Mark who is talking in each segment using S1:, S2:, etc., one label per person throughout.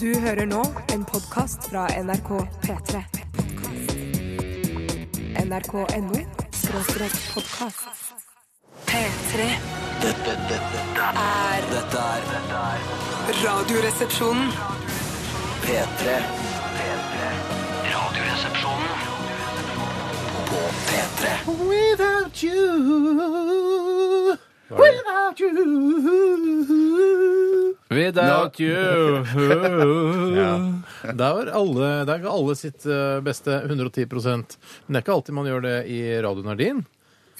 S1: Du hører nå en podkast fra NRK P3. NRK.no skråstrek podkast. P3
S2: Dette, dette, dette,
S1: er
S2: dette er dette er
S1: Radioresepsjonen.
S2: P3. P3. Radioresepsjonen på P3.
S3: Without you Without you
S4: Without
S3: Nå-
S4: you
S3: Ja.
S4: Der var alle, Det er ikke alle sitt eh, beste 110 Men det er ikke alltid man gjør det i Radio Nardin.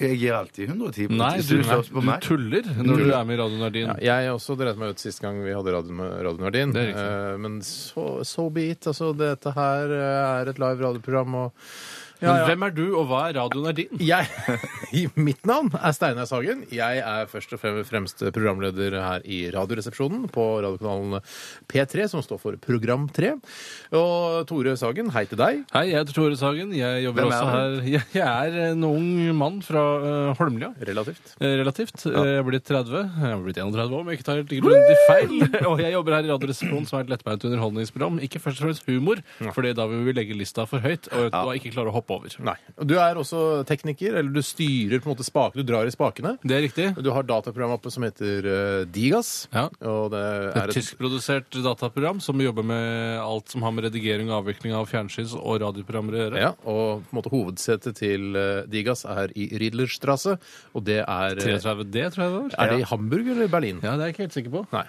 S3: Jeg gir alltid 110 på
S5: Nei,
S3: hvis
S5: du,
S3: du først på
S5: du
S3: meg.
S5: tuller når du er med i Radio Nardin.
S4: Ja, jeg også dreit meg ut sist gang vi hadde Radio, Radio Nardin.
S5: Det er riktig.
S4: Eh, men so, so be it. Altså, dette her eh, er et live radioprogram, og
S5: Men hvem er du, og hva er Radio Nardin?
S4: jeg, i Mitt navn er Steinar Sagen. Jeg er først og frem- fremst programleder her i Radioresepsjonen på radiokanalen P3, som står for Program 3. Og Tore Sagen, hei til deg.
S5: Hei, jeg heter Tore Sagen. Jeg jobber
S3: Hvem er
S5: også her. Jeg, jeg er en ung mann fra eh, Holmlia.
S4: Relativt.
S5: eh, Relativt. Eh, Jeg er blitt 30. Jeg er blitt 31 år, om jeg ikke tar helt grundig feil. Og jeg jobber her i Radioresepsjonen, som er et lettbeint underholdningsprogram. Ikke først og fremst humor, for da vil vi legge lista for høyt og, og ikke klare å hoppe over.
S4: Nei. Og Du er også tekniker, eller du styrer på en måte spakene. Du drar i spakene.
S5: Det er riktig.
S4: Du har dataprogram oppe som heter eh, Digas.
S5: Ja.
S4: Og det er
S5: Et tyskprodusert dataprogram som jobber med alt som har med redigering og avvikling av fjernsyns- og radioprogrammer å gjøre.
S4: Ja, og på en måte hovedsetet til eh, Digas er i Riedlerstrasse, og det er eh,
S5: 33D, tror jeg det var.
S4: Er det i Hamburg eller Berlin?
S5: Ja, det er jeg ikke helt sikker på.
S4: Nei.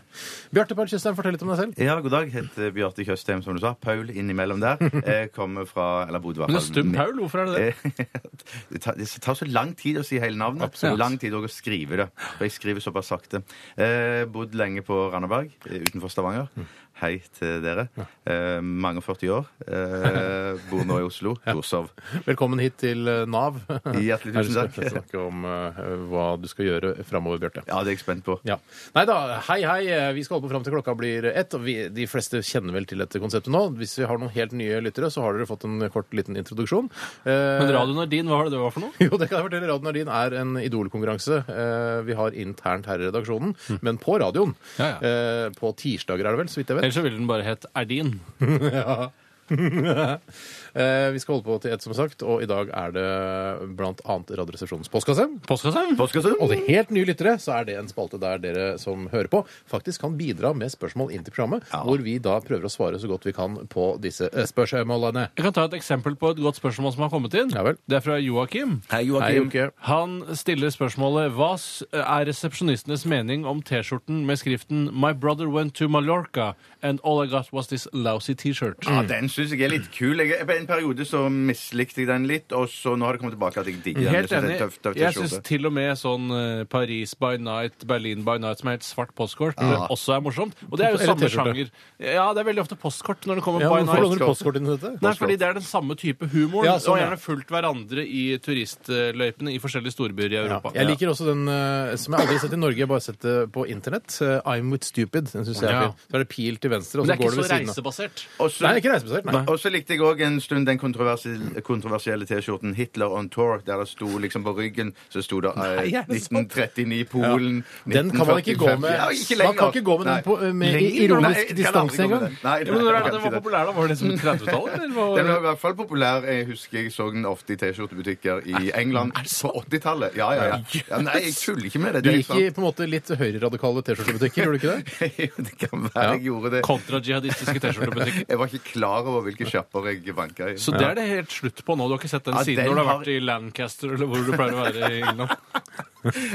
S4: Bjarte Paul Tjøstheim, fortell litt om deg selv.
S3: Ja, god dag. Heter Bjarte Tjøstheim, som du sa. Paul innimellom der. Jeg kommer fra Eller bodde i hvert
S5: Men det er stum Paul, hvorfor er det det?
S3: Eh, Det tar, det tar så lang tid å si hele navnet.
S5: Absolutt.
S3: Lang tid også å skrive det. For jeg skriver såpass sakte. Eh, bodd lenge på Randaberg eh, utenfor Stavanger.
S5: Mm.
S3: Hei til dere. Eh, mange og 40 år. Eh, bor nå i Oslo. Torshov.
S4: Velkommen hit til eh, Nav.
S3: Hjertelig
S4: Her skal
S3: tusen
S4: vi
S3: takk.
S4: snakke om eh, hva du skal gjøre framover, Bjarte.
S3: Ja, det er jeg spent på.
S4: Ja. Nei da, hei hei. Eh, Vi skal holde på fram til klokka blir ett. Og vi, de fleste kjenner vel til dette konseptet nå. Hvis vi har noen helt nye lyttere, så har dere fått en kort liten introduksjon. Eh,
S5: Men radioen er din, hva var det det var for noe?
S4: jo, det kan jeg fortelle. Radio Nardin er en idolkonkurranse eh, vi har internt her i redaksjonen, men på radioen.
S5: Mm. Ja, ja.
S4: Eh, på tirsdager er det vel, så vidt jeg vet.
S5: Ellers så ville den bare hett Erdin.
S4: Eh, vi skal holde på til ett, som sagt, og i dag er det blant annet Radioresepsjonens postkasse.
S5: Postkassen?
S3: Påskesund?
S4: Og til helt nye lyttere så er det en spalte der dere som hører på, faktisk kan bidra med spørsmål inn til programmet, hvor vi da prøver å svare så godt vi kan på disse eh, spørsmålene.
S5: Jeg kan ta et eksempel på et godt spørsmål som har kommet inn.
S4: Ja vel.
S5: Det er fra Joakim.
S3: Hei,
S4: Hei,
S3: Joakim.
S4: Jokke.
S5: Han stiller spørsmålet Hva s- er resepsjonistenes mening om T-skjorten med skriften My brother went to Mallorca and all I got was this lousy T-shirt?
S4: Ah,
S3: Ja, den syns jeg er litt kul. Jeg, på en periode så mislikte jeg den litt, og så nå har det kommet tilbake at jeg digger den. Jeg
S5: Helt
S3: synes det
S5: enig.
S3: er tøff, tøff
S5: Jeg
S3: T-skjorte.
S5: syns til og med sånn eh, Paris by night, Berlin by night, som er helt svart postkort, det også er morsomt. Og det er jo
S4: Eller
S5: samme
S4: T-skjorte.
S5: sjanger. Ja, det er veldig ofte postkort når det kommer
S4: Ja,
S5: by
S4: hvorfor låner
S5: night.
S4: du postkort inn i dette?
S5: Nei, fordi det er den samme type humor.
S4: Ja, sånn,
S5: og
S4: ja.
S5: gjerne fulgt hverandre i turistløypene i forskjellige storbyer i
S4: Ja.
S5: Europa.
S4: Jeg liker også den eh, som jeg aldri har sett i Norge, jeg har bare sett det på internett. eh, I'm with stupid. Den synes jeg er
S5: Ja.
S4: fin. Så er det pil til venstre, og
S5: Men
S4: så
S5: det er
S4: går
S5: ikke
S4: det
S5: så
S4: ved siden av.
S5: reisebasert.
S3: Og så-
S4: Nei, det er ikke reisebasert. Nei.
S3: Og så likte jeg òg en stund den kontroversielle, kontroversielle T-skjorten Hitler on tour, der det sto liksom på ryggen så sto det eh,
S4: Nei, er det sant?
S3: 1939 Polen
S4: Den kan man ikke gå med-
S3: 1945. Ja, ikke
S4: man kan
S3: lenger.
S4: ikke gå med den
S3: Nei.
S4: på- med
S3: Lenger?
S4: ironisk
S3: Nei, jeg kan
S4: distanse
S3: aldri gå med
S4: engang.
S3: den. Nei, nei,
S5: Ja, men når er det
S3: jeg
S5: den
S3: kan ikke
S5: var
S3: det.
S5: populær, da? Var det som 30-tallet? eller hva var
S3: Den var i
S5: det?
S3: hvert fall populær. Jeg husker jeg så den ofte i T-skjortebutikker i England på 80-tallet. Ja, ja, ja, ja. Nei, jeg tuller ikke med det.
S4: Du
S3: det er
S4: gikk i på en måte litt høyreradikale T-skjortebutikker, gjorde du ikke det?
S3: sant. Det kan være jeg gjorde det.
S5: Kontra-jihadistiske T-skjortebutikker.
S3: Jeg var ikke klar over hvilke sjapper jeg vanka i.
S5: Så det er det helt slutt på nå. Du har ikke sett den
S3: Ja,
S5: siden
S3: den
S5: når du har
S3: har-
S5: vært i Lancaster eller hvor du pleier å være i England.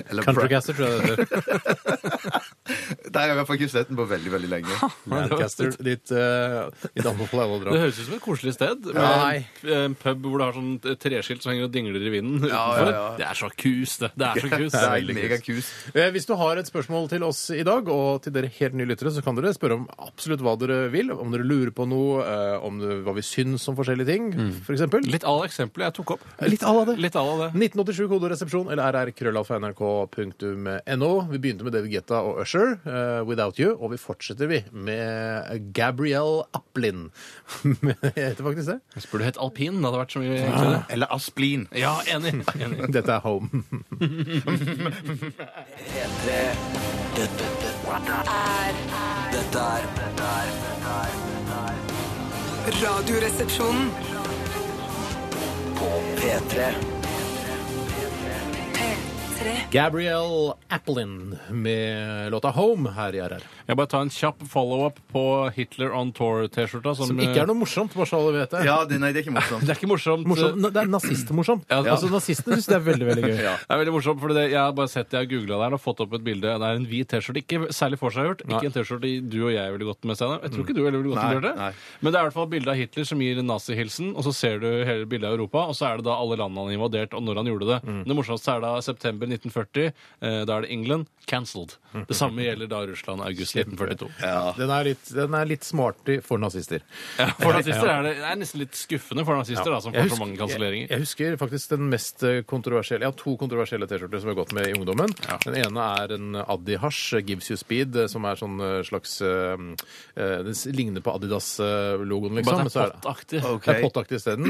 S3: Eller bra-
S4: Countrycaster, tror jeg det heter.
S3: Der har jeg i hvert fall ikke sett den på veldig, veldig lenge.
S4: Lancaster, ditt, eh, ditt anbefaler alle å
S5: Det
S4: dra.
S5: høres ut som et koselig sted. Med
S4: Nei.
S5: en- en pub hvor du har sånn et treskilt som henger og dingler i vinden
S3: Ja,
S5: utenfor.
S3: ja, ja.
S5: Det er så kus, det. Det er så kus.
S3: Det er
S5: veldig kus.
S3: megakus.
S4: Eh, Hvis du har et spørsmål til oss i dag, og til dere helt nye lyttere, så kan dere spørre om absolutt hva dere vil. Om dere lurer på noe, eh, om det, hva vi syns om forskjellige ting, for eksempel.
S5: Litt à la eksempelet jeg tok opp.
S4: Litt à la det.
S5: Litt à la det.
S4: 1987 kodoresepsjon eller rrkrøllalfa.nrk.no. Vi begynte med David Guetta og Usher, eh, 'Without You', og vi fortsetter vi med Gabrielle Aplin. Heter faktisk det?
S5: Jeg Burde hett alpin. Det hadde vært så mye enklere.
S3: Eller Asplin.
S5: Ja, enig. enig.
S4: Dette er Home.
S2: Dette, dette, dette Dette er Dette er
S1: Radioresepsjonen.
S2: På P3
S1: P3.
S4: Gabrielle Applin med låta 'Home' her i RR.
S5: Jeg bare tar en kjapp follow-up på Hitler on Tour-T-skjorta. Som, eh,
S4: Som eh, ikke er noe morsomt, bare så alle vet det.
S3: Ja, det, nei, det er ikke morsomt.
S5: Det er ikke morsomt.
S4: Morsomt. Det er nazistmorsomt.
S5: Ja, ja.
S4: Altså, nazistene syns det er veldig veldig gøy.
S5: Det er veldig morsomt, for jeg har bare sett det, jeg har googla der og fått opp et bilde. Det er en hvit T-skjorte. Ikke særlig
S4: Nei.
S5: forseggjort.
S4: Mm.
S5: Ikke en T-skjorte du og jeg ville gått med, Steinar. Jeg tror ikke du heller ville gått
S3: Nei,
S5: med Bjarte.
S3: nei.
S5: Men det er i hvert fall bilde av Hitler som gir nazihilsen, og så ser du hele bildet av Europa, og så er det da alle landene han invaderte, og når han gjorde det.
S4: Mm.
S5: Det morsomste er da september 1940. eh, Da er det England. Cancelled. Det samme gjelder da Russland august 1942.
S4: Den er litt, den er litt smarty for nazister.
S5: For nazister er det, det er nesten litt skuffende for nazister, da, som får så
S4: husker-
S5: mange kanselleringer.
S4: Jeg, jeg husker faktisk den mest eh, kontroversielle Jeg har to kontroversielle T-skjorter som jeg har gått med i ungdommen. Den ene er en Adi Hash Gives You Speed, eh, som er sånn eh, slags eh, eh, Den s- ligner på Adidas-logoen, liksom.
S5: Bare
S4: men
S5: det
S4: så
S5: er
S4: er det-
S5: pottaktig.
S3: Ok.
S4: Det er pottaktig isteden.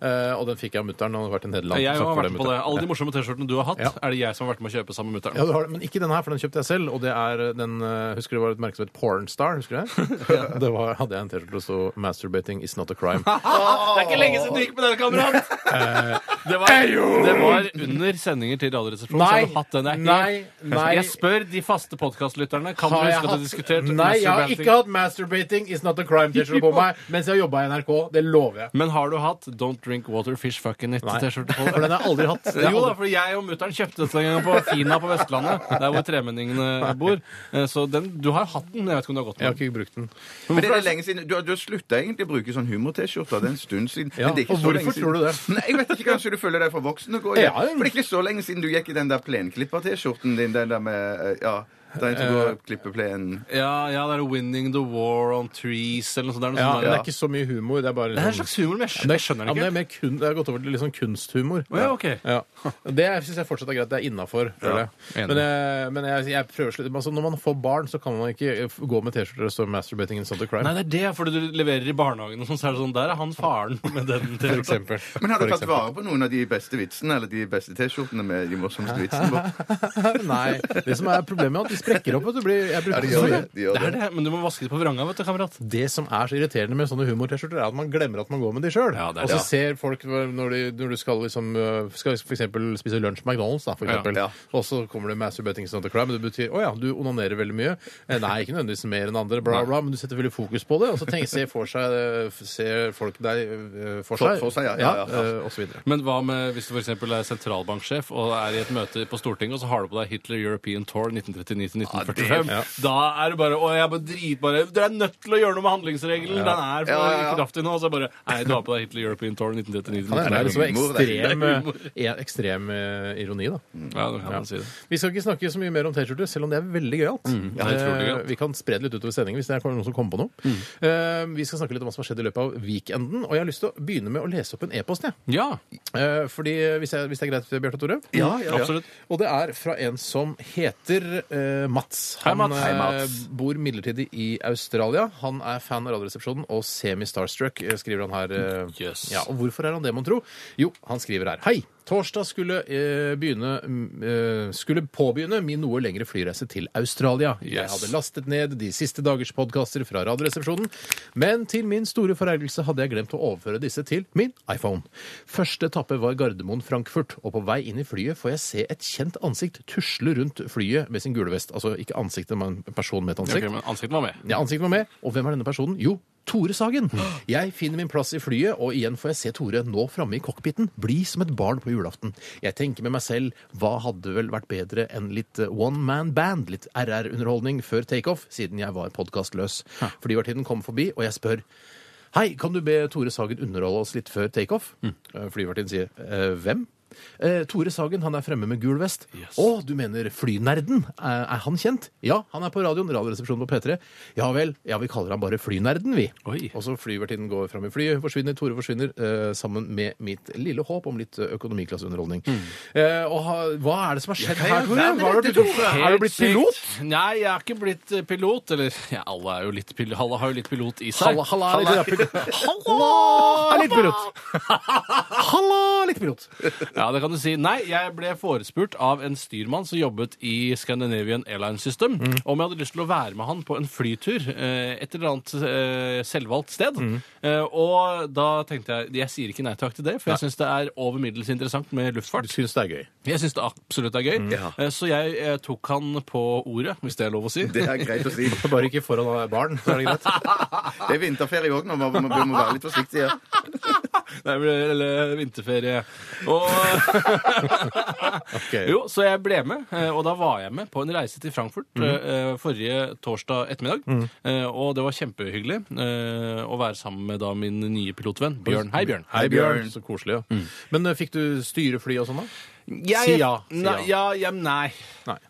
S4: Eh, og den fikk jeg av mutter'n. Han hadde vært i Nederland.
S5: Jeg
S4: så
S5: har
S4: for
S5: vært
S4: det,
S5: på det.
S4: mutteren.
S5: Alle de morsomme T-skjortene du har hatt,
S4: Ja.
S5: er det jeg som har vært med å kjøpe sammen med
S4: Ja,
S5: mutter'n.
S4: du har det, men ikke denne her, for den kjøpte jeg selv. Og det er den eh, Husker du det var et merke som het Pornstar? Husker du det? det var, hadde jeg en T-skjorte som sto 'Masturbating is not a crime'.
S5: Det er ikke lenge siden du gikk med den, kamerat!
S4: Eh,
S5: det, var, det var under sendinger til Radioresepsjonen. så
S4: Nei,
S5: har du hatt den. Jeg-
S4: nei, nei.
S5: Jeg spør de faste podkastlytterne. Kan du
S4: Har jeg
S5: huske at du
S4: hatt-
S5: diskuterte
S4: Nei, jeg har
S5: masturbating?
S4: ikke hatt 'Masturbating is not a crime'-T-skjorte på meg mens jeg har jobba i NRK. Det lover jeg.
S5: Men har du hatt Don't Drink Water Fish Fucking It
S4: Nei.
S5: T-skjorte på
S4: For den
S5: deg?
S4: har jeg aldri hatt. Det er
S5: Jo da,
S4: aldri...
S5: for jeg og mutter'n kjøpte dette en gang på Fina på Vestlandet, der hvor tremenningene bor. Eh, Så den, du har hatt den. Jeg vet ikke om du har gått
S4: Jeg har
S5: med den.
S4: ikke brukt den.
S3: Men det er lenge siden, Du har, du har slutta egentlig å bruke sånn humor-T-skjorter. Det er en stund siden.
S4: Ja,
S3: Men det er ikke
S4: og
S3: så
S4: hvorfor
S3: lenge siden.
S4: tror du det?
S3: Nei, jeg vet ikke, Kanskje du føler deg for voksen og går i
S4: Ja,
S3: det?
S4: ja.
S3: For det er ikke så lenge siden du gikk i den der plenklipper-T-skjorten din. Den der med eh, Ja, den som går og klipper plenen.
S5: Ja, ja, det er Winning the War on Trees eller noe sånt. Det er noe
S4: Ja,
S5: sånt
S4: Det
S5: der.
S4: Sånn er ikke så mye humor. Det er bare liksom-
S5: Det er en slags humor, men jeg skjønner, jeg skjønner
S4: ja, men
S5: det
S4: det
S5: ikke.
S4: er mer kun, det har gått over til litt sånn kunsthumor.
S5: Å ja, ok.
S4: Ja. Det syns jeg fortsatt er greit. Det er innafor. jeg.
S5: enig.
S4: Men, jeg, men jeg, jeg prøver slutt. Altså, når man får barn, så kan man ikke eh, f- gå med T-skjorter og stå 'Masturbating is not a crime'.
S5: Nei, det er det, fordi du leverer i barnehagen, og sånn, så er det sånn, der er han faren med den
S4: For
S5: T-skjorta.
S4: eksempel.
S3: Men har
S4: For
S3: du tatt
S4: eksempel.
S3: vare på noen av de beste vitsene eller de beste T-skjortene med de morsomste vitsene? på?
S4: Nei. Det som er problemet, er at de sprekker opp. Vet du. Blir, jeg bruker
S3: de
S4: så
S3: gjør
S4: mye.
S3: det. De gjør
S5: Det er
S3: det.
S5: det, men du må vaske det på vranga, vet du, kamerat.
S4: Det som er så irriterende med sånne humor-T-skjorter, er at man glemmer at man går med de sjøl.
S5: Ja, det er
S4: og så
S5: det.
S4: ser folk når, de, når du skal, liksom, øh, skal for eksempel spise lunsj på McDonald's, da, for eksempel.
S3: Ja.
S4: og så kommer det masturbating is not a crime, men det betyr å ja, du onanerer veldig mye. Eh, Nei, ikke nødvendigvis mer enn andre, bla, bla, men du setter veldig fokus på det. Og så tenk, ser, for seg, øh, ser folk deg øh, for
S3: For-
S4: seg,
S3: for seg, ja, ja, ja.
S4: øh, og så videre.
S5: Men hva med hvis du f.eks. er sentralbanksjef og er i et møte på Stortinget, og så har du på deg Hitler European Tour 1939-1945?
S4: Ja, det-
S5: Da er det bare Å, jeg er bare dritbare Dere er nødt til å gjøre noe med handlingsregelen! Den er for
S3: Ja, ja, ja.
S5: kraftig nå! Og så bare Nei, du har på deg Hitler European Tour
S4: Det er
S5: 1939-1945.
S4: liksom
S3: humor, det. Det er
S4: ekstrem, eh, ekstrem eh, ironi, da.
S5: liksom- Ja, da kan man si det.
S4: Vi skal ikke snakke så mye mer om T-skjorter, selv om det er veldig gøyalt.
S5: Mm. ja, det er utrolig gøyalt. Mm.
S4: Eh, vi kan spre det litt utover sendingen hvis det er noen som kommer på noe. Eh, vi skal snakke litt om hva som har skjedd i løpet av weekenden, og jeg har lyst til å begynne med å lese opp en e-post, jeg.
S5: Ja,
S4: Eh, fordi, hvis, jeg, hvis det er greit, Bjarte og Tore?
S3: Ja, ja, ja.
S5: absolutt.
S4: Og det er fra en som heter eh, Mats.
S5: Hei, Mats.
S4: eh,
S5: Hei,
S3: Mats.
S4: bor midlertidig i Australia. Han er fan av Radioresepsjonen og semi-starstruck, eh, skriver han her. eh.
S5: Yes.
S4: Ja, og hvorfor er han det, mon tro? Jo, han skriver her. Hei! Torsdag skulle, eh, begynne, mm, eh, skulle påbegynne min noe lengre flyreise til Australia. Jeg
S5: Yes.
S4: hadde lastet ned de siste dagers podkaster fra Radioresepsjonen, men til min store forergelse hadde jeg glemt å overføre disse til min iPhone. Første etappe var Gardermoen-Frankfurt, og på vei inn i flyet får jeg se et kjent ansikt tusle rundt flyet med sin gule vest. Altså ikke ansiktet, men en person med et
S5: Ok,
S4: ansikt.
S5: men ansiktet var med.
S4: Ja, ansiktet var med. Og hvem er denne personen? Jo, Tore Sagen. Jeg finner min plass i flyet, og igjen får jeg se Tore nå framme i cockpiten, bli som et barn på julaften. Jeg tenker med meg selv, hva hadde vel vært bedre enn litt eh, one man band, litt RR-underholdning før takeoff, siden jeg var podkastløs. Flyvertinnen kom forbi, og jeg spør Hei, kan du be Tore Sagen underholde oss litt før takeoff? Eh, Flyvertinnen sier «Eh, hvem? Eh, Tore Sagen han er fremme med gul vest.
S5: Yes.
S4: Å, du mener flynerden? Er, er han kjent? Ja, han er på radioen. Radioresepsjonen på P3. Ja vel. Ja, vi kaller han bare Flynerden, vi.
S5: Oi.
S4: Og så flyvertinnen går fram i flyet, hun forsvinner, Tore forsvinner, eh, sammen med mitt lille håp om litt eh, økonomiklasseunderholdning. Eh, og ha, hva er det som har skjedd her, Tore? Hva har du blitt, har du blitt
S5: Helt
S4: pilot?
S5: sykt. Nei, jeg er ikke blitt eh, pilot. Eller ja, alle, er jo litt pil alle har jo litt pilot i seg.
S4: Halla, halla, litt pilot. Halla, litt pilot. Halla, litt pilot.
S5: Ja, det kan du si. Nei, jeg ble forespurt av en styrmann som jobbet i Scandinavian Airline System,
S4: Mm.
S5: om jeg hadde lyst til å være med han på en flytur eh, et eller annet eh, selvvalgt sted.
S4: Mm.
S5: Eh, og da tenkte jeg Jeg sier ikke nei takk til det, for jeg syns det er over middels interessant med
S4: Du
S5: luftfart.
S4: syns det er gøy.
S5: Jeg syns det absolutt er gøy,
S4: Mm.
S5: Eh, så jeg eh, tok han på ordet, hvis det er lov å si.
S3: Det er greit å si.
S4: Bare ikke foran barn, så er det greit.
S3: Det er vinterferie òg nå, man må, vi må være litt forsiktige.
S5: Nei, eller, eller vinterferie. Og
S4: Ok.
S5: Jo, så jeg ble med, eh, og da var jeg med på en reise til Frankfurt
S4: Mm.
S5: eh, forrige torsdag ettermiddag. Eh, Og det var kjempehyggelig eh, å være sammen med da min nye pilotvenn Bjørn. Hei, Bjørn. Mm.
S4: Hei, Bjørn.
S3: Bjørn.
S4: Så koselig. Ja. Men eh, fikk du styre fly og sånn, da?
S5: Jeg,
S4: Si ja, si
S5: Nei, ja, ja, nei.
S4: Nei.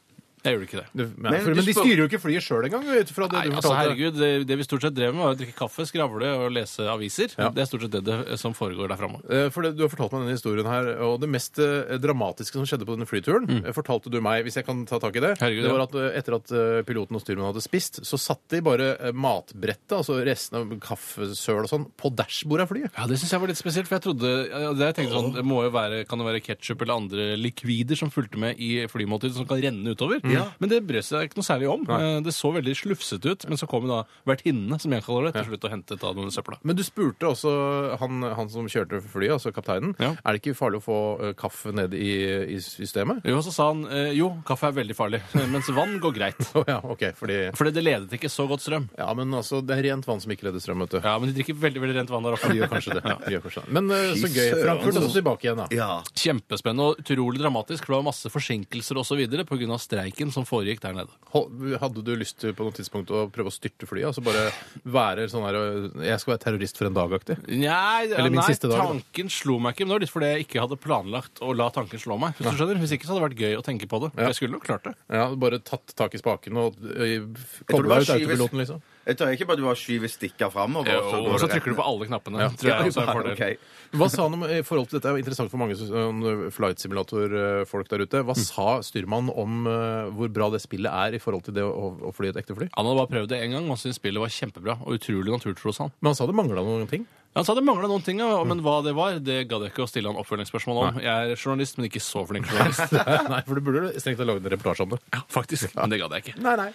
S5: Jeg gjorde ikke det.
S4: Du, men,
S3: Men
S4: for,
S3: du
S4: men de
S3: spør-
S4: styrer jo ikke flyet sjøl engang, ut fra det
S5: Nei,
S4: du
S5: altså
S4: fortalte.
S5: herregud, det, det vi stort sett drev med, var å drikke kaffe, skravle og lese aviser.
S4: Ja.
S5: Det er stort sett det, det som foregår der framme.
S4: Eh, For det, Du har fortalt meg denne historien her, og det mest eh, dramatiske som skjedde på denne flyturen, eh, fortalte du meg, hvis jeg kan ta tak i det,
S5: Mm. Herregud,
S4: det
S5: ja.
S4: var at eh, etter at eh, piloten og styrmannen hadde spist, så satt de bare eh, matbrettet, altså resten av kaffesøl og sånn, på dashbordet av flyet.
S5: Ja, Det syns jeg var litt spesielt, for jeg trodde ja, det jeg tenkte sånn, det må jo være, Kan det være ketsjup eller andre likvider som fulgte med i flymåltidet, som kan renne utover? Men det brød seg ikke noe særlig om. Eh, Det så veldig slufsete ut, men så kom jo da vertinnene, som jeg kaller det, til slutt og hentet av denne søpla.
S4: Men du spurte også han, han som kjørte flyet, altså kapteinen,
S5: Ja.
S4: er det ikke farlig å få eh, kaffe ned i, i systemet?
S5: Jo, så sa han eh, jo, kaffe er veldig farlig, mens vann går greit.
S4: Å ja, ok, fordi...
S5: Fordi det ledet ikke så godt strøm.
S4: Ja, men altså, det er rent vann som ikke leder strøm, vet du.
S5: Ja, men de drikker veldig veldig rent vann der
S4: De gjør
S5: oppe.
S4: kanskje det. De gjør kanskje det. Men eh, så
S3: Fy
S4: gøy.
S3: søren,
S4: Frankfurt, og så
S3: altså.
S4: tilbake igjen, da.
S3: Ja.
S5: Kjempespennende og utrolig dramatisk, for det var masse forsinkelser osv. pga. streiken som foregikk der nede.
S4: Hol- Hadde du lyst til på noe tidspunkt å prøve å styrte flyet? Altså bare være sånn her øh, Jeg skal være terrorist for en dag-aktig?
S5: Nei,
S4: Eller min
S5: nei
S4: siste dag, da.
S5: tanken slo meg ikke. Men det var litt fordi jeg ikke hadde planlagt å la tanken slå meg. Hvis du skjønner. Hvis ikke så hadde det vært gøy å tenke på det. For Jeg skulle nok klart det.
S4: Ja, bare tatt tak i spaken og øh,
S3: tror det
S4: kobla
S3: var
S4: ut
S3: skyves.
S4: autopiloten, liksom?
S3: Jeg tror ikke bare du bare skyver stikker framover.
S5: Og så trykker du på alle knappene. Tror jeg også er en fordel.
S4: Hva sa han om i forhold til dette? er jo interessant for mange sånn, øh, flight simulator-folk eh, der ute. Hva sa styrmannen om øh, hvor bra det spillet er i forhold til det å, å fly et ekte fly?
S5: Han hadde bare prøvd det én gang og syntes spillet var kjempebra. Og utrolig naturtro, sa han.
S4: Men han sa det mangla noen ting.
S5: Han sa det mangla noen ting,
S4: Mm.
S5: ja, men hva det var, det gadd jeg ikke å stille han oppfølgingsspørsmål om. Jeg er journalist, men ikke så flink journalist.
S4: Nei, for du burde strengt tatt lagd en reportasje om det.
S5: Ja, faktisk. Men det gadd jeg ikke.
S4: Nei, nei.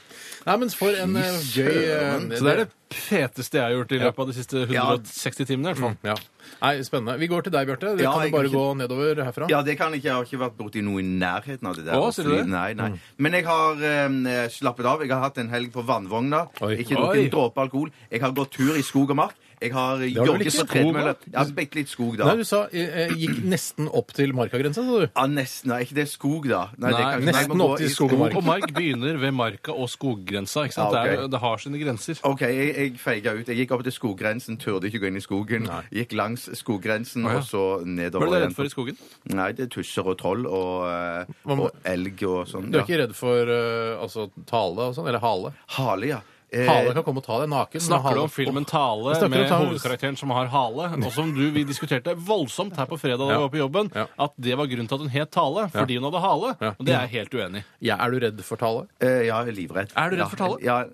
S4: Nei, men for en øh, gøy øh,
S5: Så det er det feteste jeg har gjort i løpet av de siste 160 timene. i hvert fall.
S4: Mm, Ja. Nei, spennende. Vi går til deg, Bjarte. Det
S3: Ja,
S4: kan
S3: jeg
S4: du bare
S3: kan ikke-
S4: gå nedover herfra.
S3: Ja, det kan ikke. Jeg har ikke vært borti noe i nærheten av det der.
S5: Å, sier du det? Mm.
S3: Nei, nei. Men jeg har eh, slappet av. Jeg har hatt en helg på vannvogna.
S4: Oi.
S3: Ikke
S5: Oi.
S3: drukket en dråpe alkohol. Jeg har gått tur i skog og mark. Jeg har
S4: vel
S3: jogget
S4: ikke
S3: på tredemølle.
S4: skog, da?
S3: Ja, bitte litt skog, da.
S4: Nei, du sa eh, eh, gikk nesten opp til markagrensa, sa du.
S3: Ja, nesten. Nei, ikke det er skog, da.
S5: Nei,
S3: det kan- jeg må
S4: nesten
S3: gå
S4: opp til
S3: i
S4: skog og mark.
S5: Og mark begynner ved marka og skoggrensa. ikke sant?
S3: Ja, ok.
S5: det, er, det har sine grenser.
S3: OK, jeg, jeg feiga ut. Jeg gikk opp til skoggrensen, turde ikke gå inn i skogen. Gikk langs skoggrensen,
S5: ja.
S3: og så nedover
S5: Hva er du
S3: igjen.
S5: redd for i skogen?
S3: Nei, det er tusser og troll og, eh,
S4: Hva med-
S3: og elg og sånn.
S4: Du er
S3: ja.
S4: ikke redd for eh, altså, tale og sånn? Eller hale?
S3: Hale, ja. Eh,
S4: Hale kan komme og ta deg naken. men
S5: Snakker
S4: hale-
S5: du om filmen
S4: Jeg
S5: Tale
S4: snakker
S5: med
S4: om Tale.
S5: hovedkarakteren som har hale? Og som du, vi diskuterte voldsomt her på fredag da vi
S4: Ja.
S5: var på jobben,
S4: Ja.
S5: at det var grunnen til at hun het Tale, fordi hun hadde hale.
S4: Ja.
S5: Og det er jeg helt uenig i.
S4: Ja, er du redd for tale?
S3: eh, ja, jeg er livredd.
S5: Er du redd
S3: Ja,
S5: for tale?
S3: Ja,
S4: Er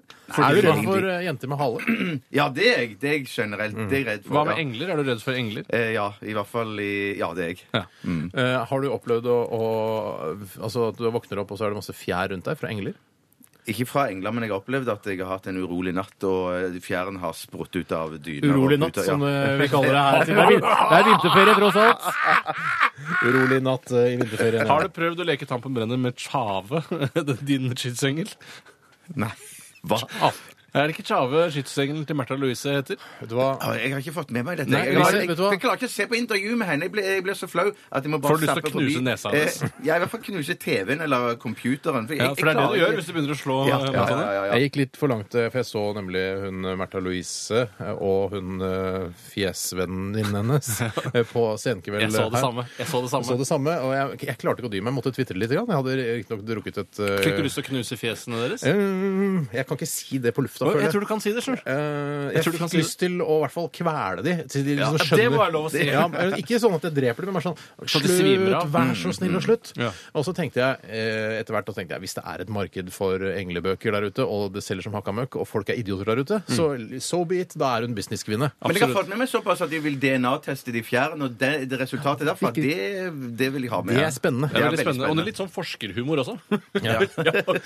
S4: du redd
S3: egentlig.
S4: for eh, jenter med hale?
S3: Ja, det er jeg, det er jeg generelt. Det er jeg redd for.
S5: Hva med
S3: ja.
S5: engler? Er du redd for engler?
S3: Eh, ja, i hvert fall i Ja, det er jeg.
S5: Ja.
S4: Eh, har du opplevd å, å Altså at du våkner opp, og så er det masse fjær rundt deg fra engler?
S3: Ikke fra England, men jeg har opplevd at jeg har hatt en urolig natt, og eh, fjæren har sprutt ut av dyna.
S4: Urolig
S3: og
S4: natt,
S3: ut av-
S4: som eh, vi kaller det her. Det er, vin- det er vinterferie, tross alt. Urolig natt eh, i vinterferien. ja.
S5: Har du prøvd å leke Tampen brenner med Tjave, den- din skytsengel?
S3: Nei. Hva?
S5: Er det ikke Tjave skytsengelen til Märtha Louise heter?
S4: Vet du hva?
S3: Ah, Jeg har ikke fått med meg dette.
S4: Nei,
S3: jeg,
S4: nei,
S3: jeg,
S4: vet
S3: jeg,
S4: du hva?
S3: jeg klarer ikke å se på intervju med henne. Jeg blir, jeg blir så flau at jeg
S5: Får
S3: må bare
S5: du lyst til å
S3: zappe forbi.
S5: knuse nesa hennes?
S3: Eh, ja, i hvert fall knuse TV-en eller computeren. For jeg,
S5: Ja,
S3: jeg
S5: for det er det
S3: klarer
S5: du gjør
S3: ikke-
S5: hvis du begynner å slå
S3: Ja,
S5: eh,
S3: ja,
S5: Märtha.
S3: ja, ja, ja.
S4: Jeg gikk litt for langt, eh, for jeg så nemlig hun eh, Märtha Louise eh, og hun eh, fjesvenninnen hennes eh, på senkveld. eh,
S5: Jeg så
S4: her.
S5: det samme. Jeg så
S4: Jeg
S5: det
S4: så
S5: samme.
S4: det samme, og jeg, jeg klarte ikke å dy meg. Jeg måtte tvitre litt. Grann. Jeg hadde riktignok drukket et eh,
S5: Fikk du lyst til å knuse fjesene deres?
S4: eh, Jeg kan ikke si det på Da føler
S5: Jeg tror du kan si det, skjønner du.
S4: Eh,
S5: Jeg
S4: jeg
S5: tror du kan
S4: fikk
S5: si det.
S4: lyst til å i hvert fall kvele de. Til de liksom
S5: Ja, det
S4: skjønner-
S5: må være lov å si.
S4: Ja, men ikke sånn at jeg dreper dem, men bare sånn
S5: Så de svimer
S4: Slutt!
S5: av. Mm,
S4: Vær så snill og slutt!
S5: Ja.
S4: Og så tenkte jeg eh, etter hvert da tenkte jeg, hvis det er et marked for englebøker der ute, og det selger som hakka møkk, og folk er idioter der ute, så
S5: Mm.
S4: so be it. Da er hun businesskvinne.
S3: Men jeg har fått med meg såpass at de vil DNA-teste de fjærene, og det, det resultatet derfra, det, det vil jeg ha med.
S4: Det er spennende.
S5: Det
S3: Ja,
S5: er veldig
S3: veldig
S5: spennende. Og det
S3: spennende.
S5: er litt sånn forskerhumor også.
S4: Ja.
S5: Ja,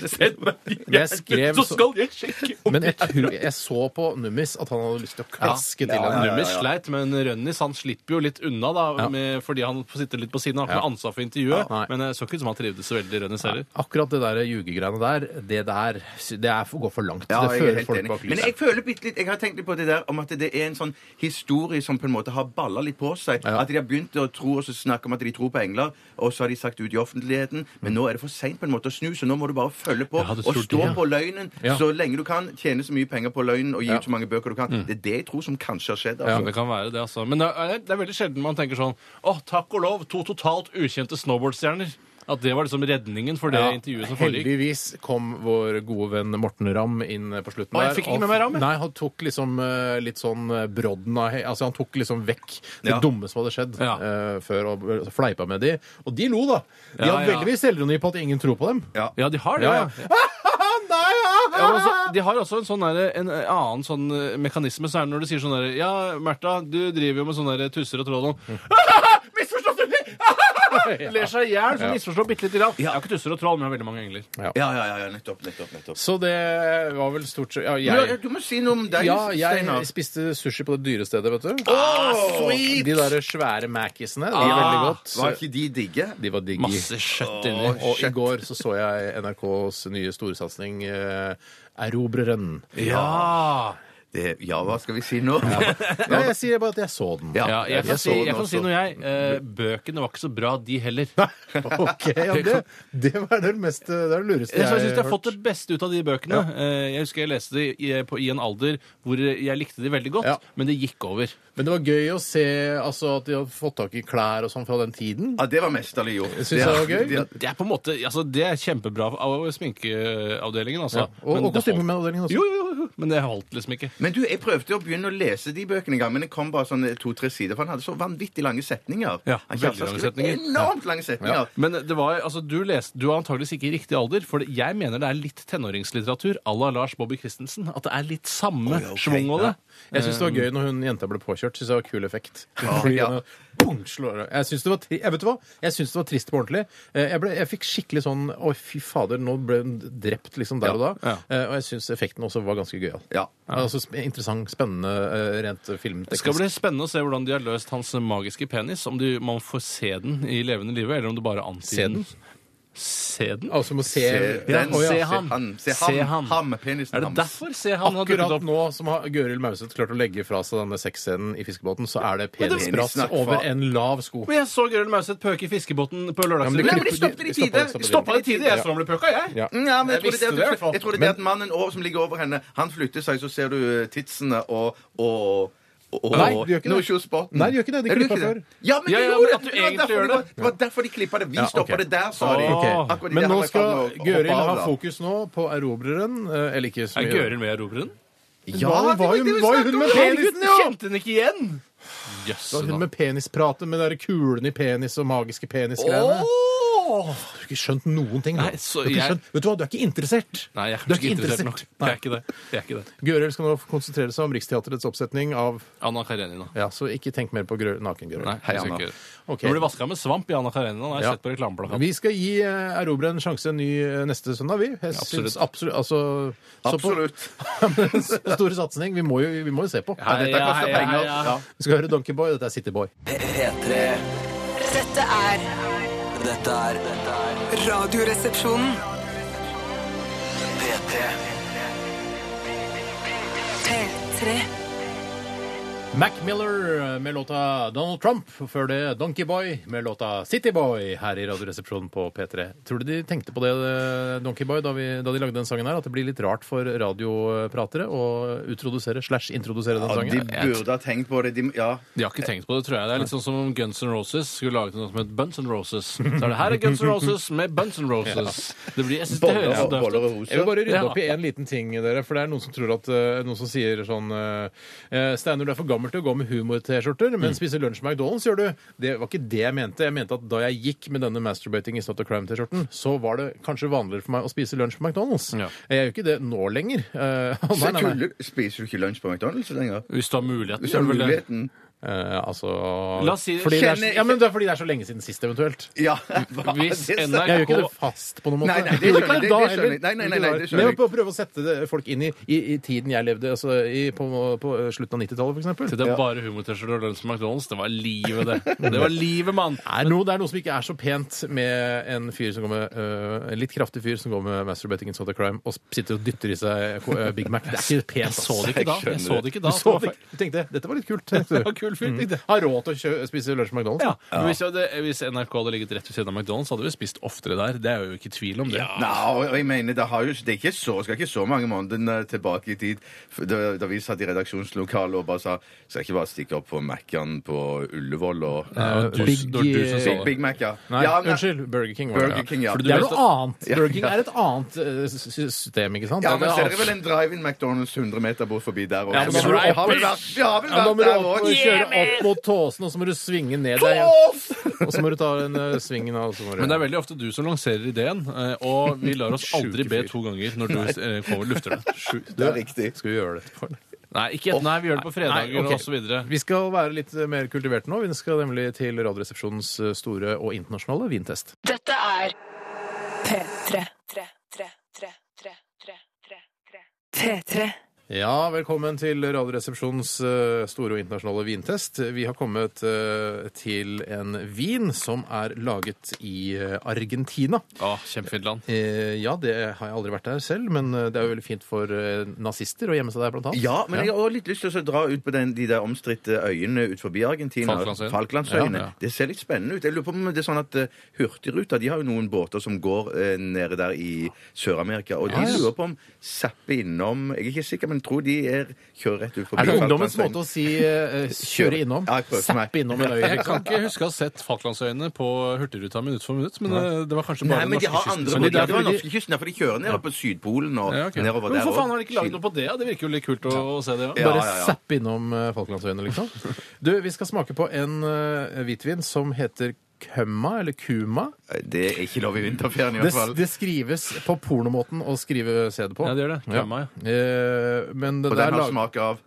S5: send meg de
S4: Jeg skrev
S5: gjerne, så
S4: så-
S5: skal jeg sjekke om
S4: Men jeg, tror, jeg så på Nummis at han hadde lyst til å klaske til henne.
S5: Nummis sleit, men Rønnis han slipper jo litt unna da, med, fordi han sitter litt på siden. Han har ikke noe ansvar for intervjuet,
S4: Ja, nei.
S5: men det så ikke ut som han trivdes så veldig, Rønnis heller.
S4: Akkurat det der ljugegreiene der, det der det er, går for langt.
S3: Ja,
S4: det
S3: jeg er
S4: fører
S3: helt
S4: folk
S3: enig.
S4: bak
S3: Men
S4: lyset.
S3: jeg føler bitte litt Jeg har tenkt litt på det der om at det er en sånn historie som på en måte har balla litt på seg.
S4: Ja.
S3: At de har begynt å tro og så snakke om at de tror på engler, og så har de sagt ut i offentligheten. Men nå er det for seint på en måte å snu, så nå må du bare følge på
S5: Ja, du
S3: og
S5: tror
S3: stå
S5: det, ja.
S3: på løgnen
S4: Ja.
S3: så lenge du kan. Tjene så mye penger på løgnen og gi
S4: Ja. Mm.
S3: ut så mange bøker du kan. Det er det jeg tror som kanskje har skjedd.
S5: Ja,
S3: Altså.
S5: det kan være det, altså. Men det er, det er veldig sjelden man tenker sånn Å, takk og lov, to totalt ukjente snowboardstjerner. At det var liksom redningen for det
S4: Ja,
S5: intervjuet som foregikk.
S4: heldigvis kom vår gode venn Morten Ramm inn eh, på slutten.
S5: Å, jeg
S4: der,
S5: fikk ikke
S4: og-
S5: med meg Ramm, jeg.
S4: Nei, han tok liksom eh, litt sånn eh, brodden av he- Altså, han tok liksom vekk det
S3: Ja.
S4: dumme som hadde skjedd
S5: Ja.
S4: eh, før, og eh, fleipa med de. Og de lo, da. De
S5: Ja,
S4: har
S5: ja.
S4: veldig mye selvironi på at ingen tror på dem.
S3: Ja.
S5: Ja, de har det.
S4: Ja,
S5: Ja,
S4: ja. Nei, ja,
S5: Ja, men altså, de har også en, sånn der, en annen sånn eh, mekanisme. Så er det når du sier sånn der Ja, Märtha, du driver jo med sånne der tusser og troll og Misforstått! Ler seg i hjel, så misforstår bitte lite grann. Jeg har ikke tusser og troll, men jeg har veldig mange engler.
S3: Ja, ja, ja, ja, nettopp, nettopp, nettopp.
S4: Så det var vel stort sett ja,
S3: Men,
S4: jeg,
S3: du må si noe om deg,
S4: ja, jeg
S3: Steinar.
S4: spiste sushi på det dyre stedet, vet du.
S3: sweet!
S4: De der svære Mac'isene. De
S5: Ah.
S4: er veldig godt.
S3: Var ikke de digge?
S4: De var digg.
S5: Masse kjøtt inni.
S3: Åh,
S4: Og i
S3: shit.
S4: går så så jeg NRKs nye storsatsing eh, Erobreren.
S5: Ja.
S3: Det, ja, hva skal vi si nå?
S4: Nei, jeg sier bare at jeg så den.
S5: ja! Jeg kan,
S3: så
S5: si,
S3: den
S5: jeg kan si
S3: også.
S5: noe, jeg. Eh, Bøkene var ikke så bra, de heller.
S4: Ok, ja, det, det var det mest Det er det lureste
S5: Jeg,
S4: jeg,
S5: jeg syns jeg har
S4: har
S5: fått
S4: hørt.
S5: det beste ut av de bøkene. Eh, Jeg husker jeg leste det i, på, i en alder hvor jeg likte de veldig godt,
S4: Ja.
S5: men det gikk over.
S4: Men det var gøy å se altså, at de hadde fått tak i klær og sånn fra den tiden.
S3: Ja, det var mesterlig gjort.
S4: Syns jeg det var gøy.
S3: det-
S5: Det er på en måte, altså det er kjempebra av sminkeavdelingen, altså.
S4: Ja. Og, og
S5: det holdt-
S4: kostymeavdelingen også.
S5: Jo, jo, jo, men det holdt liksom ikke.
S3: Men du, jeg prøvde å begynne å lese de bøkene en gang, men det kom bare sånn to-tre sider, for han hadde så vanvittig lange setninger.
S5: Ja, veldig
S3: han Kjartan
S5: lange
S3: skrev
S5: setninger.
S3: Enormt lange setninger.
S5: Men det var, altså, du, leste, du er antageligvis ikke i riktig alder, for jeg mener det er litt tenåringslitteratur à la Lars Bobby Christensen. At det er litt samme
S3: ja, ok.
S5: schwung over det.
S4: Jeg syns det var gøy når hun jenta ble påkjørt. Synes det var kul effekt. Fordi
S3: ja.
S4: hun bong, slår av. Jeg syns det, var tri- jeg vet du hva? Jeg synes det var trist på ordentlig. Eh, Jeg, ble, jeg fikk skikkelig sånn Å, fy fader, nå ble hun drept liksom der og da.
S5: ja.
S4: Eh, Og jeg syns effekten også var ganske gøyal.
S3: Ja.
S4: Altså, sp- interessant, spennende, eh, rent
S5: Det skal
S4: filmteknisk.
S5: bli spennende å se hvordan de har løst hans magiske penis. Om de, man får se den i levende livet, eller om du bare antyder
S4: den?
S5: den. Se den?
S4: Altså, må se,
S3: Se
S4: ja,
S3: Eh, den,
S4: å,
S5: se
S4: ja.
S5: ham.
S3: Se ham.
S5: Se ham.
S3: Ham, penisen
S5: Er det
S3: hans.
S5: derfor se han har dukket
S4: Akkurat
S5: opp?
S4: nå som har Gøril Mauseth klart å legge fra seg denne sexscenen i fiskebåten, så er det penisbrass
S3: Penissnakk,
S4: over
S3: faen.
S4: en lav sko.
S5: Men jeg så Gøril Mauseth pøke i fiskebåten på
S4: Ja,
S3: Nei,
S5: Lørdagsrevyen.
S3: men de stoppet i
S4: De stoppet-
S3: tide.
S4: stoppet i
S5: Stoppa i tide, jeg så han ble pøka, jeg.
S4: Ja.
S3: Mm, Ja, men
S5: Jeg
S3: jeg, tror det,
S5: visste
S3: er
S5: det
S3: at
S5: i
S3: du-
S5: hvert fall.
S3: jeg tror det er det at mannen over, som ligger over henne, han flytter seg, så ser du eh, titsene og, og og,
S4: Nei, du gjør ikke det.
S3: no shoe spotten.
S4: Nei, du gjør ikke det. De
S3: Er
S4: klipper
S3: ikke
S4: før.
S3: det? Ja, men,
S5: Ja,
S3: de
S5: ja, men
S3: gjorde
S5: at
S3: det.
S5: du
S3: Det var
S5: egentlig
S3: derfor
S5: gjør
S3: de var- Det var derfor de klippa det. Vi
S4: Ja,
S3: stoppa
S4: ok.
S3: det der, sa de.
S5: Ah, Ok.
S3: Akkurat i det
S4: Men
S3: han
S4: nå
S3: var i ferd med
S4: skal
S3: å hoppe
S4: Gøril
S3: av,
S4: ha
S3: da.
S4: fokus nå på erobreren. eh, Eller ikke så
S5: Er
S4: mye.
S5: Gøril med i Erobreren?
S4: Ja,
S3: Hva?
S4: det var jo,
S3: Det var det vi
S4: var jo
S3: snakket
S4: hun
S3: om.
S4: med penisen,
S5: Herregud,
S4: ja!
S5: Kjente hun ikke igjen? Jøss.
S4: Det var Hun
S5: da.
S4: med penispratet med de der kulene i penis og magiske penisgreiene.
S5: Åh!
S4: Du har ikke skjønt noen ting. da.
S5: Nei, så
S4: du, har ikke
S5: jeg-
S4: skjønt, vet du hva, du er ikke interessert.
S5: Nei, jeg er
S4: Du
S5: kanskje ikke interessert nok.
S4: Nei.
S5: Jeg er ikke det. Jeg er ikke det.
S4: Gøril skal nå konsentrere seg om Riksteatrets oppsetning av
S5: Anna Karenina.
S4: Ja, så ikke tenk mer på grø- naken-Gøril.
S5: Nei,
S3: Hei,
S5: jeg skal
S3: Anna.
S5: ikke gjøre det.
S4: Ok.
S5: Hun ble vaska med svamp i Anna Karenina. Har jeg
S4: Ja.
S5: sett på reklameplakaten.
S4: Vi skal gi eh, Erobre en sjanse en ny eh, neste søndag, vi. Jeg
S5: Absolutt.
S4: syns absolutt altså, så på-
S3: Absolutt.
S4: Stor satsing. Vi må jo, vi må jo se på.
S5: Hei,
S3: Dette
S5: ja,
S3: koster
S5: hei,
S3: penger.
S5: hei, ja.
S3: Ja.
S4: Vi skal høre Donkey Boy. Dette er City Boy.
S2: P3
S1: Dette er
S2: Dette er dette er
S1: Radioresepsjonen.
S2: P3
S1: P3.
S4: Mac Miller eh, med låta Donald Trump, før det Donkey Boy med låta City Boy her i Radioresepsjonen på P3. Tror du de tenkte på det, eh, Donkey Boy, da, vi, da de lagde den sangen her? At det blir litt rart for radiopratere å utrodusere slash introdusere den
S3: Ja, de
S4: sangen?
S3: burde ha tenkt på det. De, ja.
S5: De har ikke tenkt på det, tror jeg. Det er litt sånn som om Guns N' Roses skulle laget noe som het Buns N' Roses. Så er det her er Guns N' Roses med Buns N' Roses. Det blir, jeg synes det høres så
S3: Boller,
S5: døvt ut.
S3: boller
S4: Jeg
S3: og
S4: vil
S3: roser.
S4: bare rydde
S5: Ja.
S4: opp i en liten ting, dere. For det er noen som tror at eh, Noen som sier sånn eh, Steinar, du er for gammel til å gå med humor-T-skjorter,
S5: Mm.
S4: men spiser lunsj med McDonald's, gjør du. Det var ikke det jeg mente. Jeg mente at da jeg gikk med denne Masturbating is not a crime-T-skjorten, så var det kanskje vanligere for meg å spise lunsj på McDonald's.
S5: Ja.
S4: Jeg gjør jo ikke det nå lenger. Eh,
S3: Så
S4: nei, nei, nei.
S3: tuller- Spiser du ikke lunsj på McDonald's lenger?
S5: Hvis du har muligheten.
S3: Hvis du har
S5: gjør du vel det?
S3: muligheten
S4: Eh, altså
S5: La oss si-
S4: fordi det er,
S3: Kjenner-
S4: Ja, men det er fordi det er så lenge siden sist, eventuelt.
S3: Ja! hva?
S5: Hvis
S3: Det er
S5: NRK
S3: sant.
S4: Jeg gjør ikke det fast på noen måte.
S3: Nei, nei, det
S4: Gjorde
S3: skjønner
S4: ikke
S3: jeg,
S4: da
S3: det skjønner
S4: heller.
S3: jeg. Nei, nei, nei, nei, det
S4: Men
S3: skjønner jeg.
S4: jeg prøver å prøve å sette det- folk inn i, i, i tiden jeg levde, altså i, på, på slutten av 90-tallet, for eksempel.
S5: Til det er bare humor-T-skjorter og lunsj på McDonald's. Det var livet, det. Det var livet, mann!
S4: Er noe, det er noe som ikke er så pent med en fyr som går med øh, en litt kraftig fyr som går med masturbating in sort of crime og sitter og dytter i seg øh, Big Mac. Det er ikke pent.
S5: Jeg så
S4: ass.
S5: det ikke da. Jeg så det ikke da.
S4: Du, så det, ikke. du tenkte dette var litt kult. tenkte
S5: Det var
S4: du. Mm.
S5: kul fyr, tenkte jeg.
S4: Har råd til å kjø spise lunsj på McDonald's?
S5: Ja. Men hvis, jeg hadde, hvis NRK hadde ligget rett ved siden av McDonald's, hadde vi spist oftere der. Det er jo ikke tvil om det.
S3: Nei, og jeg mener, det, har jo, det er ikke så, skal ikke så mange månedene tilbake i tid f- da, da vi satt i redaksjonslokalet og bare sa Skal jeg ikke bare stikke opp på Mac-en på Ullevål og eh,
S5: Ja, du-
S4: Big-
S5: det var du som sa
S3: Big,
S5: det.
S3: Big Mac, ja.
S4: Nei,
S3: ja, men-
S4: unnskyld. Burger King. Var det,
S3: Burger King, ja.
S5: Fordi du
S4: Det er
S5: vet
S4: noe annet.
S3: Ja,
S4: Burger King
S3: ja.
S4: er et annet øh, s- s- system, ikke sant?
S3: Ja,
S4: Det
S3: men
S4: er
S3: så er det
S4: annet.
S3: vel en drive-in McDonald's 100 meter bort forbi der òg.
S4: Ja, men da må du opp-
S3: har vel vært, vi har vel
S4: Ja, men da må
S3: vært
S4: du
S3: der
S4: opp,
S3: òg.
S4: kjøre opp mot tåsen, og så må du svinge ned deg igjen. Og så må du ta den øh, svingen av. og så må du-
S5: Men det er veldig ofte du som lanserer ideen, eh, og vi lar oss aldri
S4: Sjuke
S5: be
S4: fyr.
S5: to ganger når du eh, kommer og lufter det.
S3: Det er riktig.
S4: Skal vi gjøre det etterpå?
S5: Nei, ikke, nei, vi gjør det på fredager
S4: Nei, ok.
S5: og så videre.
S4: Vi skal være litt eh, mer kultiverte nå. Vi skal nemlig til Radioresepsjonens eh, store og internasjonale vintest.
S6: Dette er
S1: P3. P3.
S4: Ja, velkommen til Radioresepsjonens eh, store og internasjonale vintest. Vi har kommet eh, til en vin som er laget i eh, Argentina.
S5: Å, kjempefint land.
S4: Eh, Ja, det har jeg aldri vært der selv, men eh, det er jo veldig fint for eh, nazister å gjemme seg der, blant annet.
S3: Ja, men jeg har også litt lyst til å dra ut på den, de der omstridte øyene ut forbi Argentina.
S5: Falklandsøyene.
S3: Falklandsøyene.
S5: Ja, ja.
S3: Det ser litt spennende ut. Jeg lurer på om det er sånn at eh, Hurtigruta de har jo noen båter som går eh, nede der i Sør-Amerika. Og de
S4: Ja, ja.
S3: lurer på om Zappe innom Jeg er ikke sikker, men tror de er, kjører rett ut forbi
S4: Er det ungdommens måte å si eh,
S3: Kjøre.
S4: 'kjøre innom'?
S3: Ja, jeg prøver for meg.
S4: Zappe innom en øy?
S5: Jeg
S4: liksom.
S5: kan ikke huske å ha sett Falklandsøyene på Hurtigruta minutt for minutt, men eh, det var kanskje
S3: Nei,
S5: bare den
S3: men de
S5: norske
S3: har
S5: kysten.
S3: andre
S5: som-
S4: Men
S3: båter.
S4: det er
S3: Ja, Det var
S4: fordi de-
S3: norske kysten, ja, for de kjører nedover på Sydpolen og
S5: Ja, ok.
S3: nedover
S5: Men
S3: der
S5: Hvorfor faen
S3: også.
S5: har de ikke lagd noe på det? da? Det virker jo litt kult å, å se det. Ja.
S3: Ja,
S4: Bare
S3: ja, ja.
S4: zappe innom eh, Falklandsøyene, liksom. Du, vi skal smake på en eh, hvitvin som heter Kømma, eller Kuma.
S3: Det er ikke lov i vinterferien, i
S4: Det,
S3: hvert fall.
S4: det skrives på pornomåten å skrive CD på.
S5: Ja, det gjør det. Kømma, ja.
S4: Eh, men den,
S3: Og den
S4: er
S3: har
S4: lag-
S3: smak av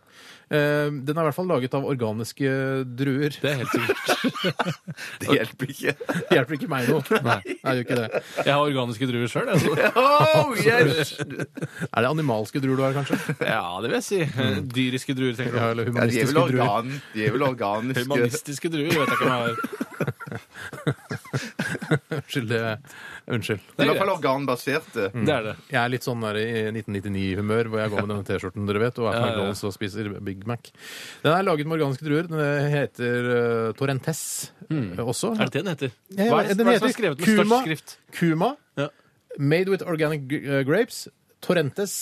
S4: eh, den er i hvert fall laget av organiske druer.
S5: Det er helt sikkert.
S3: Det hjelper ikke.
S4: Det hjelper ikke meg noe. Nei, det gjør ikke det.
S5: Jeg har organiske druer sjøl. Altså.
S3: Oh, yes!
S4: Er det animalske druer du har, kanskje?
S5: Ja, det vil jeg si.
S3: Mm.
S5: Eh, Dyriske druer, tenker du.
S4: Ja, eller
S3: Ja, de er vel
S4: humanistiske druer.
S3: organ, de er vel organiske
S5: Humanistiske druer vet jeg ikke om jeg har.
S4: Unnskyld. det- Unnskyld.
S3: I
S5: Det er
S3: hvert fall
S5: greit.
S3: organbaserte.
S5: Det er det.
S4: Jeg er litt sånn der i 1999-humør, hvor jeg går med denne T-skjorten dere vet, og er på
S5: Ja, ja, ja.
S4: McDonald's og spiser Big Mac. Den er laget med organiske druer. Den heter eh, Torrentes eh, også.
S5: Mm. Er det det den heter?
S4: Ja, ja,
S5: Hva er det,
S4: den
S5: hva er det som
S4: heter
S5: er skrevet med
S4: Kuma.
S5: størst skrift?
S4: Kuma,
S5: Ja.
S4: made with organic gr- eh, grapes, Torrentes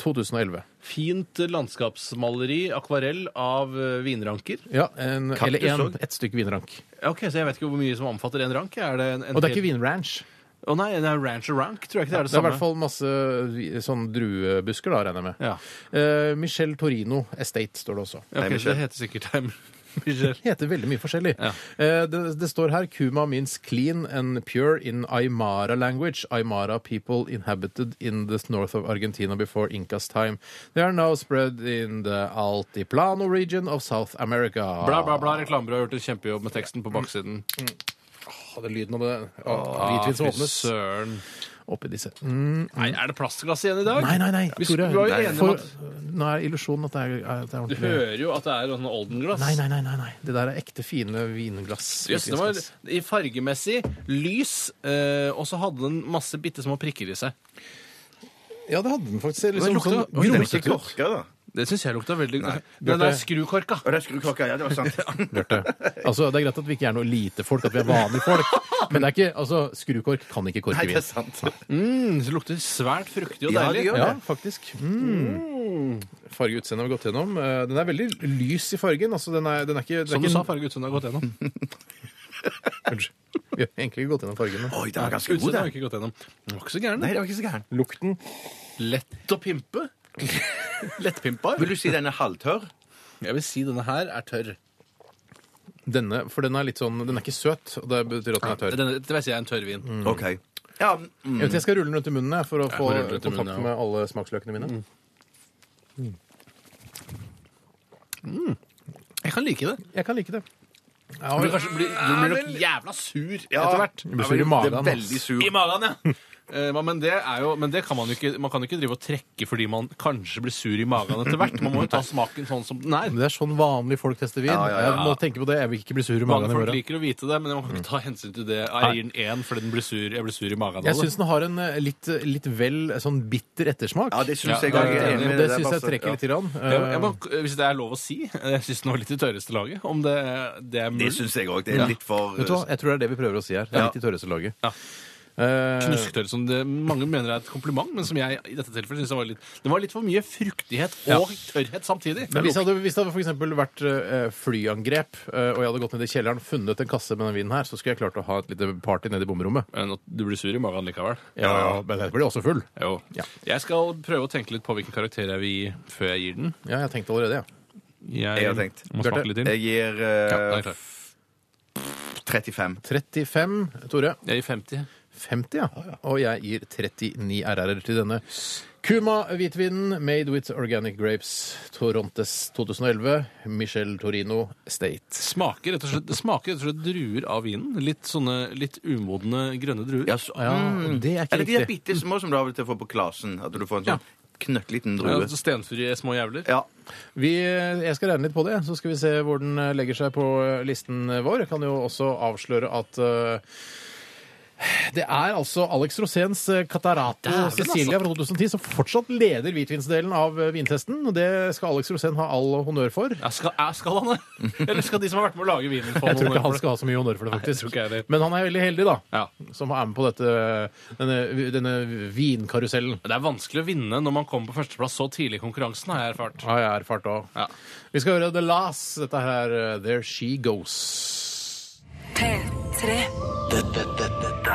S4: 2011.
S5: Fint landskapsmaleri, akvarell av eh, vinranker.
S4: Ja, en,
S3: Kaktus
S4: eller en,
S3: også.
S4: et stykke vinrank.
S5: Ok, Så jeg vet ikke hvor mye som omfatter en rank. Er det en, en
S4: Og det er
S5: hel-
S4: ikke vinranch.
S5: Å nei, det er ranch og rank. Tror jeg ikke det er
S4: Det er
S5: det
S4: i
S5: samme.
S4: hvert fall masse vi- sånn druebusker, da, regner jeg med.
S5: Ja.
S4: Eh, Michel Torino Estate står det også.
S5: Ja, ok,
S3: Nei,
S5: så
S3: Michel.
S5: det heter sikkert Michel.
S4: heter veldig mye forskjellig.
S5: Ja.
S4: Eh, det, det står her 'Kuma means clean and pure in Aymara language'. Aymara people inhabited in the north of Argentina before Incas time. They are now spread in the Altiplano region of South America.
S5: Bla, bla, bla. Reklamebyrået har gjort en kjempejobb med teksten på baksiden.
S4: Hadde lyden av det Å, hvitvin som
S5: Ah, fy
S4: åpnes
S5: søren.
S4: oppi disse. Mm.
S5: Nei, er det plastglass igjen i dag?
S4: Nei, nei, nei.
S5: Vi
S4: Tore,
S5: var jo enige om
S4: for,
S5: at
S4: nå er illusjonen at det er, at det er
S5: Du
S4: ordentlig.
S5: hører jo at det er sånn oldenglass.
S4: Nei, nei, nei, nei, nei. Det der er ekte fine vinglass.
S5: Yes, det var
S4: hvitvinsglass.
S5: i fargemessig lys, eh, og så hadde den masse bitte små prikker i seg.
S4: Ja, det hadde den faktisk.
S5: Men
S4: Liksom,
S5: lukta-
S4: sånn
S5: Oi,
S3: Den er ikke
S4: grumsete ut.
S3: korka, da.
S5: Det syns jeg lukta veldig
S3: Nei.
S5: Den er skrukorka.
S3: Og det er skruklokka, ja, det var sant.
S4: Bjarte. Altså, det er greit at vi ikke er noe lite folk, at vi er vanlige folk. Men det er ikke, altså, skrukork kan ikke korke
S3: Nei, det
S4: vin.
S3: er sant.
S5: Mm, det lukter svært fruktig og
S3: Ja,
S5: deilig.
S3: det gjør
S4: Ja, faktisk. Mm. Farge og utseende har vi gått gjennom. Eh, Den er veldig lys i fargen. altså den er, den er ikke... Den
S5: Som
S4: er
S5: du
S4: ikke
S5: sa, farge utseendet har gått gjennom.
S4: Unnskyld. Vi har egentlig ikke gått gjennom fargene.
S3: Oi, den var ganske god,
S5: Utseendet har
S3: den.
S5: ikke gått gjennom. Den var ikke så gæren.
S3: Nei,
S5: den.
S3: det var ikke så gæren.
S4: Lukten
S5: Lett å pimpe. Lettpimpa.
S3: Vil du si den er halvtørr?
S5: Jeg vil si denne her er tørr.
S4: Denne, for den er litt sånn, den er ikke søt, og det betyr at den er tørr.
S5: Denne, det vil si er en tørrvin.
S3: OK. Ja, mm.
S4: Jeg, vet, jeg skal rulle den rundt i munnen jeg, for å få
S5: får rulle den rundt i
S4: kontakt
S5: munnen, ja.
S4: med alle smaksløkene mine.
S5: Jeg kan like det.
S4: Jeg kan like det. Ja,
S5: Du blir
S4: men-
S5: kanskje blir, du blir nok jævla sur etter hvert.
S4: blir sur i magen,
S5: Det er veldig
S4: ass.
S5: sur. I magen, ja. Eh, men- men det er jo, men det kan man jo ikke Man kan jo ikke drive og trekke fordi man kanskje blir sur i magen etter hvert. Man må jo ta smaken sånn som den er.
S4: det er sånn vanlige folk tester vin.
S3: Ja, ja, ja.
S4: Jeg må tenke på det. Jeg vil ikke bli sur i
S5: Mange
S4: magen i
S5: folk
S4: morgen.
S5: liker å vite det, men man kan ikke ta hensyn til det. Jeg gir den én fordi den blir sur. Jeg blir sur i magen. av
S4: Jeg
S5: det.
S4: syns den har en eh, litt, litt vel eh, sånn bitter ettersmak. Eh,
S3: ja det syns
S5: Ja,
S3: jeg
S5: det
S3: òg.
S5: er jeg enig i.
S4: det syns jeg trekker litt. Eh, Grann.
S5: jeg, jeg må, eh, hvis det er lov å si, eh, jeg syns den var litt i tørreste laget. Om det, det er
S3: Det
S5: mulig.
S3: syns jeg òg. Det er litt for
S4: Vet du hva? Jeg tror det er det vi prøver å si her. Det er
S3: Ja.
S4: litt i tørreste laget.
S5: Ja.
S4: Eh,
S5: Knusktørr, som det, mange mener er et kompliment, men som jeg i dette tilfellet synes det var litt Det var litt for mye fruktighet og tørrhet samtidig.
S4: men hvis det hadde, hvis det hadde for eksempel vært eh, flyangrep, eh, og jeg hadde gått ned i kjelleren funnet en kasse med den vinen her, så skulle jeg klart å ha et lite party nede i bomrommet.
S5: Men at eh, du blir sur i magen likevel.
S4: Ja, Men jeg blir også full.
S5: Jo.
S4: Ja.
S5: Jeg skal prøve å tenke litt på hvilken karakter jeg vil gi før jeg gir den.
S4: Ja, jeg tenkte allerede, ja.
S5: Jeg,
S3: Jeg har tenkt.
S5: må
S4: Bjarte,
S5: smake litt inn.
S3: eh, Jeg gir
S5: Ja, da er
S3: eh,
S5: jeg, klar.
S3: 35.
S4: 35, Tore.
S5: jeg gir 50.
S4: 50, ja. Og jeg gir 39 RR-er til denne. Kuma hvitvinen made with organic grapes. Torontes 2011. Michel Torino State.
S5: Smaker rett og slett, det smaker rett og slett druer av vinen. Litt sånne litt umodne grønne druer.
S3: Ja, så,
S4: Ja, det er ikke
S3: Eller de
S4: riktig.
S3: Mm. er bitte små som du av og til får på Klasen. At du får en sånn knøttliten drue.
S5: Ja, altså Stenfrie små jævler.
S3: Ja.
S4: Vi, jeg skal regne litt på det, så skal vi se hvor den eh, legger seg på listen vår. Jeg kan jo også avsløre at eh, det er altså Alex Roséns eh, Catarato
S5: Dæven, altså.
S4: Cecilia fra 2010 som fortsatt leder hvitvinsdelen av eh, vintesten. og Det skal Alex Rosén ha all honnør for.
S5: Ja, skal, ja, skal han det? Eller skal de som har vært med å lage vinen, få
S4: Jeg tror ikke
S5: honnør
S4: han
S5: for det?
S4: skal ha så mye honnør for det,
S5: Nei, jeg
S4: faktisk.
S5: tror ikke jeg heller.
S4: Men han er veldig heldig, da.
S5: Ja.
S4: Som er med på dette, denne, denne vinkarusellen.
S5: Det er vanskelig å vinne når man kommer på førsteplass så tidlig i konkurransen, har jeg erfart.
S4: Har jeg erfart òg.
S5: Ja.
S4: Vi skal høre The Las. Dette her er uh, There She Goes.
S1: P3
S2: Dette, dette, dette,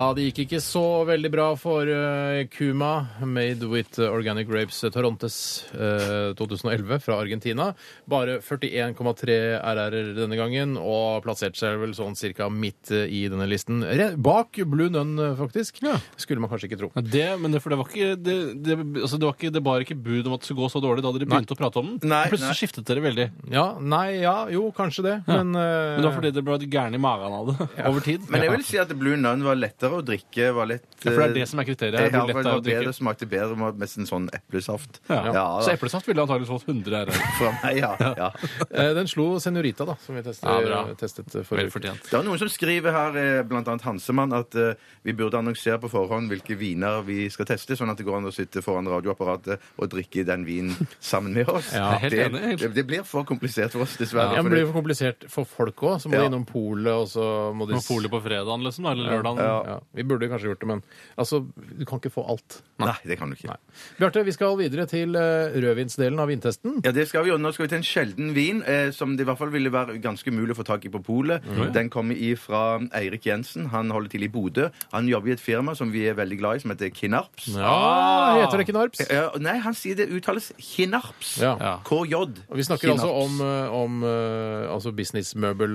S4: Ja, Det gikk ikke så veldig bra for uh, Kuma, made with uh, organic grapes uh, Torontes uh, 2011 fra Argentina. Bare 41,3 RR-er denne gangen, og plasserte seg vel sånn cirka midt uh, i denne listen. Re bak Blue Nun, uh, faktisk. Skulle man kanskje ikke tro.
S5: Ja, Det, men det, for det var ikke det, det, altså det, var ikke, det bar ikke bud om at det skulle gå så dårlig da dere begynte å prate om den.
S3: Nei,
S5: Og Plutselig
S3: nei.
S5: skiftet dere veldig.
S4: Ja, nei, ja, jo, kanskje det, men, eh,
S5: Men det var fordi dere ble gærne i magen av det over tid.
S3: Men jeg vil si at Blue Nun var lettere å drikke. Var litt,
S5: Ja, for det er det som er kriteriet her,
S3: eh,
S5: hvor
S3: ja,
S5: lett
S3: for
S5: det er
S3: det var
S5: å drikke.
S3: bedre, smakte bedre med mest en sånn eplesaft.
S5: ja.
S3: da.
S5: så eplesaft ville antakeligvis fått 100 ære.
S3: fra meg, ja. ja.
S4: eh, den slo Senorita, da, som vi testet,
S5: Ja, bra.
S4: testet eh,
S5: Vel
S4: forrige uke.
S5: fortjent.
S3: Det er noen som skriver her, eh, blant annet Hansemann, at eh, vi burde annonsere på forhånd hvilke viner vi skal teste, sånn at det går an å sitte foran radioapparatet og drikke den vinen sammen med oss.
S5: Ja, helt
S3: det,
S5: enig, helt.
S3: Det, det blir for komplisert for oss, dessverre.
S4: Ja, men det blir
S3: fordi-
S4: jo for komplisert for folk òg, så må
S3: Ja.
S4: de innom polet, og så må de
S5: Med polet på fredagen, liksom, da, eller lørdagen.
S4: ja. Vi burde kanskje gjort det, men altså, du kan ikke få alt.
S3: Nei, det kan du ikke.
S4: Nei. Bjarte, vi skal videre til eh, rødvinsdelen av vintesten.
S3: Ja, det skal vi, og Nå skal vi til en sjelden vin eh, som det i hvert fall ville være ganske umulig å få tak i på polet.
S4: Mm.
S3: Den kommer ifra Eirik Jensen. Han holder til i Bodø. Han jobber i et firma som vi er veldig glad i, som heter Kinarps.
S4: Ah, heter det ikke Narps?
S3: Eh, nei, han sier det uttales Kinarps.
S4: Ja.
S5: Ja.
S3: KJ.
S4: Og Vi snakker altså om, eh, om eh, altså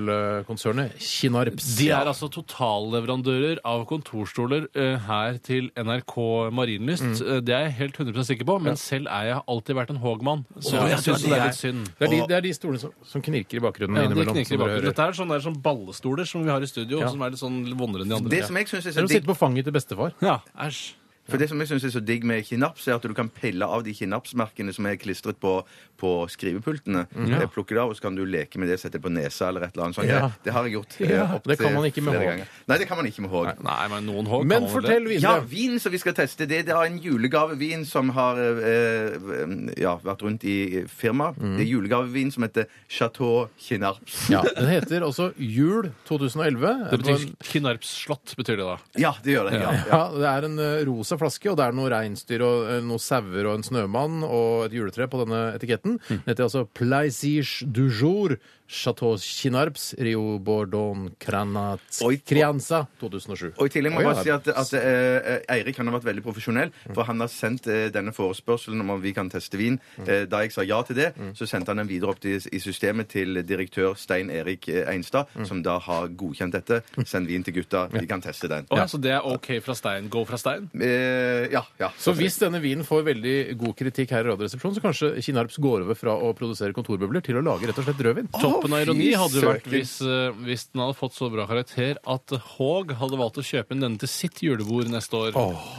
S4: businessmøbelkonsernet Kinarps.
S5: De er altså totalleverandører av kontorstoler eh, her til NRK Marienlyst. Eh, Det er jeg helt 100 sikker på, men selv er jeg alltid vært en Haag-mann. Så
S3: Å, ja,
S5: jeg synes
S3: det er
S5: det er
S3: jeg.
S5: litt synd.
S4: Det er de, det er de stolene som, som knirker i bakgrunnen
S5: Ja, de
S4: innimellom.
S5: knikker i
S4: som dere
S5: bakgrunnen.
S4: hører.
S5: Dette er sånne, er sånne ballestoler som vi har i studio,
S4: Ja.
S5: som er litt sånn vondere enn de andre.
S3: Det som jeg synes er så
S4: Eller å
S3: digg
S4: sitte på fanget til bestefar.
S5: Ja, æsj.
S3: For det som jeg syns er så digg med kinaps, er at du kan pille av de kinapsmerkene som er klistret på, på skrivepultene.
S4: Mm,
S3: Eh, Plukke det av, og så kan du leke med det, sette det på nesa eller et eller annet sånt.
S4: Ja.
S3: Det har jeg gjort. eh,
S4: Ja,
S3: opp
S4: det kan
S3: til
S4: man ikke med
S3: flere
S4: hånd.
S3: ganger. Nei, det kan man ikke med hånd.
S5: Nei, men noen hogg
S4: Men
S5: kan man vel
S4: fortell
S5: det.
S3: Ja,
S4: videre.
S3: vin som vi skal teste. Det, det er en julegavevin som har eh, ja, vært rundt i firmaet.
S4: Mm.
S3: Det er julegavevin som heter Chateau Kinarps.
S4: Ja, Den heter også Jul 2011.
S5: Det betyr Kinarps slott, betyr det da.
S3: Ja, det gjør det. Ja, ja.
S4: ja, Det er en eh, rosa flaske, og det er noen reinsdyr og eh, noen sauer og en snømann og et juletre på denne etiketten.
S5: Mm.
S4: Det heter altså Plaisige du jour Chateau Kinarps Rio Bordon Cranat
S3: Oi.
S4: Crianza 2007.
S3: Og i tillegg
S4: Oi,
S3: må jeg
S4: ja.
S3: bare si at, at eh, eh, Eirik han har vært veldig profesjonell, for han har sendt eh, denne forespørselen om vi kan teste vin.
S4: Mm.
S3: Eh, da jeg sa ja til det, så sendte han den videre opp til, i systemet til direktør Stein Erik eh, Einstad,
S4: Mm.
S3: som da har godkjent dette. Send vin til gutta, de kan teste den.
S5: Å, ja, Så det er OK fra stein, go fra stein?
S3: Eh, ja, ja.
S4: Så hvis denne vinen får veldig god kritikk her i Radioresepsjonen, så kanskje Kinarps går over fra å produsere kontorbøbler til å lage rett og slett rødvin?
S5: Toppen av
S3: fy
S5: ironi hadde jo vært
S3: søken.
S5: hvis, eh, hvis den hadde fått så bra karakter at Haag hadde valgt å kjøpe inn denne til sitt julebord neste år.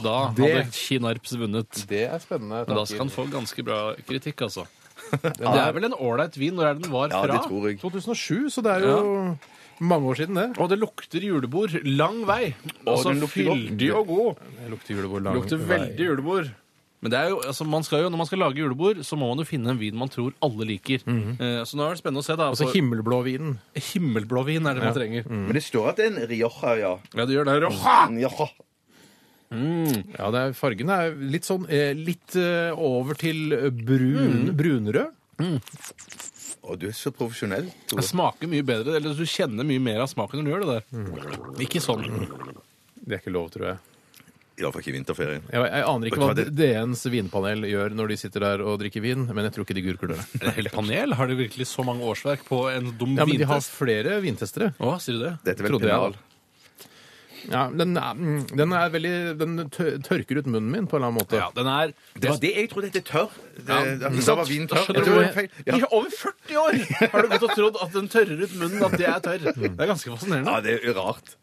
S5: da hadde
S4: det-
S5: Kinarps vunnet.
S4: Det er spennende.
S5: Men da skal han få ganske bra kritikk, altså. Det er vel en ålreit vin? Når er det den var
S3: Ja,
S5: fra?
S3: det tror jeg.
S4: 2007, så det er jo mange år siden, det.
S5: Og det lukter julebord lang vei. Altså
S3: den lukter godt.
S5: fyldig og god.
S4: Det lukter julebord lang
S5: Lukter veldig julebord. Men det er jo, altså man skal jo, når man skal lage julebord, så må man jo finne en vin man tror alle liker. Eh, Så nå er det spennende å se. da. Mm.
S4: Altså
S5: for
S4: himmelblåvinen.
S5: Himmelblå vin er det man trenger.
S3: Men det står at det er en Rioja, ja.
S5: Ja, det gjør det. Roja!
S3: ja.
S4: Ja, det er, fargen er litt sånn eh, litt eh, over til brun, brunrød.
S3: Å, du er så profesjonell,
S5: Det
S3: Tore.
S5: smaker mye bedre, eller du kjenner mye mer av smaken når du gjør det der. Ikke sånn.
S4: Det er ikke lov, tror jeg.
S3: Iallfall ikke i vinterferien.
S4: Jeg, jeg aner ikke
S3: Vet du
S4: hva
S3: hva det-
S4: DNs vinpanel gjør når de sitter der og drikker vin, men jeg tror ikke de gurker det.
S5: Et helt panel? Har de virkelig så mange årsverk på en dum
S4: Ja, men de har
S5: vintest?
S4: flere vintestere.
S5: Å, sier du det?
S3: Dette er vel
S4: Trodde jeg,
S3: penal.
S4: Ja, den, er, mm, den er veldig Den tø- tørker ut munnen min på en eller annen måte.
S5: Ja, den er
S3: Det var det jeg trodde dette er tørr. Det,
S5: Ja,
S3: at
S5: ikke
S3: da
S5: sant?
S3: var vinen
S5: Da
S3: tørr.
S5: skjønner du
S3: Jeg tror
S5: hvor
S3: det var feil. Ja.
S5: I over 40 år har du gått og trodd at den tørrer ut munnen, at det er tørr. Det er ganske
S3: ja,
S5: fascinerende.
S3: det er rart.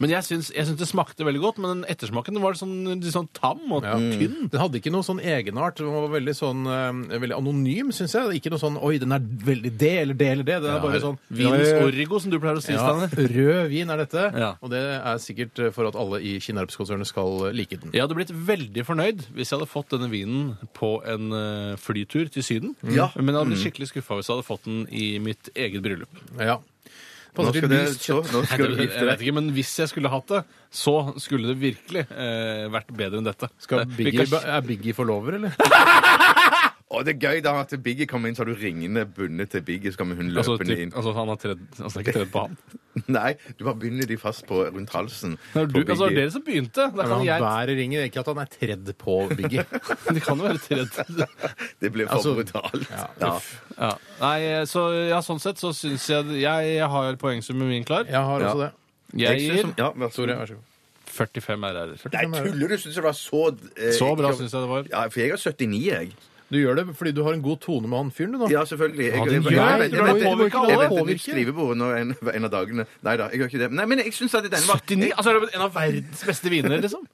S5: Men jeg syns, jeg syns det smakte veldig godt, men den ettersmaken den var sånn, litt sånn tam og
S4: Ja.
S3: Mm.
S5: tynn.
S4: Den hadde ikke noe sånn egenart. Den var veldig sånn eh, veldig anonym, syns jeg. Ikke noe sånn 'oi, den er veldig det eller det eller det'. Den er bare sånn
S5: Vinens
S4: rød-
S5: origo, som du pleier å si,
S4: Ja,
S5: Steiner.
S4: rød vin er dette,
S5: Ja.
S4: og det er sikkert eh, for at alle i Kinarps-konsernet skal eh, like den.
S5: Jeg hadde blitt veldig fornøyd hvis jeg hadde fått denne vinen på en eh, flytur til Syden.
S3: Ja.
S5: Men jeg hadde blitt skikkelig skuffa hvis jeg hadde fått den i mitt eget bryllup.
S4: Ja.
S3: Nå
S4: Passer
S3: skal,
S4: til
S3: det,
S4: lyst
S3: så,
S4: kjøtt.
S3: nå
S5: Jeg
S3: skal du gifte
S5: vet
S3: deg.
S5: ikke, men Hvis jeg skulle hatt det, så skulle det virkelig eh, vært bedre enn dette.
S4: Skal
S5: Det- vi
S4: Biggie,
S5: kan-
S4: er Biggie forlover, eller?
S3: Å, det er gøy da at Biggie kommer inn, så har du ringene bundet til Biggie, så kommer hun
S5: altså,
S3: løpende
S5: typ,
S3: inn.
S5: altså, han har tredd, altså, det er ikke tredd på han.
S3: Nei, du bare binder de fast på, rundt halsen.
S5: Det er
S3: på
S5: du, altså, det er
S3: Biggie.
S5: dere som begynte. Da kan
S4: Han
S5: jeg,
S4: bærer ringen, ikke at han er tredd på Biggie.
S5: de kan jo være tredd.
S3: Det blir for
S4: altså,
S3: brutalt.
S4: ja,
S3: Ja.
S5: Ja. Nei, så, ja, sånn sett så syns jeg jeg, jeg har poengsummen min klar.
S4: Jeg har også
S3: Ja.
S4: det.
S5: Jeg
S3: Jeg synes
S5: gir
S3: som- ja, vær så
S4: Tore,
S3: god.
S4: vær så god. Sånn
S5: 45 RR-er.
S3: Nei, tuller du? Syns du det var så eh,
S5: Så bra syns jeg det var.
S3: Ja, for jeg har 79, jeg.
S4: Du gjør det fordi du har en god tone med han fyren, du, nå.
S3: Ja, selvfølgelig. Jeg,
S5: Ja,
S3: jeg,
S5: den
S3: jeg,
S5: gjør
S3: jeg,
S5: det.
S3: jeg,
S5: Du må
S3: jeg,
S5: påvirke alle.
S3: jeg venter nytt
S4: Påvirke.
S3: skrivebord nå en, en av dagene. Nei da, jeg gjør ikke det. Nei, men jeg syns at denne var
S5: 79? Altså, er det en av verdens beste viner, liksom?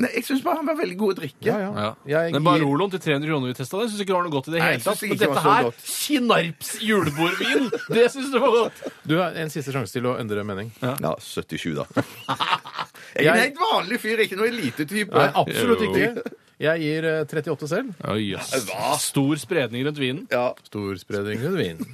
S3: Nei, jeg synes bare han var veldig god å drikke.
S4: Ja, ja. Jeg
S5: Den
S4: gir-
S5: Baroloen til 300 kroner vi testa, den syns ikke det var noe godt i det
S3: Nei,
S5: hele
S3: jeg
S5: tatt.
S3: synes
S5: Men
S3: ikke det
S5: dette
S3: var så
S5: her,
S3: godt.
S5: Kinarps julebordvin, det syns du var godt!
S4: Du har en siste sjanse til å endre mening.
S3: Ja, 77, da. Jeg er en
S4: Jeg-
S3: helt vanlig fyr, ikke noe elitetype.
S4: Nei, absolutt
S5: Jo.
S4: ikke. Jeg gir eh, 38 selv.
S5: Å, jøss. Stor spredning rundt vinen.
S3: Ja.
S4: Stor spredning under vinen.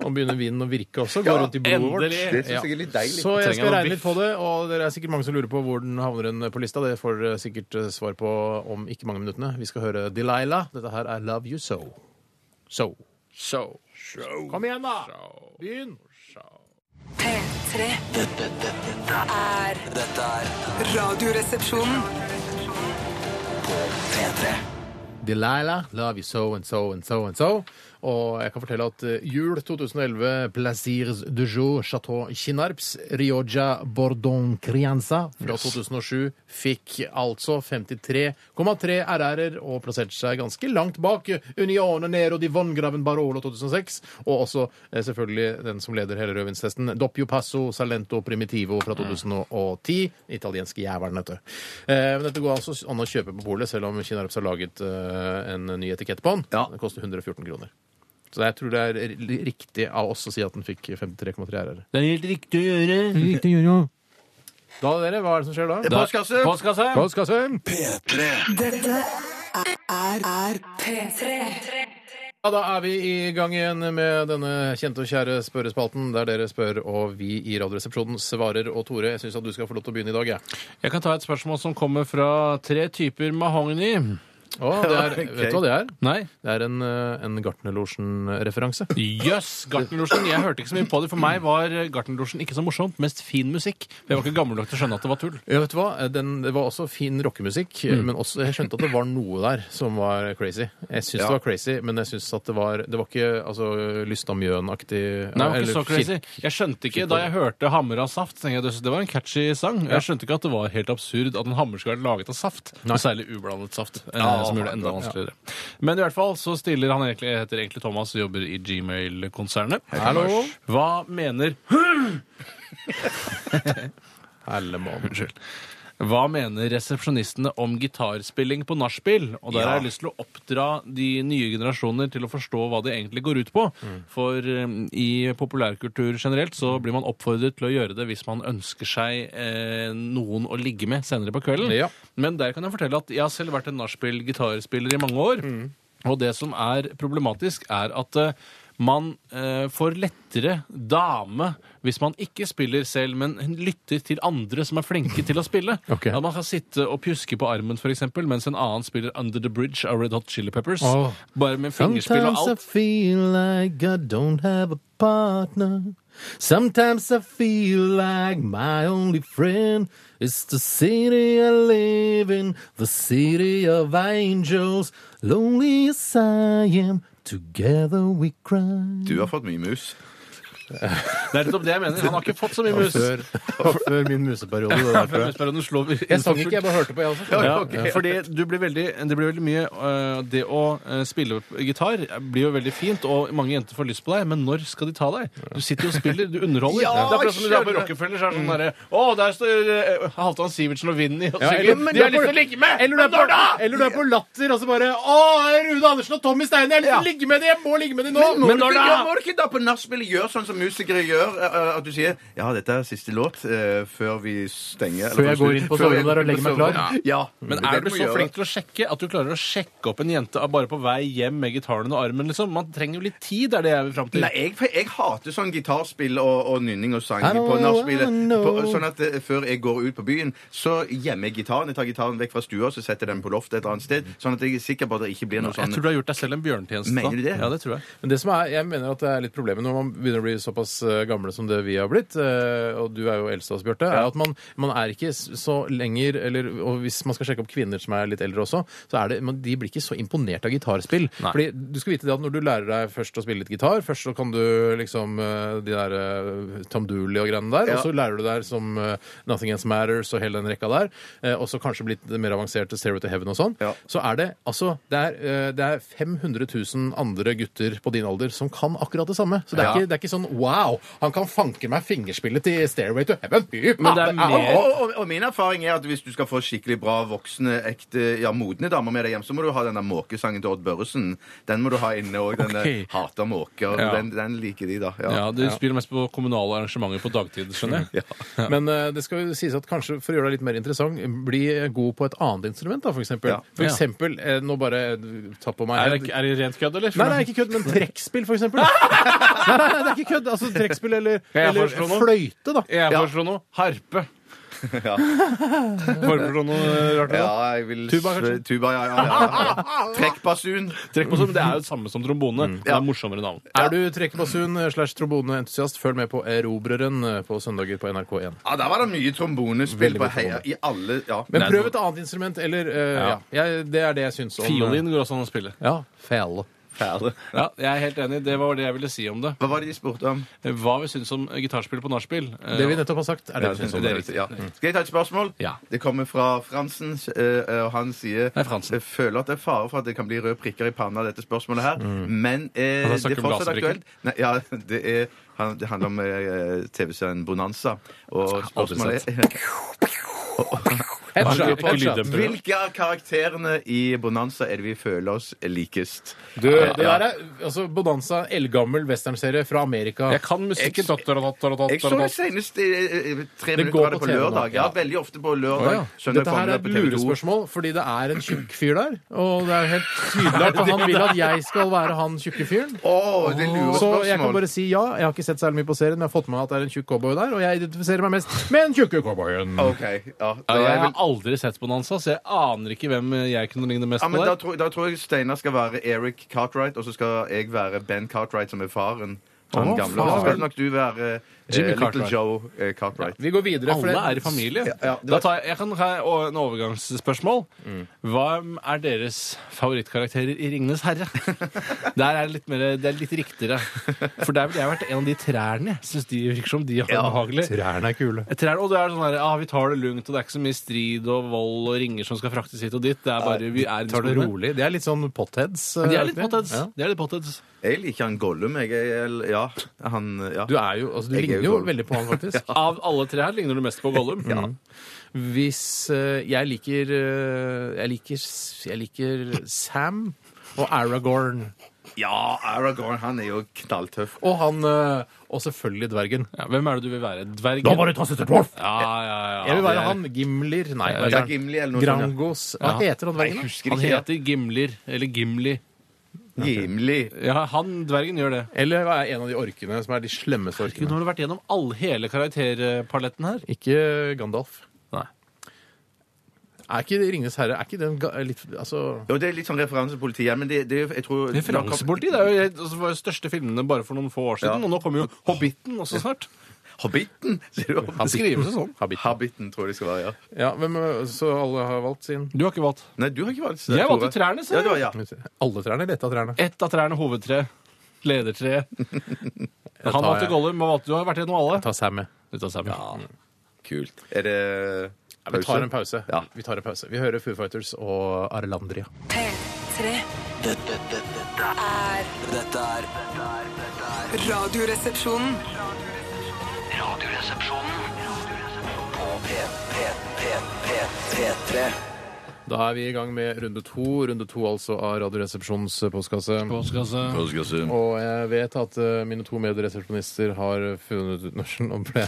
S4: Nå begynner vinen å virke også. Går rundt i blodet vårt.
S5: Endelig!
S3: Det syns jeg er litt deilig.
S4: Så jeg
S5: Trenger
S4: skal
S5: noe
S4: regne litt
S5: biff.
S4: på det, og dere er sikkert mange som lurer på hvor den havner den på lista. Det får dere sikkert eh, svar på om ikke mange minuttene. Vi skal høre Delilah. Dette her er Love You So. So.
S5: Show.
S4: Kom igjen, da! Begynn!
S1: P3
S2: Dette, dette, dette,
S1: er
S2: dette er
S1: Radioresepsjonen.
S2: P3.
S4: Delilah, Love You So and So and So and So. Og jeg kan fortelle at eh, jul 2011, Plaisirs de Jour, Chateau Kinarps, Rioja Bordon Crianza fra 2007 fikk altså 53,3 RR-er og plasserte seg ganske langt bak Unione Nero di Vongraven Barolo 2006, og også eh, selvfølgelig den som leder hele rødvinstesten, Doppio Passo Salento Primitivo fra 2010, italienske jævelen, vet du. Eh, Men dette går altså an å kjøpe på polet, selv om Kinarps har laget eh, en ny etikett på den.
S3: Ja.
S4: Det koster 114 kroner. Så jeg tror det er ri- riktig av oss å si at den fikk 53,3 RR.
S5: Det er helt riktig å gjøre.
S4: Da, dere, hva er det som skjer da?
S3: Postkasse!
S5: Postkasse.
S4: Postkasse!
S1: Dette er, er P3.
S4: Ja, Da er vi i gang igjen med denne kjente og kjære spørrespalten, der dere spør og vi i Radioresepsjonen svarer. Og Tore, jeg syns at du skal få lov til å begynne i dag, jeg.
S5: Jeg kan ta et spørsmål som kommer fra tre typer mahogni.
S4: Å, det er,
S3: Ok.
S4: Vet du hva det er?
S5: Nei.
S4: Det er en, eh, en Gartnerlosjen-referanse.
S5: Jøss! Yes, Gartnerlosjen. Jeg hørte ikke så mye på det. For meg var eh, Gartnerlosjen ikke så morsomt. Mest fin musikk. Jeg var ikke gammel nok til å skjønne at det var tull.
S4: Ja, vet du hva? Den, det var også fin rockemusikk,
S5: Mm.
S4: men også, jeg skjønte at det var noe der som var crazy. Jeg syns det var crazy, men jeg syns at det var Det var ikke altså, Lysta Mjøen-aktig
S5: Nei, det var ikke
S4: eller
S5: så crazy.
S4: kirk-
S5: Jeg skjønte ikke, Da jeg hørte 'Hammer av saft', så tenkte jeg at det var en catchy sang. Jeg skjønte ikke at det var helt absurd at en hammer skulle være laget av saft. Og særlig ublandet saft, eh, som gjorde det enda vanskeligere. Men i hvert fall så stiller han egentlig, heter egentlig Thomas og jobber i Gmail-konsernet.
S4: Hallo?
S5: Hva mener
S4: Hellemann.
S5: Unnskyld. Hva mener resepsjonistene om gitarspilling på nachspiel? Og der har jeg lyst til å oppdra de nye generasjoner til å forstå hva det egentlig går ut på. For um, i populærkultur generelt så blir man oppfordret til å gjøre det hvis man ønsker seg eh, noen å ligge med senere på kvelden.
S4: Ja.
S5: Men der kan jeg fortelle at jeg har selv vært en nachspiel-gitarspiller i mange år. Og det som er problematisk, er at eh, man eh, får lettere dame hvis man ikke spiller selv, men lytter til andre som er flinke til å spille.
S4: Ok.
S5: At man kan sitte og pjuske på armen, for eksempel, mens en annen spiller Under the Bridge av Red Hot Chili Peppers.
S4: Åh.
S5: Bare med fingerspill og
S4: Sometimes I
S5: alt.
S4: feel like I don't have a partner. Sometimes I feel like my only friend is the city I live in, the city of angels. Lonely as I am, together we cry.
S3: Du har fått mye mus.
S5: Det er nettopp det jeg mener. Han har ikke fått så mye mus.
S4: Før, før min museperiode. det der, tror jeg.
S5: Femhetsperioden slår
S4: Jeg sang ikke, jeg bare hørte på, jeg også.
S5: Ja, Fordi du blir veldig, det blir veldig mye øh, Det å øh, spille gitar blir jo veldig fint, og mange jenter får lyst på deg, men når skal de ta deg? Du sitter jo og spiller, du underholder.
S3: Ja,
S5: det er akkurat som du drar på
S3: skjønner.
S5: Rockefeller, så er det sånn derre Å, der står øh, Halvdan Sivertsen og Vinni og
S4: Ja,
S5: synger.
S4: eller- men
S5: de
S4: da
S5: har lyst
S4: får-
S5: til å ligge med!
S4: Eller du, er
S5: Men når
S4: på,
S5: da?
S4: eller du er på latter, og så bare Å, det er Rune Andersen og Tommy Steine! Jeg
S5: Ja.
S4: vil ligge med dem! Jeg må ligge med dem nå!
S5: Men
S3: Må
S5: når
S3: du
S5: da?
S3: ikke- ja, må du ikke da på nachspielet gjøre sånn som musikere gjør, eh, eh, at du sier ja, dette er siste låt eh, før vi stenger
S4: Før jeg går inn på soverommet der og legger meg klar? Mm.
S3: Ja. ja.
S5: Men
S3: Det
S5: er du
S3: må
S5: så
S3: gjøre.
S5: flink til å sjekke at du klarer å sjekke opp en jente bare på vei hjem med gitaren og armen? liksom? Man trenger jo litt tid, er det jeg vil fram til.
S3: Nei, jeg, jeg hater sånn gitarspill og, og nynning og sang
S4: I don't
S3: på nachspielet.
S4: wanna
S3: På-
S4: know.
S3: Sånn at eh, før jeg går ut på byen, så gjemmer jeg gitaren. Jeg tar gitaren vekk fra stua så setter jeg den på loftet et eller annet sted. Sånn at jeg er sikker på at det ikke blir noe
S5: Jeg
S3: sånn
S5: tror du har gjort deg selv en bjørnetjeneste. da.
S3: Mener du det?
S5: Ja, det tror jeg.
S4: Men det som er, jeg mener at det er litt problemet når man begynner å bli såpass eh, gamle som det vi har blitt, eh, og du er jo eldst av oss, Bjarte, er at man, man er ikke s- så lenger eller, Og hvis man skal sjekke opp kvinner som er litt eldre også, så er det, men de blir ikke så imponert av gitarspill.
S5: Nei.
S4: Fordi du skal vite det at når du lærer deg først å spille litt gitar, først så kan du liksom eh, de der eh, Tamduli og greiene der,
S3: Ja.
S4: og så lærer du der som eh, Nothing Else Matters og hele den rekka der, eh, og så kanskje blitt mer avanserte Stairway to Heaven og sånn,
S3: Ja.
S4: så er det altså det er, eh, det er 500 000 andre gutter på din alder som kan akkurat det samme. Så det er,
S3: Ja.
S4: ikke, det er ikke sånn wow, han kan fanke meg fingerspillet til Stairway to Heaven. Fy
S5: Men det er
S4: faen,
S5: mer-
S4: au, au.
S3: og, og, og min erfaring er at hvis du skal få skikkelig bra voksne, ekte, ja, modne damer med deg hjem, så må du ha den der måkesangen til Odd Børresen. Den må du ha inne òg. Den der
S5: Ok.
S3: 'Hater måker'.
S5: Ja.
S3: Den, den liker de, da. Ja.
S5: Ja, Du spiller mest på kommunale arrangementer på dagtid, skjønner jeg.
S4: Men eh, det skal jo sies at kanskje for å gjøre deg litt mer interessant, bli god på et annet instrument, da, for eksempel.
S3: Ja.
S4: For
S5: Ja.
S4: eksempel, eh, nå bare ta på meg
S5: Er det, er det rent kødd, eller?
S4: Nei, det er ikke kødd, men trekkspill, for eksempel. nei, nei, nei, det er ikke kødd. Altså trekkspill eller,
S5: jeg
S4: eller
S5: foreslå noe?
S4: fløyte, da.
S5: Jeg foreslår noe. Harpe.
S3: Ja.
S5: Foreslår noe rart.
S3: Ja,
S5: Ja.
S3: jeg vil
S5: Tuba, kanskje?
S3: Tuba, ja, ja, ja, ja. Trekkbasun.
S5: Trekk på sånn, Det er jo det samme som trombone. men Det er morsommere navn.
S4: Er du trekkebasun slash tromboneentusiast, følg med på Erobreren eh, på søndager på NRK1.
S3: Ja, der var det mye trombonespill
S4: Veldig
S3: på
S4: mye
S3: heia i alle ja.
S4: Men
S5: Nei,
S4: prøv
S5: så-
S4: et annet instrument, eller eh,
S5: Ja.
S4: ja. Jeg, Det er det jeg syns om
S5: Fiolin går også an å spille.
S4: Ja. Fele.
S3: Perle.
S5: Ja, jeg er helt enig. Det var det jeg ville si om det.
S3: Hva var det de spurte om?
S5: Hva vi syns om gitarspill på nachspiel. eh,
S4: Det vi nettopp har sagt, er det
S3: Ja,
S4: vi syns om
S3: det er
S4: det.
S3: riktig, ja. Skal jeg ta et spørsmål?
S5: Ja.
S3: Det kommer fra Fransen, eh, og han sier
S5: Nei, Fransen.
S3: Jeg føler at det er fare for at det kan bli røde prikker i panna av dette spørsmålet
S4: Mm.
S3: her, men
S5: Han
S3: eh,
S5: har
S3: det
S5: snakket
S3: er
S5: om
S3: fortsatt
S5: laserbrikker.
S3: aktuelt. Nei, ja, det, er, han- det handler om eh, TV-serien Bonanza, og
S5: Aldri
S3: spørsmålet
S5: sett.
S3: er
S5: Ikke
S4: Headshot,
S5: Eh, ikke
S4: headshot.
S5: lyddemper.
S3: Hvilke av karakterene i Bonanza er det vi føler oss likest?
S4: Du, Eh, det der er altså Bonanza, eldgammel westernserie fra Amerika.
S5: Jeg kan musikken. Da, da, da, da, da,
S3: Jeg så
S5: da, da.
S3: det senest eh, eh, tre
S4: Det
S3: minutter
S4: går
S3: var det
S4: på
S3: på
S4: TV nå,
S3: lørdag. Ja,
S4: ja.
S3: veldig ofte på
S4: Å,
S3: lørdag.
S4: ja.
S3: Søndag
S4: Dette her
S3: formiddag
S4: er
S3: på
S4: et
S3: TV 2.
S4: lurespørsmål, fordi det er en tjukk fyr der. Og det er helt tydelig at han vil at jeg skal være han tjukke fyren.
S3: Å, det er
S4: Så jeg kan
S3: lurespørsmål!
S4: bare si ja. Jeg har ikke sett særlig mye på serien, men jeg har fått med meg at det er en tjukk cowboy der, og jeg identifiserer meg mest med den tjukke cowboyen.
S3: OK. Ja,
S5: Ja,
S3: da er
S5: jeg
S3: jeg
S5: har
S3: vel
S5: aldri sett Bonanza, så jeg aner ikke hvem jeg kunne ligne mest
S3: Ja,
S5: på
S3: men da,
S5: der.
S3: tror, da tror jeg Steinar skal være Eric Cartwright, og så skal jeg være Ben Cartwright, som er faren. Han
S4: Å,
S3: gamle.
S4: faren.
S3: Og så skal nok du være eh,
S5: Jimmy
S3: Little
S5: Cartwright.
S3: Joe eh, Cartwright.
S4: Vi går videre. for
S5: Alle
S4: det-
S5: er i familie.
S3: ja, det
S5: da
S3: var-
S5: tar jeg, jeg kan ha en overgangsspørsmål. Hvem er deres favorittkarakterer i 'Ringenes herre'? Der er det litt, mer, det er litt riktigere. For der ville jeg vært en av de trærne. Syns de virker som de har behagelig.
S4: Trærne er kule.
S5: Trær, og det er sånn her, ah, Vi tar det lugnt, og det er ikke så mye strid og vold og ringer som skal fraktes hit og dit. Det er bare, vi er i
S4: Tar det
S5: skogen.
S4: rolig. Det er litt sånn potheads.
S5: De er litt
S4: eh,
S5: pottheads.
S4: Ja.
S5: De er litt pottheads.
S3: Jeg liker han Gollum, jeg. jeg ja, han eh, ja.
S4: Du er jo, altså, du
S3: Jeg er jo
S4: ligner jo
S3: Gollum.
S4: veldig på han, faktisk.
S5: Av alle tre her ligner du mest på Gollum.
S4: Mm. Hvis eh, jeg liker eh, Jeg liker, jeg liker Sam og Aragorn.
S3: ja, Aragorn, han er jo knalltøff.
S4: Og han eh, Og selvfølgelig dvergen.
S5: Ja, hvem er det du vil være? Dvergen? Ja, ja, ja.
S4: Jeg vil
S5: det
S4: være
S5: er-
S4: han Gimlir. Nei, hva
S3: Ja,
S4: heter han?
S3: Gimli eller noe sånt.
S4: Grangos. Hva heter han
S3: ja.
S4: dvergen?
S3: Jeg
S4: da?
S3: husker
S5: Han
S3: ikke.
S5: heter Gimlir. Eller Gimli.
S3: Gimli.
S5: Ja, han dvergen gjør det.
S4: Eller hva er en av de orkene som er de slemmeste
S5: Gud, nå
S4: orkene?
S5: har du vært gjennom all, hele karakterpaletten her.
S4: Ikke Gandalf.
S5: Nei.
S4: Er ikke Ringenes herre Er ikke den ga, litt Altså
S3: Jo, det er litt sånn referansepoliti her, men det, det jeg tror
S5: Referansepoliti det er jo helt- altså, det var jo de største filmene bare for noen få år siden.
S3: Ja.
S5: Og nå kommer jo Hobbiten også snart.
S3: Hobbiten, sier du?
S5: Det skrives jo sånn.
S4: Habit.
S3: Habiten, tror jeg det skal være, ja.
S4: Ja, hvem, eh, så alle har valgt sin
S5: Du har ikke valgt.
S3: Nei, du har ikke valgt eh,
S5: Jeg
S3: Tore.
S5: valgte trærne, sier
S3: Ja, du har, ja.
S4: Alle trærne eller ett av trærne?
S5: Ett av trærne hovedtre. Ledertre. Han
S4: tar
S5: valgte
S4: jeg.
S5: Gollum, og valgte- du har vært gjennom alle.
S4: Ta Sam med.
S5: Du tar Sam, ja.
S3: Kult. Er det
S4: Ja, Vi tar en pause.
S3: Ja.
S4: Vi tar en pause. Vi hører Foo Fighters og Arlandria.
S1: P3
S2: Dette, dette, dette er
S1: er
S2: Dette er dette er- dette er
S1: Radioresepsjonen.
S2: Radioresepsjonen på P, P, P, P, P3.
S4: Da er vi i gang med runde to. Runde to altså av Radioresepsjonens postkasse.
S5: Postkasse.
S4: Og jeg vet at eh, mine to medresepsjonister har funnet ut Norsen om det.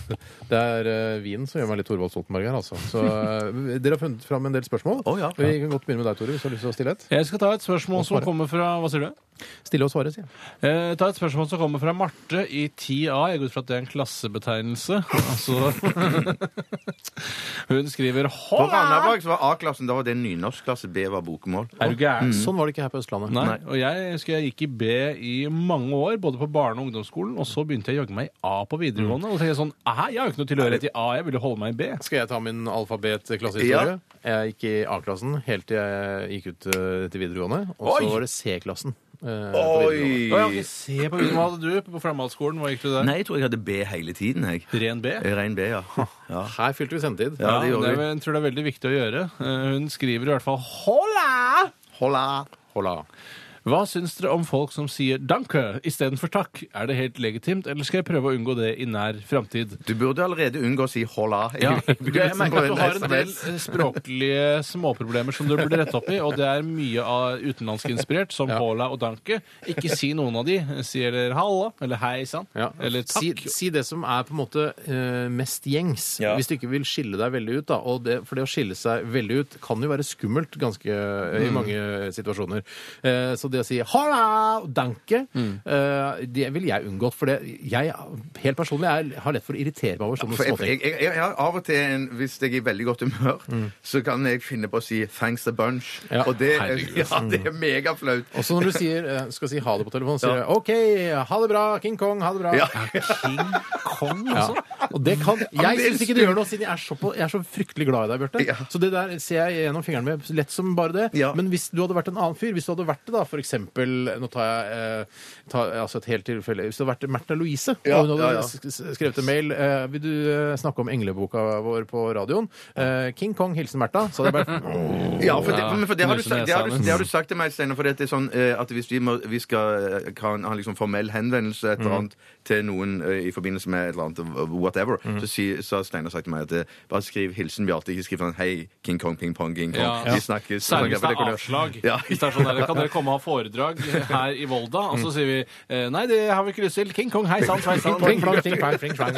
S4: Det er eh, vinen som gjør meg litt Thorvald Stoltenberg her, altså. Så eh, dere har funnet fram en del spørsmål.
S3: Å, ja.
S4: Vi kan godt begynne med deg, Tore, hvis du har lyst til å stille et.
S5: Jeg skal ta et spørsmål som kommer fra Hva sier du?
S4: Stille og svare, sier jeg.
S5: Eh, ta et spørsmål som kommer fra Marte i 10A. Jeg går ut fra at det er en klassebetegnelse. Altså Hun skriver
S3: På
S5: Håla!
S3: Randaberg så var A-klassen da var det nynorskklasse, B var bokmål.
S5: Er du
S3: Mm.
S5: gæren?
S4: Sånn var det ikke her på Østlandet.
S5: Nei. Og jeg husker jeg gikk i B i mange år, både på barne- og ungdomsskolen, og så begynte jeg å jogge meg i A på
S3: Mm.
S5: videregående. Og så tenkte jeg sånn Æ, jeg har jo ikke noe tilhørighet i A, jeg vil jo holde meg i B.
S4: Skal jeg ta min alfabet-klassehistorie? Jeg gikk i A-klassen helt til jeg gikk ut eh, til videregående. Og
S3: Oi!
S4: så var det C-klassen. eh, på videregående.
S3: Oi!
S5: Å, ja, ok, se på videoen. Hva hadde du på Flammalskolen? Hva gikk du der?
S3: Nei, jeg tror jeg hadde B hele tiden, jeg.
S5: Ren B?
S3: Rein B, ja. ja.
S4: Her fylte vi sendetid.
S3: Ja, det
S5: Ja,
S3: gjorde
S5: det er,
S3: vi.
S5: vel- jeg tror det er veldig viktig å gjøre. Eh, Hun skriver i hvert fall Hola!
S3: Hola!
S4: Hola.
S5: Hva syns dere om folk som sier 'danke' istedenfor 'takk'? Er det helt legitimt, eller skal jeg prøve å unngå det i nær framtid?
S3: Du burde allerede unngå å si hola.
S5: Ja,
S3: i
S5: jeg
S3: begynnelsen
S5: merker at du
S3: på
S5: har en del
S3: SMS.
S5: eh, språklige småproblemer som du burde rette opp i, og det er mye av utenlandskinspirert, som
S4: Ja.
S5: Paula og Danke. Ikke si noen av de. Si eller halla, eller hei sann,
S4: Ja.
S5: eller takk.
S4: Si, si det som er på en måte eh, mest gjengs,
S3: Ja.
S4: hvis du ikke vil skille deg veldig ut. Da. Og det, for det å skille seg veldig ut kan jo være skummelt ganske, eh, i
S3: Mm.
S4: mange situasjoner. Eh, så det å si 'halla, danke',
S3: Mm.
S4: eh, det vil jeg unngått. For det, jeg helt personlig jeg har lett for å irritere meg over sånne
S3: For jeg,
S4: småting.
S3: jeg, jeg, jeg, har av og til, en, hvis jeg er i veldig godt humør,
S5: Mm.
S3: så kan jeg finne på å si 'thanks a bunch'.
S4: Ja,
S3: og det,
S5: herregud. Mm.
S3: ja, det er megaflaut.
S4: Og så når du sier, eh, skal si ha det på telefonen, sier du 'OK, ha det bra, King Kong, ha det bra'.
S3: Ja.
S5: King Kong,
S4: Ja.
S5: altså.
S4: Og det kan Jeg
S3: det er
S4: syns ikke det gjør noe, siden jeg er så, på, jeg er så fryktelig glad i deg, Bjarte.
S3: Ja.
S4: Så det der ser jeg gjennom fingrene med lett som bare det.
S3: Ja.
S4: Men hvis du hadde vært en annen fyr, hvis du hadde vært det, da, for f.eks. Nå tar jeg eh, tar, altså et helt tilfelle Hvis det hadde vært Märtha Louise
S3: Ja,
S4: og Hun hadde
S3: ja, ja.
S4: s- s- skrevet en mail eh, Vil du eh, snakke om engleboka vår på radioen? Eh, King Kong, hilsen Märtha. Så hadde jeg bare
S3: Ja, for det,
S5: Ja,
S3: men for det, har, du,
S5: knuse
S3: sagt- det, har, du,
S5: nesa
S3: det har du sagt til meg, Steinar. For det er sånn eh, at hvis vi, må, vi skal eh, kan ha en liksom formell henvendelse et
S5: Mm.
S3: eller annet, til noen eh, i forbindelse med et eller annet eh, whatever,
S5: Mm.
S3: så, si, så har Steinar sagt til meg at eh, bare skriv 'Hilsen Bjarte', ikke skriv sånn 'Hei, King Kong, Ping Pong, King Kong'.
S5: Ja.
S3: Vi snakkes.
S5: Særlig hvis det
S3: For det
S5: er
S3: kunne-
S5: avslag.
S3: Ja.
S5: Hvis det er sånn der, Kan dere komme og ha foredrag her i Volda? Og så sier vi eh, nei, det har vi ikke lyst til. King Kong, hei sann, sveisann.
S4: Pling, plang, ting, plang, pling, plang.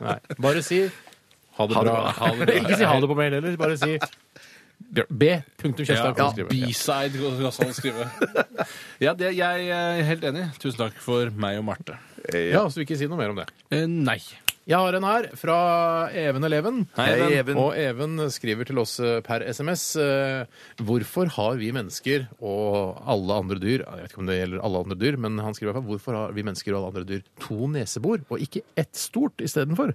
S4: Nei, bare si ha det bra.
S5: Ha det bra.
S4: Ikke si ha det på mail heller. Bare si B. Punktum
S5: Ja,
S4: Kjøstheim. kan du skrive.
S5: B-side, kan han skrive. Ja, det, jeg er helt enig. Tusen takk for meg og Marte.
S4: Ja, så vil ikke si noe mer om det.
S5: Eh, nei.
S4: Jeg har en her fra Even Eleven.
S5: Hei, Even.
S3: Even.
S4: Og Even skriver til oss eh, per SMS eh, Hvorfor har vi mennesker og alle andre dyr Jeg vet ikke om det gjelder alle andre dyr, men han skriver i hvert fall hvorfor har vi mennesker og alle andre dyr to nesebor og ikke ett stort istedenfor?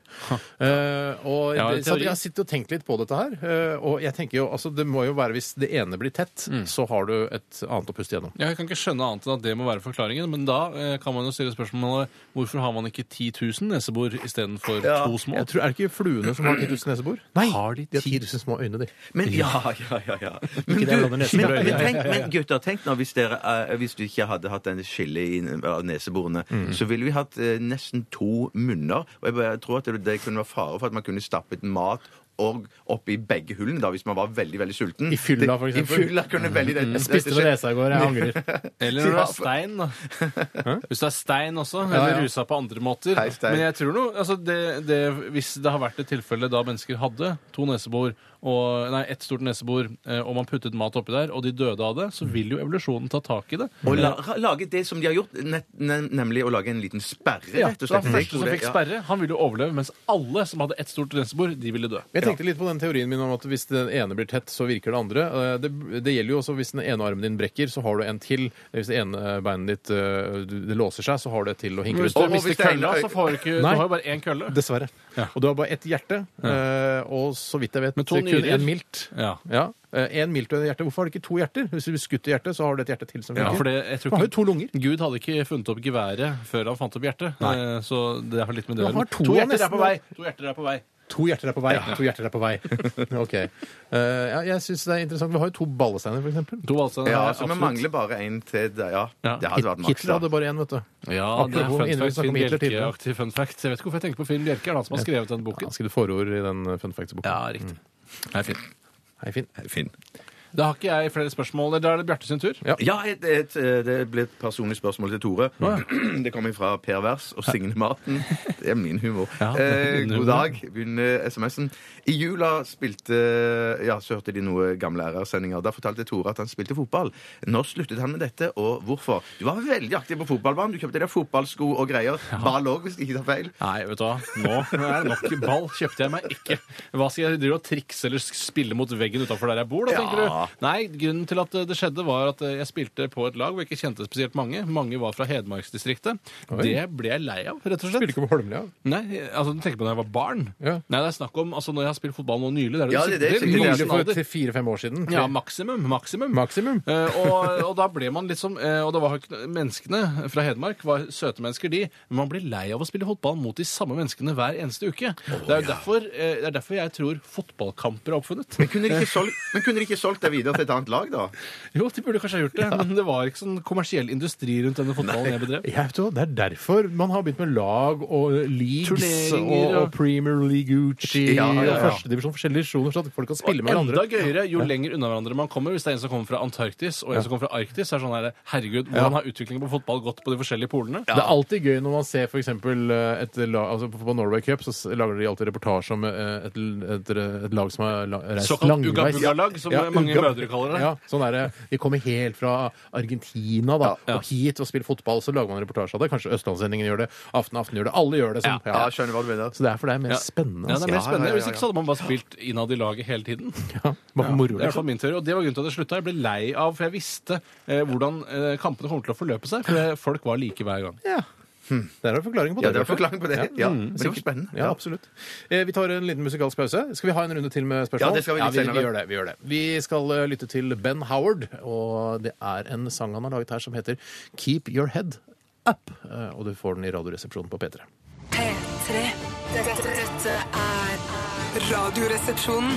S4: Uh, og
S5: Ja,
S4: det- så
S5: teori.
S4: jeg har sittet og tenkt litt på dette her, eh, og jeg tenker jo altså det må jo være hvis det ene blir tett, så har du et annet å puste gjennom.
S5: Jeg kan ikke skjønne annet enn at det må være forklaringen, men da eh, kan man jo stille spørsmålet hvorfor har man ikke 10 000 nesebor istedenfor
S3: Ja,
S5: to små?
S4: Jeg tror, Er det ikke fluene som har 10 000 nesebor? Nei,
S5: Har de
S4: de har
S5: 10
S4: 10 000 små øyne, de.
S3: Men ja, ja, ja. ja. Men,
S4: det er blant annet
S3: men,
S4: neseborene.
S3: men, tenk, men gutter, tenk nå hvis, dere, eh, hvis du ikke hadde hatt denne skillet i- av neseborene, så ville vi hatt eh, nesten to munner. Og jeg, bare- jeg tror at det, det kunne være fare for at man kunne stappet mat og opp i begge hullene da, hvis man var veldig veldig sulten.
S4: I fylla, for
S3: Det- I
S4: eksempel.
S3: fylla kunne veldig det,
S4: Jeg spiste med nesa i går, jeg angrer.
S5: Eller når det
S3: Ja,
S5: er
S3: for-
S5: stein, da. Hvis det er stein også,
S4: Ja,
S5: eller
S4: ja.
S5: rusa på andre måter.
S3: Hei, stein.
S5: Men jeg tror noe, altså det, det, hvis det har vært et tilfelle da mennesker hadde to nesebor, og, nei, ett stort nesebor, eh, og man puttet mat oppi der, og de døde av det, så vil jo evolusjonen ta tak i det.
S3: Og la, lage det som de har gjort, nett, nem- nemlig å lage en liten sperre, rett og
S5: så
S3: slett.
S5: den
S3: Jeg
S5: første
S3: tror
S5: som
S3: det-
S5: fikk
S3: ja.
S5: sperre, han ville jo overleve, mens alle som hadde ett stort nesebor, de ville dø.
S4: Jeg tenkte litt på den teorien min om at hvis den ene blir tett, så virker det andre. Eh, Det, det gjelder jo også hvis den ene armen din brekker, så har du en til. Hvis det ene beinet ditt eh, du- det låser seg, så har du et til å hinke
S5: Hvis
S4: rundt.
S5: du
S3: Og- og
S5: mister
S3: hvis det er-
S5: kølla, så får du ikke Du
S4: Nei.
S5: har jo bare én kølle.
S4: Dessverre.
S5: Ja.
S4: Og du har bare ett hjerte, eh, og så vidt jeg vet
S5: Men to
S4: kun
S5: nyrer.
S4: én milt.
S5: Ja.
S4: Ja, eh, en milt og et hjerte. Hvorfor har du ikke to hjerter? Hvis du blir skutt i hjertet, så har du et hjerte til som
S5: Ja,
S4: funker.
S5: for det, jeg
S4: Du
S5: tror
S4: har
S5: ikke
S4: jo to lunger.
S5: Gud hadde ikke funnet opp geværet før han fant opp hjertet. Eh, Så det er vel litt med det å
S4: Han
S5: gjøre.
S4: har to
S5: to hjerter
S4: nesten-
S5: er på vei! To hjerter er på vei.
S4: To hjerter er på vei. To hjerter er på vei. ok. Eh, ja, jeg syns det er interessant. Vi har jo to ballesteiner, for eksempel.
S5: To valgsteiner.
S3: Ja,
S5: er
S3: så vi
S5: absolutt.
S3: mangler bare en til. det- Ja,
S5: Ja.
S3: det hadde vært maks.
S4: Hitler
S3: da.
S4: hadde bare én, vet du.
S5: Ja, det er
S4: Apropos,
S5: fun
S4: innen vi
S5: fact.
S4: snakker om
S5: Finn
S4: Hitler tidligere.
S5: Bjelke-aktig fun fact. Jeg vet ikke hvorfor jeg tenker på Finn Bjelke. Er det han som har skrevet den boken? Mm.
S4: Han skrev forord i den eh, fun facts-boka.
S5: Ja, riktig. Nei, Finn.
S4: Hei, Finn.
S3: Finn.
S5: Da har ikke jeg flere spørsmål. Da er det Bjarte sin tur.
S4: Ja.
S3: Ja, et, et, eh, det ble et personlig spørsmål til Tore. Det kommer fra Per Vers og Signe Marten. Det er min humor.
S5: Ja, det er
S3: Eh,
S5: din
S3: god
S5: humor.
S3: dag. Begynner SMS-en. I jula spilte Ja, så hørte de noe gamle RR-sendinger. Da fortalte Tore at han spilte fotball. Når sluttet han med dette, og hvorfor? Du var veldig aktiv på fotballbanen. Du kjøpte deg fotballsko og greier. Ball òg, hvis jeg ikke tar feil.
S5: Nei, vet du hva. Nå er det nok ball. Kjøpte jeg meg ikke. Hva skal jeg drive og trikse eller spille mot veggen utafor der jeg bor, da, tenker
S3: Ja.
S5: du? Nei, grunnen til at eh, det skjedde, var at jeg spilte på et lag hvor jeg ikke kjente spesielt mange. Mange var fra Hedmarksdistriktet. Det ble jeg lei av, rett og slett.
S4: Spiller ikke på Holmlia.
S5: Nei, altså du tenker på når jeg var barn?
S4: Ja.
S5: Nei, det er snakk om altså, når jeg har spilt fotball nå nylig. Det er det
S3: Ja,
S5: du
S3: det er det
S5: sikter
S3: jeg
S5: til.
S3: sikter til.
S5: Voksen
S4: Nylig for
S5: alder.
S4: til fire-fem år siden.
S5: Ja, maksimum. Maksimum.
S4: Maksimum.
S5: Eh, og, og da ble man liksom eh, Og det var jo ikke- menneskene fra Hedmark var søte mennesker, de. Men man blir lei av å spille fotball mot de samme menneskene hver eneste uke. det, er jo derfor, eh, det er derfor jeg tror fotballkamper er oppfunnet.
S3: Men kunne de ikke solgt, men kunne de ikke solgt deg videre til et annet lag, da?
S5: Jo, de burde kanskje ha gjort det, men det var ikke sånn kommersiell industri rundt denne fotballen jeg bedrev.
S4: Jeg vet jo, Det er derfor man har begynt med lag og eh, leagues og,
S5: Turneringer, ja.
S4: og Premier League Gucci
S3: Ja, ja, ja.
S4: og førstedivisjon, forskjellige divisjoner, så at folk kan spille med
S5: Enda
S4: hverandre.
S5: gøyere jo lenger unna hverandre man kommer. Hvis det er en som kommer fra Antarktis og en som kommer fra Arktis, så er det sånn her Herregud, hvordan har utviklingen på fotball gått på de forskjellige polene?
S4: Det er alltid gøy når man ser for eksempel, eh, et lag, altså på på Norway Cup, så s- lager de alltid reportasje om eh, et, et, et lag som har la- reist
S5: Såkalt
S4: langveis.
S5: ugga-bugga-lag, som
S4: Ja,
S5: mange
S4: ugga-
S5: mødre kaller det.
S4: Ja, sånn er det. De kommer helt fra Argentina da, og hit og spiller fotball, så lager man en reportasje av det. Kanskje Østlandssendingen gjør det, Aften Aften gjør det, alle gjør det. Sånn.
S5: Ja.
S3: Ja, skjønner hva du mener.
S4: Så det er for det er mer
S5: Ja.
S4: spennende.
S5: Ja, det er mer
S3: ja,
S5: spennende.
S3: ja, ja,
S5: Hvis ikke så hadde man bare spilt innad i laget hele tiden.
S4: altså. Ja, bare for moro.
S5: Det er i hvert fall min teori, og det var grunnen til at jeg slutta. Jeg ble lei av, for jeg visste eh, hvordan eh, kampene kom til å forløpe seg, for det- folk var like hver gang.
S4: Ja. Det er en forklaring på det.
S3: Ja, det er
S4: Bjarte.
S3: forklaring på det. Ja,
S4: Mm,
S3: men det
S4: sikkert.
S3: var spennende.
S4: Ja, absolutt. Eh, Vi tar en liten musikalsk pause. Skal vi ha en runde til med spørsmål?
S3: Ja, det skal vi litt
S4: vi,
S3: senere.
S4: vi gjør det. Vi gjør det. Vi skal eh, lytte til Ben Howard, og det er en sang han har laget her som heter Keep Your Head Up. Eh, Og du får den i Radioresepsjonen på P3.
S1: P3. Dette, dette er Radioresepsjonen.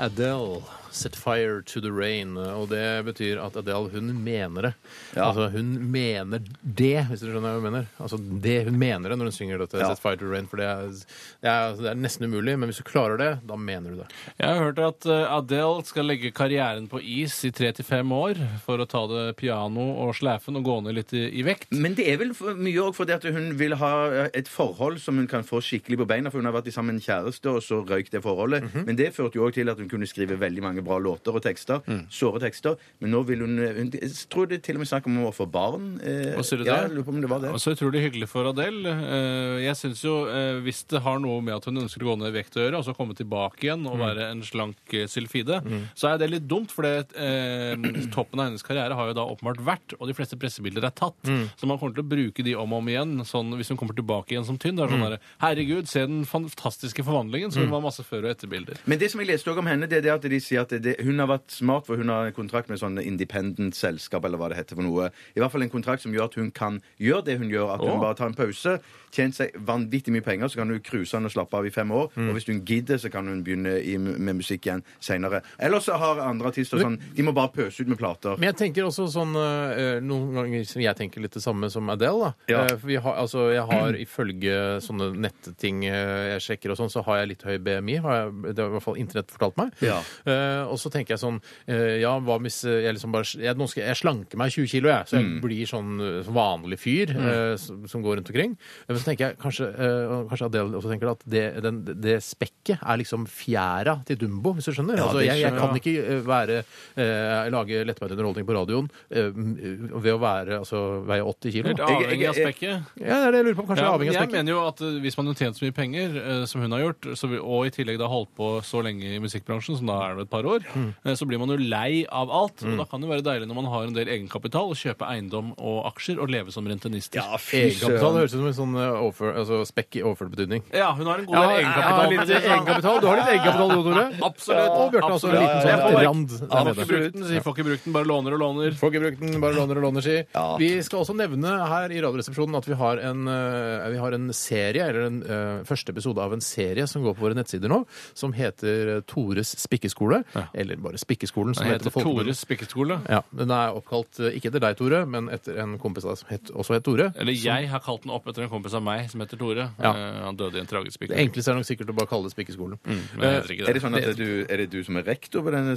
S4: Adele set fire to the rain. eh, Og det betyr at Adele, hun mener det.
S3: Ja.
S4: Altså, hun mener det, hvis du skjønner hva jeg mener. Altså, det hun mener det når hun synger dette.
S3: Ja.
S4: Set fire to the rain. For det er, det, er, det er nesten umulig, men hvis du klarer det, da mener du det.
S5: Jeg har hørt at eh, Adele skal legge karrieren på is i tre til fem år for å ta det piano og slæfen og gå ned litt i, i vekt.
S3: Men det er vel for mye òg fordi at hun vil ha eh, et forhold som hun kan få skikkelig på beina. For hun har vært sammen med en kjæreste, og så røyk det forholdet.
S5: Mhm.
S3: Men det førte jo òg til at hun kunne skrive veldig mange bra låter og tekster.
S5: Mm.
S3: Såre tekster. Men nå vil hun, eh, hun Jeg tror det er til og med snakk om å få barn. Eh,
S5: Hva sier du til
S3: ja,
S5: det?
S3: jeg lurer på om det var det.
S5: Og så utrolig hyggelig for Adele. Eh, Jeg synes jo, eh, Hvis det har noe med at hun ønsker å gå ned i vekt å gjøre, og så komme tilbake igjen
S3: Mm.
S5: og være en slank eh, sylfide, så er det litt dumt, for det, eh, toppen av hennes karriere har jo da åpenbart vært, og de fleste pressebilder er tatt.
S3: Mm.
S5: Så man kommer til å bruke de om og om igjen sånn, hvis hun kommer tilbake igjen som tynn. Det er
S3: Mm.
S5: sånn der, Herregud, se den fantastiske forvandlingen! Så hun var masse før- og etterbilder.
S3: Men det som jeg leste også om henne, det er det at de sier at det, hun har vært smart, for hun har en kontrakt med sånn independent selskap, eller hva det heter for noe. I hvert fall en kontrakt som gjør at hun kan gjøre det hun gjør, at hun
S5: Åh.
S3: bare tar en pause, tjent seg vanvittig mye penger, så kan hun cruise han og slappe av i fem år,
S5: Mm.
S3: og hvis hun gidder, så kan hun begynne i, med musikk igjen senere. Ellers så har andre artister sånn, de må bare pøse ut med plater.
S4: Men jeg tenker også sånn eh, Noen ganger som jeg tenker litt det samme som Adele. da.
S3: Ja.
S4: Eh, for vi har, altså, jeg har ifølge sånne netting eh, jeg sjekker og sånn, så har jeg litt høy BMI. Har jeg, det har i hvert fall internett fortalt meg.
S3: Ja.
S4: Eh, og så tenker jeg sånn eh, Ja, hva hvis eh, jeg liksom bare jeg, nå skal, jeg slanker meg 20 kilo, jeg. Så jeg
S3: Mm.
S4: blir sånn eh, vanlig fyr eh, som, som går rundt omkring. Men så tenker jeg kanskje, eh, og kanskje Adele også tenker at det, den, det spekket er liksom fjæra til Dumbo, hvis du skjønner.
S3: Ja,
S4: altså,
S3: det
S4: jeg, jeg
S3: skjønner
S4: kan
S3: jeg.
S4: ikke eh, være, eh, lage lettbeint underholdning på radioen eh, m- ved å være, altså, veie 80 kilo.
S5: Helt
S4: da.
S3: Jeg- jeg-
S5: avhengig av
S3: jeg-
S5: spekket.
S4: Ja, det er det jeg lurer på. Kanskje
S5: Ja,
S4: det er
S5: men
S4: avhengig av
S5: jeg
S4: spekket.
S5: mener jo at eh, Hvis man har tjent så mye penger eh, som hun har gjort, så vil, og i tillegg da holdt på så lenge i musikkbransjen, som da er det et par år,
S4: Mm.
S5: eh, så blir man jo lei av alt. Og da kan det være deilig når man har en del egenkapital, å kjøpe eiendom og aksjer og leve som rentenister. Ja,
S4: Egenkapital høres ut som en sånn eh, overfør, altså, spekk i overført betydning.
S5: hun har en god del egenkapital.
S4: litt egenkapital. Du har litt egenkapital, du, Tore.
S5: sånn, Absolutt.
S4: Og Bjarte har også en
S5: Absolutt.
S4: liten sånn
S5: Ja, ja, ja.
S4: rand. der
S5: Ja, får
S4: nede.
S5: ikke brukt den, sier får ikke brukt den, bare låner og låner.
S4: Får ikke brukt den, bare låner og låner, si. Vi skal også nevne her i Radioresepsjonen at vi har en, eh, vi har en serie, eller en eh, første episode av en serie som går på våre nettsider nå, som heter eh, Tores spikkeskole. Eller bare Spikkeskolen, som
S5: Den
S4: det heter
S5: heter
S4: på folkemunne.
S5: Tores spikkeskole.
S4: Ja, den er oppkalt eh, ikke etter deg, Tore, men etter en kompis av deg som het, også het Tore.
S5: Eller jeg har kalt den opp etter en kompis av meg som heter Tore.
S4: Ja.
S5: Eh, Han døde i en tragisk
S4: Det
S5: spikker.
S4: enkleste er nok sikkert å bare kalle det Spikkeskolen.
S5: Mm,
S4: Eh,
S5: Men jeg heter ikke
S3: Er det sånn at det er du, er det du som er rektor på denne
S5: Men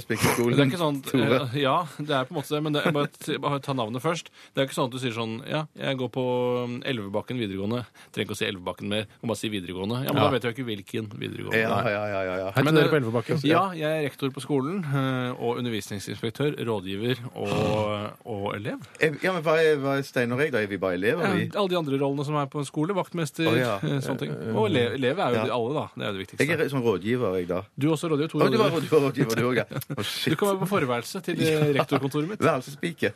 S3: spikkerskolen?
S5: Det er ikke sånn at,
S3: Mm, Tore?
S5: eh, Ja, det er på en måte det, men det, jeg bare, t- bare ta navnet først. Det er ikke sånn at du sier sånn Ja, jeg går på mm, Elvebakken videregående. Trenger ikke å si Elvebakken mer. Kan bare si videregående. Ja, men da vet jeg jo ikke hvilken videregående.
S3: Ja, ja, ja, ja, ja.
S4: Hei til
S5: Men det-
S4: dere på Elvebakken.
S5: Ja, jeg er rektor på skolen. eh, Og undervisningsinspektør, rådgiver og, og elev.
S3: Eh, ja, men hva er, hva er Steinar og jeg, da? Er vi bare elever, vi?
S5: Alle de andre rollene som er på en skole. Vaktmester,
S3: Å, ja.
S5: eh, sånne ting. Og elev, elev er jo
S3: Ja.
S5: de alle, da. Det er jo det
S3: Jeg
S5: viktigste.
S3: er sånn rådgiver, jeg, da.
S5: Du er også rådgiver. to
S3: Å, du var
S5: rådgivere.
S3: rådgiver, rådgiver, du òg, ja. Å,
S5: Du
S3: shit. altså
S5: kan være på forværelset til eh, rektorkontoret mitt.
S3: Værelsesspike.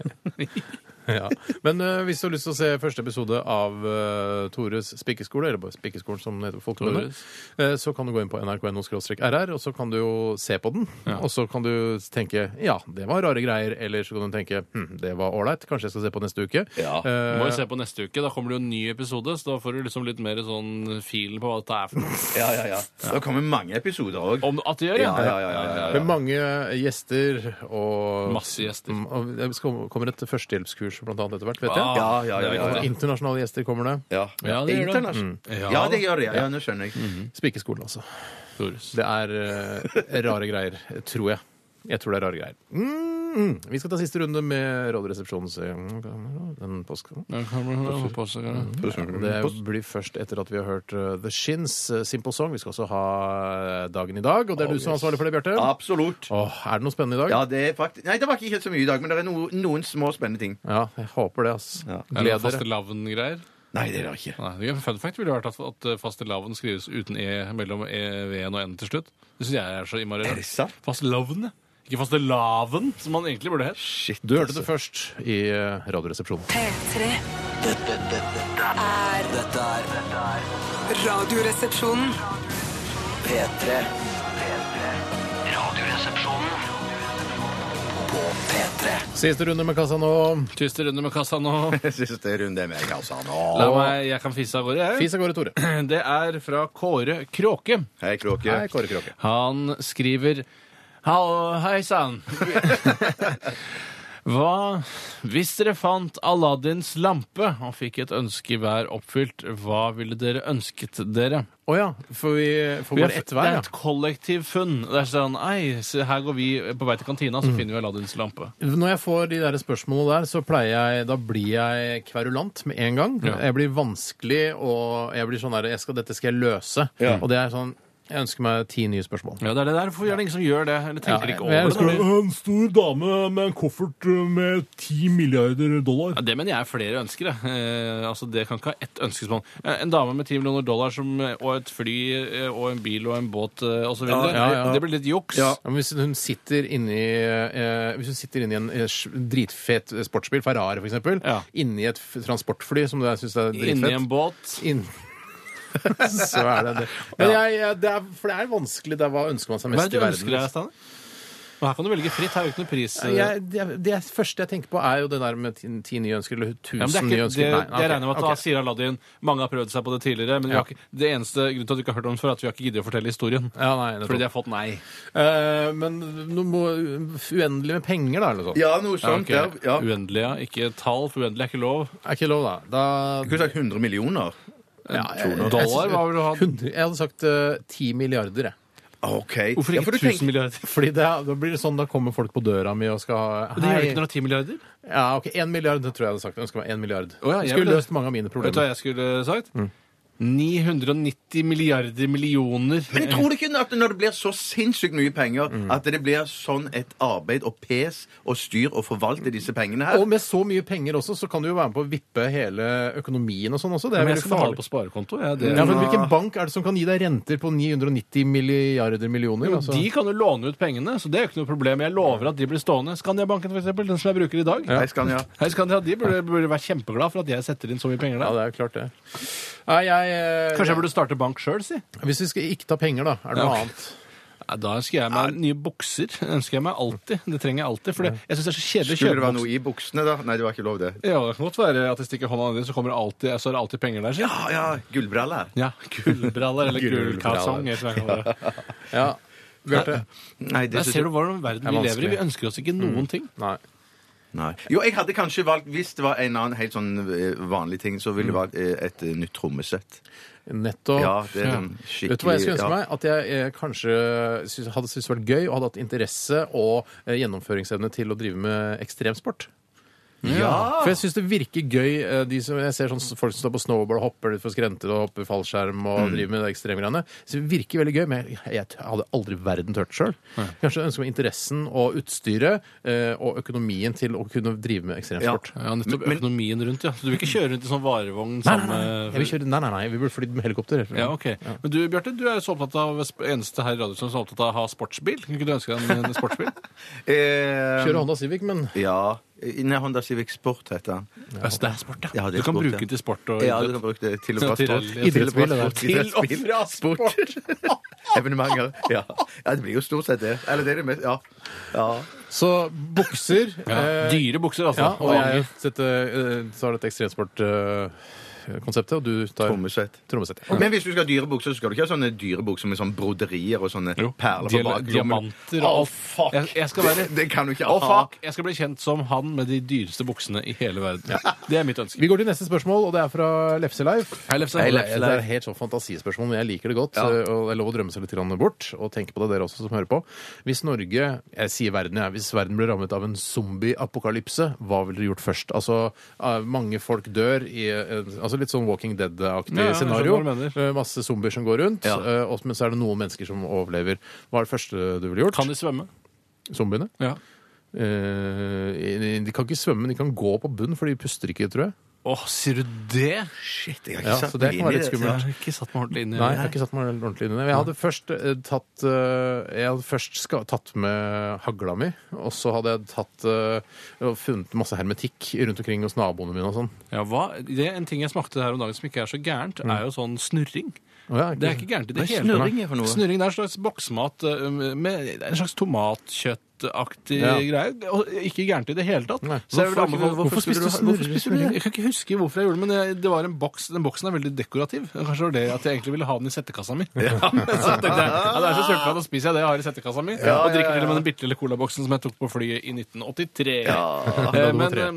S4: Ja. Men eh, hvis du har lyst til å se første episode av eh, Tores spikkeskole, eller bare Spikkeskolen som det heter på folkemunne,
S5: Tores.
S4: eh, så kan du gå inn på nrk.no-rr, og så kan du jo se på den.
S5: Ja.
S4: Og så kan du tenke ja, det var rare greier, eller så kan du tenke hm, det var ålreit, kanskje jeg skal se på neste uke.
S3: Ja.
S4: Eh,
S5: Må jo se på neste uke. Da kommer det jo en ny episode, så da får du liksom litt mer sånn filen på hva dette er for noe.
S3: Ja, ja, ja. Det kommer mange episoder òg.
S5: Om at det gjør,
S3: Ja, ja, ja, ja, ja,
S4: Med mange gjester og
S5: Masse gjester.
S4: Mm, Og det skal- kommer et førstehjelpskurs blant annet etter hvert, vet
S5: Ah,
S4: jeg.
S3: Ja, ja, ja. ja, ja.
S4: Internasjonale gjester kommer det.
S3: ja.
S5: Ja, det gjør det.
S3: Internasjonalt.
S5: Ja. Mm.
S3: Ja, det gjør det. Ja, ja nå skjønner jeg.
S4: Spikkeskolen, altså.
S5: Tores.
S4: Det er eh, rare greier, tror jeg. Jeg tror det er rare greier. Mm. Vi skal ta siste runde med Radioresepsjonens eh, den postkassen.
S5: Ja, kan man holde på så kan
S4: Mm.
S5: man-
S4: Det blir først etter at vi har hørt eh, The Shins eh, Simple Song. Vi skal også ha eh, Dagen i dag, og det er du som er ansvarlig for det, Bjarte.
S3: Absolutt.
S4: Åh, er det noe spennende i dag?
S3: Ja, det er faktisk Nei, det var ikke helt så mye i dag, men det er no, noen små spennende ting.
S4: Ja, jeg håper det, ass.
S3: Ja.
S5: Er det noen
S4: Gleder dere.
S5: fastelavn-greier?
S3: Nei, det er det ikke.
S5: Nei, det er en Fun fact ville vært at, at fastelavn skrives uten e mellom e, v-en og n til slutt. Det syns jeg er så innmari
S3: Er det sant?
S5: Fastelavn? Ikke fastelavn, som han egentlig burde hett.
S3: Shit.
S4: Du hørte det først i eh, Radioresepsjonen.
S1: P3
S2: Dette, dette, dette
S1: er
S2: er- dette er dette er
S1: Radioresepsjonen.
S2: P3. P3. Radioresepsjonen på P3.
S4: Siste runde med kassa nå.
S5: Tyster under med kassa nå.
S3: Siste runde med kassa
S5: La
S3: nå.
S5: meg, jeg kan fise av gårde, jeg.
S4: Fis av gårde, Tore.
S5: Det er fra Kåre Kråke.
S3: Hei, Kråke.
S4: Hei, Kåre Kråke.
S5: Han skriver Hallo, hei sann. Hva Hvis dere fant Aladdins lampe og fikk et ønske hver oppfylt, hva ville dere ønsket dere?
S4: Å ja, for vi får
S5: Vi
S4: bare
S5: har-
S4: ett hver,
S5: det er
S4: ja.
S5: et kollektivfunn. Det er sånn Ei, se, her går vi på vei til kantina, så finner vi Aladdins lampe.
S4: Når jeg får de der spørsmålene der, så pleier jeg, da blir jeg kverulant med en gang.
S5: Ja.
S4: Jeg blir vanskelig, og jeg blir sånn der, jeg skal, dette skal jeg løse. Og det er sånn, jeg ønsker meg ti nye spørsmål.
S5: Ja, det er det der. Hvorfor er det ingen som gjør det? Eller
S4: Ja,
S5: tenker
S4: jeg
S5: ikke over det?
S4: ønsker
S5: når de-
S6: En stor dame med en koffert eh, med 10 milliarder dollar.
S5: Ja, det mener jeg er flere ønsker. jeg. Eh, altså, det kan ikke ha ett ønske som han. Eh, En dame med 10 millioner dollar som, eh, og et fly eh, og en bil og en båt eh, og så
S4: Ja,
S5: videre.
S4: ja, ja.
S5: Det blir litt juks.
S4: Ja, men hvis hun sitter inni eh, Hvis hun sitter inni en eh, sj- dritfet sportsbil, Ferrari for eksempel,
S5: Ja.
S4: inni et f- transportfly som du syns er dritfett
S5: Inni en båt.
S4: Inn- Så er det det. Men jeg, jeg, det er, for det er vanskelig. Det er hva ønsker man seg
S5: Hva er
S4: mest i
S5: det du
S4: verden? liksom.
S5: ønsker deg, Steinar? Og Her kan du velge fritt. Her er jo ikke noe pris. eh.
S4: Jeg, det, det første jeg tenker på, er jo det der med ti, ti nye ønsker eller tusen
S5: Ja, men det er
S4: nye
S5: ikke, det,
S4: ønsker. Nei, ok,
S5: jeg regner med at da
S4: ok.
S5: sier Aladdin mange har prøvd seg på det tidligere, men vi
S4: Ja.
S5: har ikke, det eneste grunnen til at du ikke har hørt om det før, er at vi har ikke giddet å fortelle historien.
S4: ja, nei, nettopp.
S5: Fordi de har fått nei.
S4: Eh, men noe må- uendelig med penger, da? eller noe sånt.
S3: Ja, noe sånt.
S5: Ja,
S3: Ja,
S5: ok.
S3: ja.
S5: Uendelig, ja. Ikke tall, for uendelig er ikke lov.
S4: Er ikke lov, da. da
S3: Skulle sagt 100 millioner.
S4: ja,
S5: Dollar, hva vil du ha?
S4: 100, jeg hadde sagt eh, ti milliarder, jeg.
S3: OK.
S5: Hvorfor
S3: Ja,
S5: ikke
S3: for du
S5: 1000
S3: tenker-
S5: milliarder?
S4: Fordi det, er- da blir det sånn, da kommer folk på døra mi og skal ha
S5: Det gjør det ikke når det er 10 milliarder.
S4: Ja, ok, én milliard det tror jeg jeg hadde sagt. Jeg ønsker meg én milliard.
S5: Å ja, jeg
S4: Skulle
S5: ville-
S4: løst mange av mine
S5: Vet du hva
S4: problemer.
S5: jeg skulle sagt? 990 milliarder millioner.
S3: Men jeg tror ikke at når det blir så sinnssykt mye penger,
S5: Mm.
S3: at det blir sånn et arbeid og pes og styr og forvalte disse pengene her.
S4: Og med så mye penger også, så kan du jo være med på å vippe hele økonomien og sånn også. Det er
S5: Men jeg
S4: veldig
S5: skal ta det
S4: farlig.
S5: på sparekonto. Ja, det.
S4: Ja, men Hvilken bank er det som kan gi deg renter på 990 milliarder millioner? Altså?
S5: De kan jo låne ut pengene, så det er jo ikke noe problem. Jeg lover at de blir stående. Skandiabanken, for eksempel, den som jeg bruker i dag.
S3: Hei, Skania.
S5: Hei, Skandia, de burde, burde være kjempeglad for at jeg setter inn så mye penger
S4: Ja,
S5: der.
S4: det er jo klart det. Nei, jeg, eh,
S5: Kanskje jeg burde starte bank sjøl, si.
S4: Hvis vi skal ikke ta penger, da, er det noe
S5: Ja, ok.
S4: annet.
S5: Ja, da ønsker jeg meg nye bukser. Det ønsker jeg meg alltid. Det trenger jeg alltid. For det- jeg syns det er så kjedelig å
S3: Skulle det
S5: kjøpe
S3: være noe
S5: bukser.
S3: i buksene, da? Nei, det var ikke lov, det.
S5: Ja, det kan godt være at jeg stikker hånda nedi, så, kommer det alltid, så er det alltid penger der. Si.
S3: Ja, ja. Gullbriller.
S5: Ja, Gullbraller eller
S4: Gullbraller.
S5: gullkalsong. eller hva jeg kaller det.
S4: Ja, Bjarte?
S3: Nei, det
S5: Der
S3: synes
S5: ser du hvordan verden
S4: Det er
S5: vi lever i. Vi
S4: vanskelig.
S5: ønsker oss ikke noen ting.
S4: Nei.
S3: Nei. Jo, jeg hadde kanskje valgt Hvis det var en annen helt sånn eh, vanlig ting, så
S5: Mm.
S3: ville det vært eh, et eh, nytt trommesett.
S4: Nettopp.
S3: Ja, det er sånn skikkelig
S4: Vet du hva jeg skulle ønske
S3: ja.
S4: meg? At jeg eh, kanskje synes, hadde syntes det var gøy og hadde hatt interesse og eh, gjennomføringsevne til å drive med ekstremsport.
S3: Ja!
S4: For jeg syns det virker gøy, eh, de som jeg ser sånn s- folk som står på snowboard og hopper utfor skrenter og hopper fallskjerm og
S3: Mm.
S4: driver med de ekstremgreiene. Så Det virker veldig gøy, men jeg, jeg t- hadde aldri verden tørt sjøl. Kanskje jeg ønsker meg interessen og utstyret eh, og økonomien til å kunne drive med ekstremsport.
S5: Ja, nettopp
S3: Men-
S5: økonomien rundt, ja. Så du vil ikke kjøre rundt i sånn varevogn
S4: Nei,
S5: som
S4: nei, nei. Jeg vil
S5: eh,
S4: kjøre, nei, nei, nei, vi burde flydd med helikopter.
S5: ja, ok. Men du Bjarte, du er jo så opptatt av sp- eneste her i radioen som er så opptatt av å ha sportsbil. Kunne ikke du ønske deg en- en sportsbil?
S3: Eh,
S4: Kjøre Honda Civic, men
S3: Ja. Nei, Honda Civic Sport heter den.
S5: Altså, det er sport, ja.
S3: Ja, det
S5: du
S3: er
S5: kan
S3: sport,
S5: bruke
S3: ja.
S5: den til sport og
S3: Ja, du kan bruke det til og fra
S5: Til-
S3: sport.
S5: til-
S4: idrettsbil,
S3: Til og fra
S4: det
S3: sport.
S4: der.
S5: Til og fra
S3: Sport. Evenementer. Ja. ja, det blir jo stort sett det. Eller det er det mest Ja. ja.
S4: Så bukser
S5: Ja.
S4: eh,
S5: Dyre bukser, altså.
S4: Ja, og jeg setter, eh, tar dette ekstremsportkonseptet, og du tar
S3: Trommesett.
S4: trommesett.
S3: Men hvis du skal ha dyre bukser, så skal du ikke ha sånne dyre bukser med sånn broderier og sånne
S5: Jo.
S3: perler på
S5: Dial-
S3: baklommen.
S5: diamanter
S3: Å,
S5: og-
S3: fuck!
S5: Jeg- jeg skal være-
S3: det, det kan du ikke
S5: Å,
S3: ha.
S5: fuck! Jeg skal bli kjent som han med de dyreste buksene i hele verden. Det er mitt ønske.
S4: Vi går til neste spørsmål, og det er fra Lefseleif.
S5: Hei, Lefse.
S4: Det er- Det er helt sånn fantasispørsmål, men jeg liker det godt.
S5: Ja.
S4: eh, Og det er lov å drømme seg litt grann bort, og tenke på det, dere også som hører på. Hvis Norge, jeg sier verden, jeg, hvis verden blir rammet av en zombie-apokalypse, hva ville dere gjort først? Altså, eh, mange folk dør i eh, altså litt sånn Walking Dead-aktig
S5: Ja, ja, jeg
S4: scenario.
S5: skjønner hva du
S4: Eh, Masse zombier som går rundt,
S5: Ja.
S4: eh, og, men så er det noen mennesker som overlever. Hva er det første du ville gjort?
S5: Kan de svømme?
S4: Zombiene?
S5: Ja.
S4: Eh, de kan ikke svømme, men de kan gå på bunn, for de puster ikke, tror jeg.
S5: Å Åh, sier du det?
S3: Shit, jeg har ikke
S4: Ja,
S3: satt
S4: så det
S3: meg
S4: kan
S3: inn i
S4: være litt
S3: det.
S5: Jeg
S4: skummelt.
S5: har ikke satt meg ordentlig inn i
S4: Nei, jeg
S5: det.
S4: har ikke satt meg ordentlig inn i det. Men jeg hadde først eh, tatt, eh, jeg hadde først ska, tatt med hagla mi, og så hadde jeg tatt, eh, og funnet masse hermetikk rundt omkring hos naboene mine og sånn.
S5: Ja, hva? Det er En ting jeg smakte her om dagen som ikke er så gærent, er jo sånn snurring.
S4: Å ja, ikke-
S5: Det er ikke gærent i det
S3: Mm. Hva er
S5: hele
S3: snurring for noe?
S5: Snurring det er en slags boksmat eh, med en slags tomatkjøttaktig
S4: Ja.
S5: greie. Og ikke gærent i det hele tatt.
S4: Nei.
S5: Så jeg vil
S3: Hvorfor-
S5: anbefale-
S3: hvorfor
S5: hvorfor
S3: skulle
S5: spiste
S3: du
S5: du
S3: ha-
S5: snurring?
S3: hvorfor spiste du det?
S5: Jeg kan ikke huske hvorfor jeg gjorde det, men jeg- det var en boks, den boksen er veldig dekorativ. Kanskje det var det at jeg egentlig ville ha den i settekassa mi. så tenkte jeg, ja, det er så sulten, da spiser jeg det jeg har i settekassa mi. og drikker til og med den bitte lille colaboksen som jeg tok på flyet i 1983. Eh,
S4: Logo
S5: men
S4: tre.
S5: eh,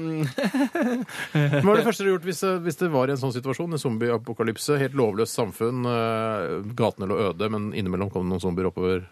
S4: Men Hva var det første dere gjorde hvis, eh, hvis det var i en sånn situasjon? En zombieapokalypse, helt lovløst samfunn, eh, gatene lå øde, men innimellom kom det noen zombier oppover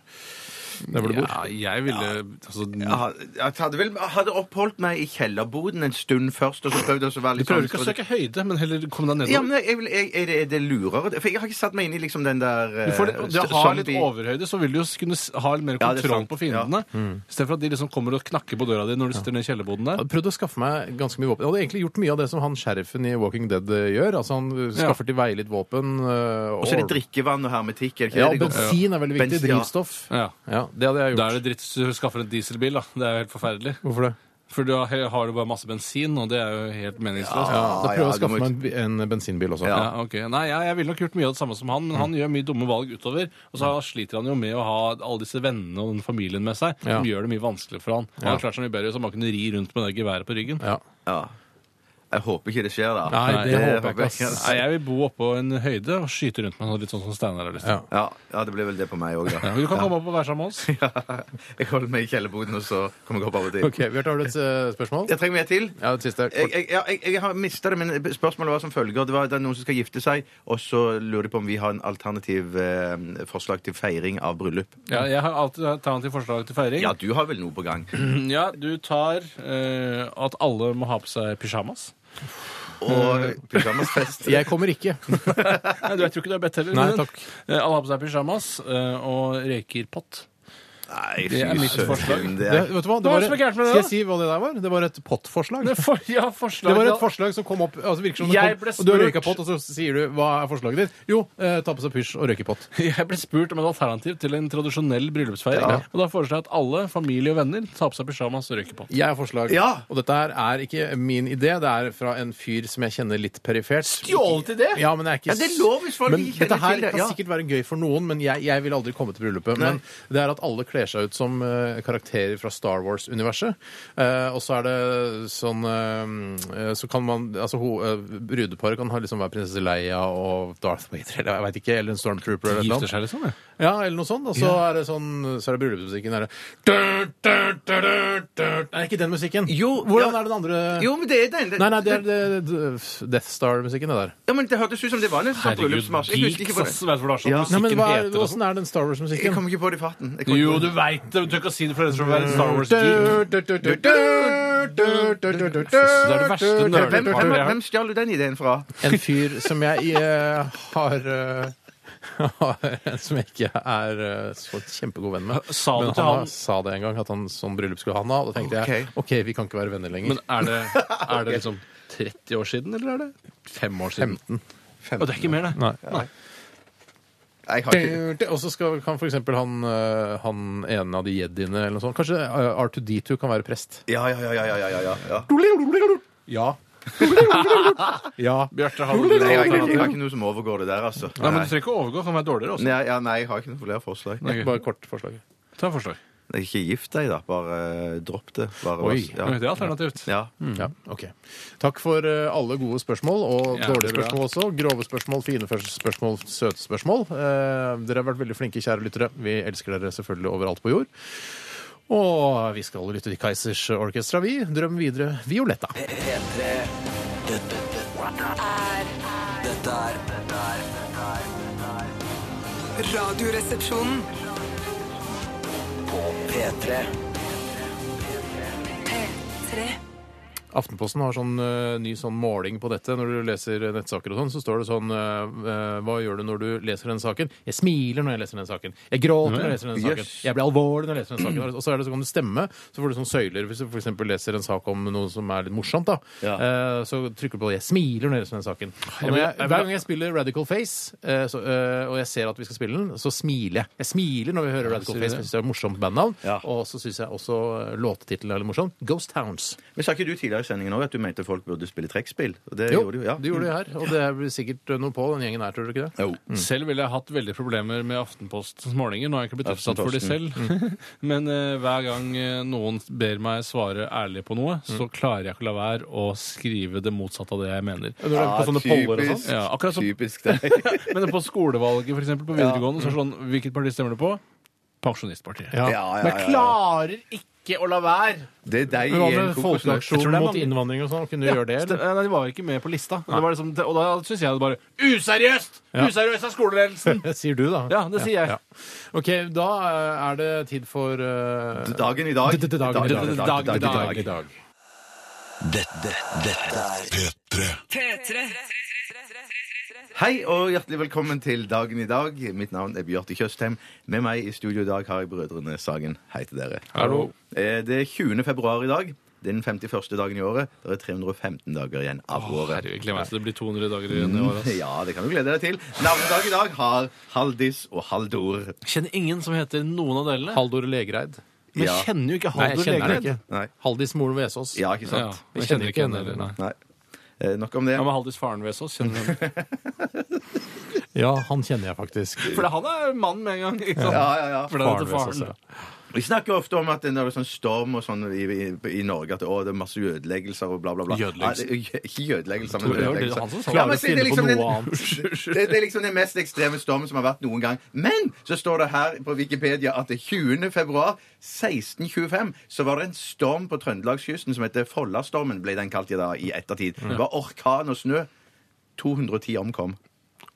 S4: der hvor du bor.
S5: ja, jeg ville altså,
S3: Jeg hadde, jeg hadde vel jeg hadde oppholdt meg i kjellerboden en stund først, og så prøvde jeg også å være
S5: Du
S3: litt
S5: prøver ikke å
S3: sånn-
S5: søke høyde, men heller komme deg nedover.
S3: Ja, men jeg, vil- jeg, er, det, er det lurere? For jeg har ikke satt meg inn i liksom den der
S5: Du får,
S3: eh,
S5: litt- det
S3: st-
S5: har litt
S3: zombie-
S5: overhøyde, så vil du jo s- kunne s- ha litt mer
S3: Ja, det er
S5: kontroll
S3: sant.
S5: på fiendene. I stedet for at de liksom kommer og knakker på døra di når du sitter nede i
S4: Jeg
S5: kjellerboden der.
S4: hadde prøvd å skaffe meg ganske mye våpen. Jeg hadde egentlig gjort mye av det som han sheriffen i Walking Dead eh, gjør. Altså Han eh,
S5: Ja.
S4: skaffer til veie litt våpen. eh,
S3: Og så er det drikkevann og hermetikk. Er det ikke
S4: Ja,
S3: det det går-
S4: bensin er veldig viktig.
S3: Bensin, ja.
S4: Drivstoff.
S5: Ja.
S4: Ja, det hadde jeg
S5: Da er
S4: gjort. Mm.
S5: det dritt hvis du skaffer en dieselbil, da. Det er jo helt forferdelig.
S4: Hvorfor det?
S5: For da he- har du bare masse bensin, og det er jo helt meningsløst.
S4: Ja, da prøver jeg
S3: ja,
S4: å
S3: du må
S4: skaffe meg en, bi- en bensinbil også.
S5: Ja, ok. Nei, jeg, jeg ville nok gjort mye av det samme som han, men han gjør mye dumme valg utover. Og så sliter han jo med å ha alle disse vennene og den familien med seg, som
S4: Ja.
S5: gjør det mye vanskeligere for han. Han har klart seg mye bedre, så han bare kunne ri rundt med det geværet på ryggen.
S4: Ja.
S3: Ja. Jeg håper ikke det skjer, da.
S4: Nei, det håper jeg ikke, ass.
S5: Nei, jeg vil bo oppå en høyde og skyte rundt med han, litt sånn som Steinar har lyst til.
S4: Ja.
S3: Ja, ja, det blir vel det på meg òg, da.
S5: Ja, men du kan komme opp og være sammen med oss.
S3: Jeg holder meg i kjellerboden, og så kommer jeg opp av og til.
S4: OK, Bjarte, har du et eh, spørsmål?
S3: Jeg trenger mer til.
S4: Ja, et siste.
S3: Jeg,
S4: Kort.
S3: jeg, ja, jeg, jeg har mista det, men spørsmålet var som følger. Det var det er noen som skal gifte seg, og så lurer de på om vi har en alternativ eh, forslag til feiring av bryllup.
S5: Ja, jeg har alltid et alternativt forslag til feiring.
S3: Ja, du har vel noe på gang?
S5: Ja, du tar eh, at alle må ha på seg pysjamas.
S3: Og pyjamasfest.
S4: Jeg kommer ikke.
S5: Nei, du, jeg tror ikke du er bedt heller.
S4: Nei,
S5: men-
S4: takk.
S5: Eh, alle har på seg pysjamas eh, og røyker pott.
S3: Nei,
S5: Det er mitt forslag.
S3: Det
S4: Det,
S3: er,
S4: vet du hva? Det
S5: Hva
S4: var,
S5: er det som er gærent med det,
S4: skal jeg
S5: da?
S4: si hva det der var? Det var et pottforslag.
S5: Det, for, ja,
S4: Det
S5: forslag,
S4: var et
S5: da.
S4: forslag som kom opp altså virker som det
S5: Jeg
S4: kom,
S5: ble
S4: og Du har
S5: spurt-
S4: røyka pott, og så sier du hva er forslaget ditt? Jo, eh, ta på seg pysj og røyke pott.
S5: Jeg ble spurt om et alternativ til en tradisjonell bryllupsfeiring. Og da foreslår jeg at alle, familie og venner, tar på seg pysjamas og røyker pott.
S4: Jeg har forslag.
S3: Ja!
S4: Og dette her er ikke min idé, det er fra en fyr som jeg kjenner litt perifert.
S3: Stjålet idé?
S4: Ja, men jeg er ikke...
S3: Ja, det er lov hvis folk
S4: men
S3: ikke kjenner
S4: dette her
S3: til det,
S4: kan
S3: ja.
S4: sikkert være gøy for noen, men jeg, jeg vil aldri komme til bryllupet. Men det er at alle kler seg ut som eh, karakterer fra Star Wars-universet. Eh, og så er det sånn eh, Så kan man Altså, ho, eh, brudeparet kan ha liksom være prinsesse Leia og Darth Vader, eller jeg vet ikke, eller en stormtrooper eller
S5: De
S4: noe
S5: gifter seg, liksom? Ja.
S4: ja, eller noe sånt. Og så er det sånn Så er det bryllupsmusikken der. Dun, dun, dun, dun, dun. Nei, ikke den musikken.
S3: Jo,
S4: Hvordan
S3: ja.
S4: er den andre
S3: jo, men det er den.
S4: Nei, nei, det er det, det, Death Star-musikken, det der.
S3: Ja, men Det hørtes ut som det var en sånn
S5: Herregud,
S3: bryllupsmarsj. Jeg husker
S5: geeks,
S3: ikke på det.
S5: ass. Vet du hva det er sånn
S3: Ja.
S4: Nei, men
S5: musikken
S4: hva er,
S5: heter? og sånn?
S4: Hvordan er den Star
S3: Jeg
S4: Wars-musikken?
S3: kom ikke på det i farten. Jeg kom
S5: Jo,
S3: ikke på
S5: du
S3: det.
S5: veit det! men Du tør ikke å si det, for ellers vil du være en
S4: Mm.
S5: Star Wars-geek.
S4: Det
S5: er det verste nerdet.
S3: Hvem, hvem,
S5: Ja.
S3: hvem stjal du den ideen fra?
S4: En fyr som jeg eh, har eh, har en som jeg ikke er eh, så kjempegod venn med.
S5: Sa du
S4: Men
S5: til
S4: han
S5: han?
S4: sa det en gang, at han sånn bryllup skulle han ha. Og da tenkte jeg OK, vi kan ikke være venner lenger.
S5: Men er det, er det liksom 30 år siden, eller er det fem år siden?
S4: 15.
S5: Og det er ikke mer, det.
S4: Nei.
S3: Nei, Jeg har ikke
S4: Og så skal- kan for eksempel han, eh, han ene av de jediene eller noe sånt Kanskje eh, R2D2 kan være prest?
S3: Ja, ja, ja. ja, ja, ja, ja, ja.
S4: Ja. ja.
S5: Bjarte, har
S3: Nei,
S5: du
S3: jeg, har ikke, jeg har ikke noe som overgår det der, altså.
S5: Nei, men Du trenger ikke å overgå, kan være dårligere altså. også.
S3: Nei, ja, nei, jeg har ikke noe flere forslag.
S5: Nei.
S4: Bare kort forslag.
S5: Ta forslag.
S3: Nei, Ikke gift deg, da. Bare eh, dropp det. Bare,
S4: Oi.
S5: Det
S3: Ja.
S5: er alternativt.
S3: Ja.
S4: Ja, ok. Takk for eh, alle gode spørsmål, og
S5: Ja,
S4: dårlige
S5: det er bra.
S4: spørsmål også. Grove spørsmål, fine først- spørsmål, søte spørsmål. Eh, dere har vært veldig flinke, kjære lyttere. Vi elsker dere selvfølgelig overalt på jord. Og vi skal lytte til Keisers Orchestra, vi. Drøm videre, Violetta.
S2: P3 Dette, dette, dette er Dette er
S1: Radioresepsjonen.
S2: På P3
S1: P3.
S4: Aftenposten har sånn eh, ny sånn måling på dette. Når du leser nettsaker og sånn, så står det sånn eh, eh, Hva gjør du når du leser den saken? Jeg smiler når jeg leser den saken. Jeg gråter når jeg leser den saken.
S3: Jøss.
S4: Jeg blir alvorlig når jeg leser den saken. Og så er det så kan det stemme. Så får du sånn søyler hvis du f.eks. leser en sak om noe som er litt morsomt, da.
S3: Ja.
S4: Eh, Så trykker du på 'Jeg smiler' når jeg leser den saken. Og når jeg, hver gang jeg spiller Radical Face, eh, så, eh, og jeg ser at vi skal spille den, så smiler jeg. Jeg smiler når vi hører Radical
S5: sier
S4: Face.
S5: det.
S4: Jeg syns det er et morsomt bandnavn.
S3: Ja.
S4: Og så syns jeg også låtetittelen er litt morsom. Ghost Towns.
S3: Men Sa ikke du tidligere i sendingen også at du mente folk burde spille trekkspill? Og det
S4: Jo,
S3: gjorde du, ja. Mm.
S4: det gjorde de her. Og det er
S5: Mm.
S4: vel sikkert eh, noe på den gjengen her, tror du ikke det?
S3: Jo.
S5: Selv ville jeg hatt veldig problemer med Aftenpostens målinger. Nå har jeg ikke blitt utsatt for de selv. Men eh, hver gang eh, noen ber meg svare ærlig på noe, så klarer jeg ikke å la være å skrive det motsatte av det jeg mener.
S4: Når det er på sånne poller og sånn.
S5: Ja, akkurat som-
S3: Ah, typisk deg.
S5: Men på skolevalget, for eksempel, på videregående, så er det sånn Hvilket parti stemmer du på? Pensjonistpartiet.
S4: Ja.
S3: Ja, ja,
S4: Men jeg
S3: ja, ja.
S4: klarer ikke å la være!
S3: Det er deg
S4: Men Hva
S3: i en
S4: med
S5: Jeg
S3: kokosnøtt.
S5: tror
S4: folkeaksjon
S5: det er
S4: mot
S5: mange-
S4: innvandring og sånn? Kunne du gjøre det?
S5: Stem-
S4: Eller?
S5: eh, Nei, de var jo ikke med på lista. Det var liksom, og da syns jeg det bare Useriøst! Useriøst av skoleledelsen!
S4: Sier du, da.
S5: Ja, det sier jeg.
S4: Ja. OK, da eh, er det tid for eh,
S3: Dagen i dag.
S4: D- d- d- dagen i dag.
S3: Dagen i dag.
S5: Dagen i dag.
S3: Dagen i dag.
S2: Dette, dette er
S6: P3.
S3: Hei og hjertelig velkommen til Dagen i dag. Mitt navn er Bjarte Tjøstheim. Med meg i studio i dag har jeg brødrene Sagen. Hei til dere.
S4: Hallo.
S3: Eh, Det er 20. februar i dag. Det er den 51. dagen i året. Det er 315 dager igjen av året.
S5: Herregud, jeg gleder meg til det blir 200 dager igjen i altså. år. ass.
S3: Ja, det kan du glede deg til. Navnedag i dag har Haldis og Haldor.
S5: Jeg Kjenner ingen som heter noen av delene.
S4: Haldor Legreid.
S5: Men
S3: Ja.
S5: jeg kjenner jo ikke
S4: Nei, jeg
S5: Haldor
S4: kjenner
S5: Legreid.
S4: henne ikke.
S3: Nei.
S4: Haldis moren Vesaas.
S3: Ja,
S5: Ja,
S3: ikke sant?
S5: jeg kjenner ikke henne heller. Nei.
S3: Nei. Eh, Nok om det.
S5: Ja, men Haldis faren Vesaas kjenner henne.
S4: Ja, han kjenner jeg faktisk.
S5: For han er mann med en gang. ikke sant?
S3: Ja, ja, ja.
S5: For det er til
S4: Vesaas,
S5: faren.
S4: ja.
S3: Vi snakker ofte om at når det er sånn storm og sånn i, i, i Norge, at å, det er masse ødeleggelser og bla, bla, bla.
S5: Jødeleggelser?
S3: Ja, det- ikke ødeleggelser, men
S5: Tore, det var det han som sa
S3: ødeleggelser.
S5: det.
S3: Ja, men se,
S4: Klarer å
S3: det, er
S4: finne på
S3: liksom den,
S4: noe
S3: det, det er liksom den mest ekstreme stormen som har vært noen gang. Men så står det her på Wikipedia at det 20. februar 1625 så var det en storm på Trøndelagskysten som heter Follastormen, ble den kalt i, dag, i ettertid. Det var orkan og snø. 210 omkom.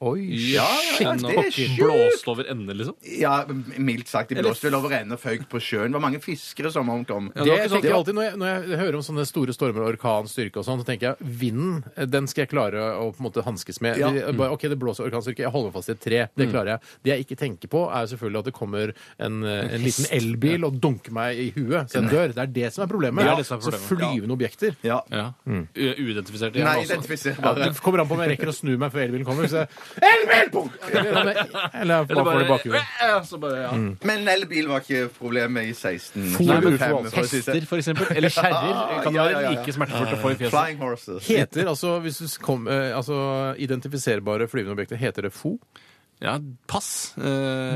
S4: Oi,
S5: Ja, ja, ja,
S3: det er
S5: og
S3: sjukt.
S5: Blåst over ende, liksom.
S3: Ja, mildt sagt. De blåste vel over ende og føyk på sjøen. Det var mange fiskere som omkom.
S4: Det
S5: Ja, det var ikke
S4: jeg
S5: sånn-
S4: tenker jeg alltid når jeg, når jeg hører om sånne store stormer og orkan, styrke og sånn, så tenker jeg vinden den skal jeg klare å på en måte hanskes med.
S3: Ja.
S4: Vi- Bare, ok, det blåser orkanstyrke, jeg holder meg fast i et tre. Det
S5: Mm.
S4: klarer jeg. Det jeg ikke tenker på, er selvfølgelig at det kommer en, eh, en liten elbil og dunker meg i huet så jeg dør. Det er det som er problemet.
S5: Det er Mm. det som er
S4: Så
S5: problemet.
S4: flyvende objekter.
S3: Ja.
S5: Ja. U- Uidentifisert.
S3: Nei,
S5: hjerne også.
S4: Ja,
S3: identifiserbare.
S4: det kommer an på om jeg rekker å snu meg før elbilen kommer. Så jeg,
S3: Elbil! punkt!
S4: eller, eller
S5: Eller
S4: bare får det i
S5: bare, Mm.
S4: bakhuet.
S5: Ja, så bare ja.
S3: Men elbil var ikke problemet i 16.
S4: Nei, men
S5: Hester, for eksempel. Eller kjerrer. Kan
S3: Ja,
S5: det
S3: ja, ja,
S5: være
S3: ja.
S5: like smertefullt å få i fjeset?
S3: Flying horses.
S4: Heter altså, hvis du kom, eh, altså identifiserbare flyvende objekter, heter det FO?
S5: Ja, pass. Eh,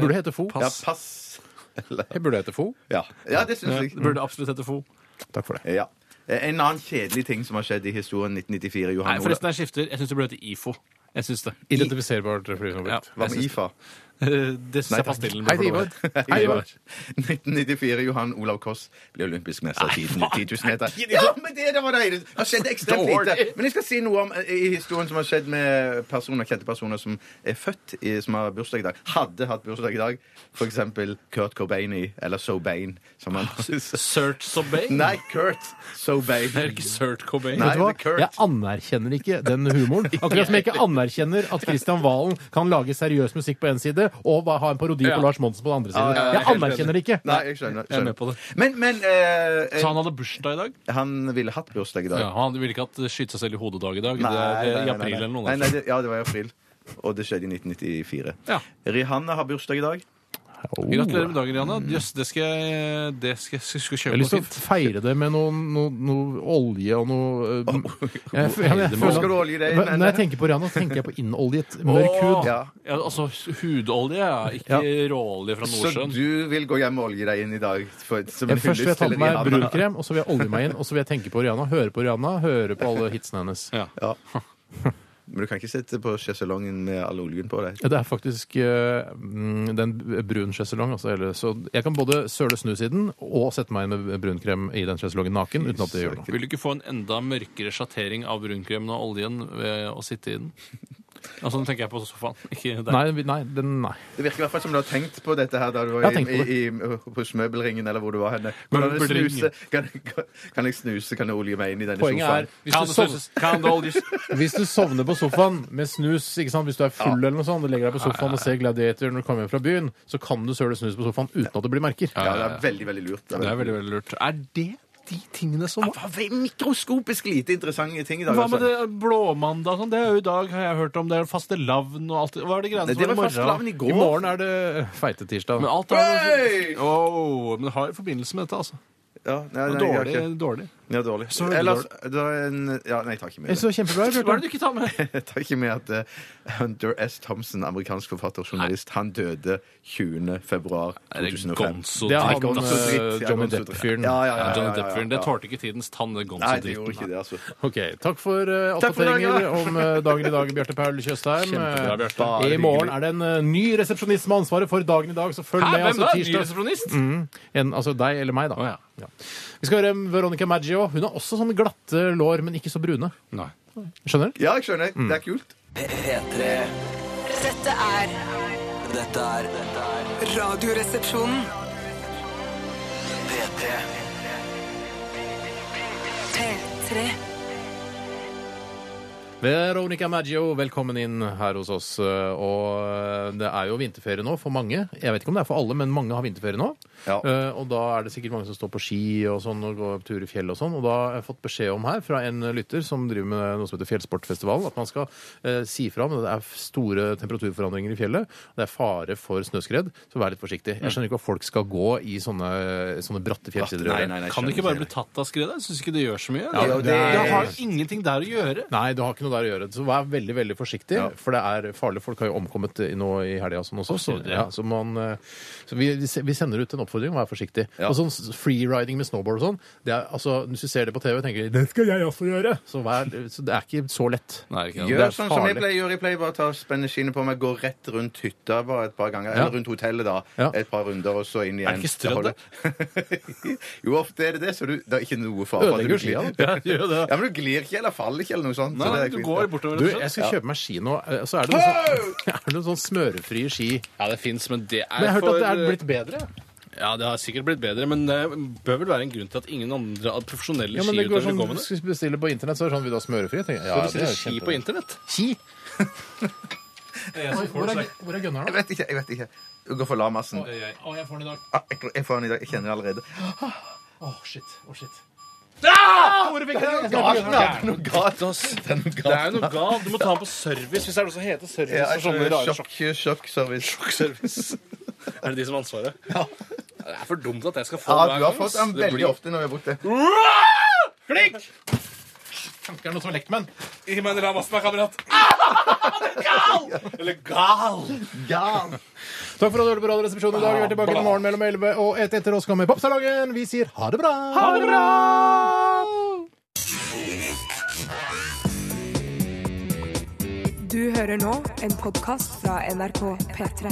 S4: Burde det hete FO?
S3: Ja,
S5: pass.
S3: pass.
S4: Det burde hete FO.
S3: Ja, ja det syns
S5: Ja,
S3: jeg.
S5: det burde absolutt hete FO.
S4: Takk for det.
S3: Ja. En annen kjedelig ting som har skjedd i historien 1994,
S5: Nei,
S3: Johan
S5: forresten, jeg skifter. Jeg syns det burde hete IFO. Jeg syns det.
S4: Identifiserbart flyvende objekt.
S3: Hva med IFA?
S5: Eh, Det syns
S3: Nei,
S5: jeg
S3: takk.
S5: pastillen
S4: Hei,
S5: bør få lov til.
S4: Ivar. Hei, Ivar.
S3: 1994. Johan Olav Koss ble olympisk mester i 10 000 meter. Ja, men det, det var det hele. Det skjedde ekstremt lite. Men jeg skal si noe om eh, i historien som har skjedd med personer, kjente personer som er født, i, som har bursdag i dag. Hadde hatt bursdag i dag. For eksempel Kurt Cobaini, eller Sobain, som han
S5: Surt Sobey?
S3: Nei, Kurt Sobain.
S5: Det er ikke Surt Cobain.
S3: Nei.
S4: Vet du hva?
S3: det er Kurt.
S4: Jeg anerkjenner ikke den humoren. Akkurat som jeg ikke anerkjenner at Kristian Valen kan lage seriøs musikk på én side og ba- ha en parodi på
S5: Ja.
S4: Lars Monsen på den andre
S3: Ja, ja,
S4: siden.
S3: ja,
S4: Jeg
S3: helt
S4: anerkjenner det ikke.
S3: Nei, jeg skjønner.
S5: Jeg er med
S3: skjønner.
S5: på det.
S3: Men, men eh,
S5: Så han hadde bursdag i dag?
S3: eh, han ville hatt bursdag i dag.
S5: Ja, han ville ikke hatt skyte seg selv i hodet dag i dag. det er eh, i april eller noe.
S3: Nei,
S5: da.
S3: nei, det, ja, det var i april. Og det skjedde i 1994.
S5: Ja.
S3: Rihanna har bursdag i dag.
S5: Gratulerer med dagen, Rihanna. Jøss, det skal jeg, det skal jeg skal
S4: Jeg
S5: kjøpe
S4: har
S5: noe
S4: lyst til å
S5: fint.
S4: feire det med noe, noe, noe olje og noe eh, jeg, jeg, jeg,
S3: Hvor skal du
S4: føler at-
S3: olje deg inn?
S4: Når jeg tenker på Rihanna, så tenker jeg på innoljet mørk
S5: Åh,
S4: hud.
S3: Ja.
S5: ja, altså hudolje, ja. Ikke råolje fra
S3: Så
S5: Nordsjøen.
S3: du vil gå hjem og olje deg inn i dag? For, som en
S4: Jeg, Eh, først vil jeg
S3: hyllest
S4: ta
S3: til
S4: på meg
S3: Rihanna.
S4: brunkrem, og så vil jeg olje meg inn, og så vil jeg tenke på Rihanna, høre på Rihanna, høre på alle hitsene hennes.
S5: Ja.
S3: Ja. Men du kan ikke sitte på sjeselongen med all oljen på deg.
S4: Ja, Det er faktisk eh, mm, den brun sjeselong. Altså, eller- så jeg kan både søle snusiden og sette meg inn med brunkrem i den sjeselongen naken uten at det gjør noe.
S5: Vil du ikke få en enda mørkere sjattering av brunkremmen og oljen ved å sitte i den? Altså, nå tenker jeg på sofaen. Ikke deg.
S4: Nei, vi- nei, den, nei.
S3: Det virker i hvert fall som du har tenkt på dette her da du var
S4: Jeg har
S3: i,
S4: tenkt på
S3: i, i, hos møbelringen eller hvor du var henne. Kan, jeg
S5: Møbelringen.
S3: snuse? Kan, kan- kan jeg snuse? Kan jeg olje meg inn i denne
S4: Poenget
S3: sofaen?
S4: er hvis du, sov, hvis du sovner på sofaen med snus, ikke sant? hvis du er full eller noe sånt, du legger deg på sofaen og ser Gladiator når du kommer hjem fra byen, så kan du søle snus på sofaen uten at det blir merker.
S3: Ja, det er veldig, veldig lurt.
S5: Det er veldig, veldig lurt. Er det de tingene som
S3: Hva for Mikroskopisk lite interessante ting i dag.
S5: Hva med
S3: altså.
S5: det blåmandag og sånn? Det er jo i dag, har jeg hørt om. Det er fastelavn og alt det Hva er det greiene
S3: Nei,
S5: som
S3: det
S5: var
S3: var
S5: i morgen?
S3: fastelavn i går.
S4: I morgen er det feite tirsdag.
S5: Men alt er
S3: Hey!
S5: Åh, men det har jo forbindelse med dette, altså.
S3: Ja, nei, nei, jeg har
S5: Dårlig.
S3: ikke-
S5: dårlig.
S3: Ja, dårlig.
S5: Så veldig
S3: Ellers, det er en, ja, nei, jeg tar ikke med det.
S4: Så kjempebra.
S5: Hva er det du ikke tar med?
S3: Jeg tar ikke med at eh, Hunter S. Thompson, amerikansk forfatter og journalist, han døde 20. februar 2005.
S4: Det er han
S3: Gonzo dritt,
S4: eh,
S3: ja,
S4: Johnny
S3: Gonzo dritt.
S4: Depp-fyren.
S3: Ja, ja, ja, ja,
S5: Johnny
S3: ja, ja,
S5: Depp-fyren. Det
S3: ja.
S5: tålte ikke tidens tann, det
S3: Nei, det gjorde ikke
S5: Gonzo-dritten.
S3: det, altså.
S4: Ok, Takk for eh,
S3: Takk for dagen,
S4: oppdateringer om eh, dagen i dag, Bjarte Paul Tjøstheim.
S5: Kjempebra, Bjarte.
S4: Eh, I morgen er det en eh, ny resepsjonist med ansvaret for dagen i dag, så følg
S5: Hæ,
S4: med.
S5: hvem da?
S4: altså
S5: Ny
S4: tirsdag.
S5: resepsjonist?
S4: En, altså deg eller meg, da.
S5: Å, ja.
S4: Vi skal høre Veronica Maggio. Hun har også sånne glatte lår, men ikke så brune.
S5: Nei.
S4: Skjønner?
S3: Ja, jeg skjønner. Det er kult.
S2: P3.
S7: Dette er
S2: Dette er dette er
S7: Radioresepsjonen.
S2: P3.
S7: P3.
S4: Veronica Maggio, velkommen inn her hos oss. Eh, Og eh, det er jo vinterferie nå for mange. Jeg vet ikke om det er for alle, men mange har vinterferie nå.
S3: Ja.
S4: Eh, Og da er det sikkert mange som står på ski og sånn og går tur i fjell og sånn. Og da har jeg fått beskjed om her fra en lytter som driver med noe som heter Fjellsportfestivalen, at man skal eh, si fra om at det er store temperaturforandringer i fjellet. og Det er fare for snøskred, så vær litt forsiktig. Jeg skjønner ikke hva folk skal gå i sånne, sånne bratte fjellsider.
S3: Nei, nei, nei,
S5: Kan
S3: skjønner
S5: det ikke bare
S3: jeg.
S5: bli tatt av skredet? Jeg syns ikke det gjør så mye.
S3: Ja,
S5: det,
S3: det-
S5: har jo ingenting der å gjøre.
S4: Nei, du har ikke noe der å gjøre. Så vær veldig veldig forsiktig, for det er farlig. Folk har jo omkommet i- nå i helga sånn også.
S5: Også det.
S4: ja, så man, eh, så vi, vi se- vi sender ut en oppfordring, vær forsiktig.
S3: Ja.
S4: Og sånn s- freeriding med snowboard og sånn, det er, altså, hvis du ser det på TV, tenker du det skal jeg også gjøre. Så, vær, så det er ikke så lett.
S3: Gjør
S4: er
S3: sånn som jeg
S4: farlig.
S3: pleier å gjøre. Jeg pleier bare å ta spenneskinnet på meg, gå rett rundt hytta bare et par ganger.
S4: Ja.
S3: Eller rundt hotellet, da.
S4: Ja.
S3: Et par runder, og så inn igjen.
S5: Er det ikke strødd,
S3: Da holder- jo, ofte er det det, så du, det er ikke noe fare for at du
S4: Ødelegger skia,
S3: glir.
S4: da.
S5: Ja, gjør det.
S3: Ja, men du glir ikke eller faller ikke eller noe sånt.
S5: Nei,
S3: så det er
S5: du
S3: fint.
S5: går bortover.
S4: Du,
S5: rett og
S4: jeg
S5: slett.
S4: skal kjøpe meg ski nå. eh, Så er det noen sånn, er det noen sånn smørefrie ski.
S5: Ja, det fins, men det er
S4: Men jeg har hørt at det er
S5: for- eh,
S4: blitt bedre.
S5: Ja, det har sikkert blitt bedre, men det bør vel være en grunn til at ingen andre av profesjonelle
S4: Ja, men det går
S5: skiutøvere
S4: sånn,
S5: går med det.
S4: Hvis du bestiller på internett, så er det sånn vil du ha smørefri? Jeg tenker, Ja,
S5: Du bestiller
S4: det er
S5: ski
S4: kjempe-
S5: på internett.
S4: Ski? Oi, Hvor er,
S5: Å,
S4: hvor er gunneren?
S3: Jeg vet ikke. jeg vet ikke. Du går for Lamassen.
S5: jeg får den i dag.
S3: Ah, jeg, jeg får den i dag. Jeg kjenner det allerede.
S4: Å, shit. Å, shit.
S3: Galt, noe galt. Det er noe
S5: Det er
S3: galt.
S5: noe galt. Du må ta den på service, hvis det er noe som heter service.
S3: Ja,
S5: og sånne rare
S3: sjokk, sjokkservice.
S5: sjokkservice. Er det de som har ansvaret? Det er for dumt at jeg skal få
S3: Ja,
S5: den hver
S3: du har
S5: gang,
S3: fått
S5: ass.
S3: den
S5: Det
S3: veldig
S5: blir-
S3: ofte når vi har brukt det.
S5: Klikk!
S4: Det er noe som er lekt med den.
S5: Ikke meg la massen, kamerat. Ah, den er gal! Eller gal!
S3: Galt.
S4: Takk for at du hørte på Radioresepsjonen i dag. Vi er tilbake i morgen mellom 11 og 1 etter oss kommer Popsalongen. Vi sier ha det bra! Ha det bra!
S1: Du hører nå en podkast fra NRK P3.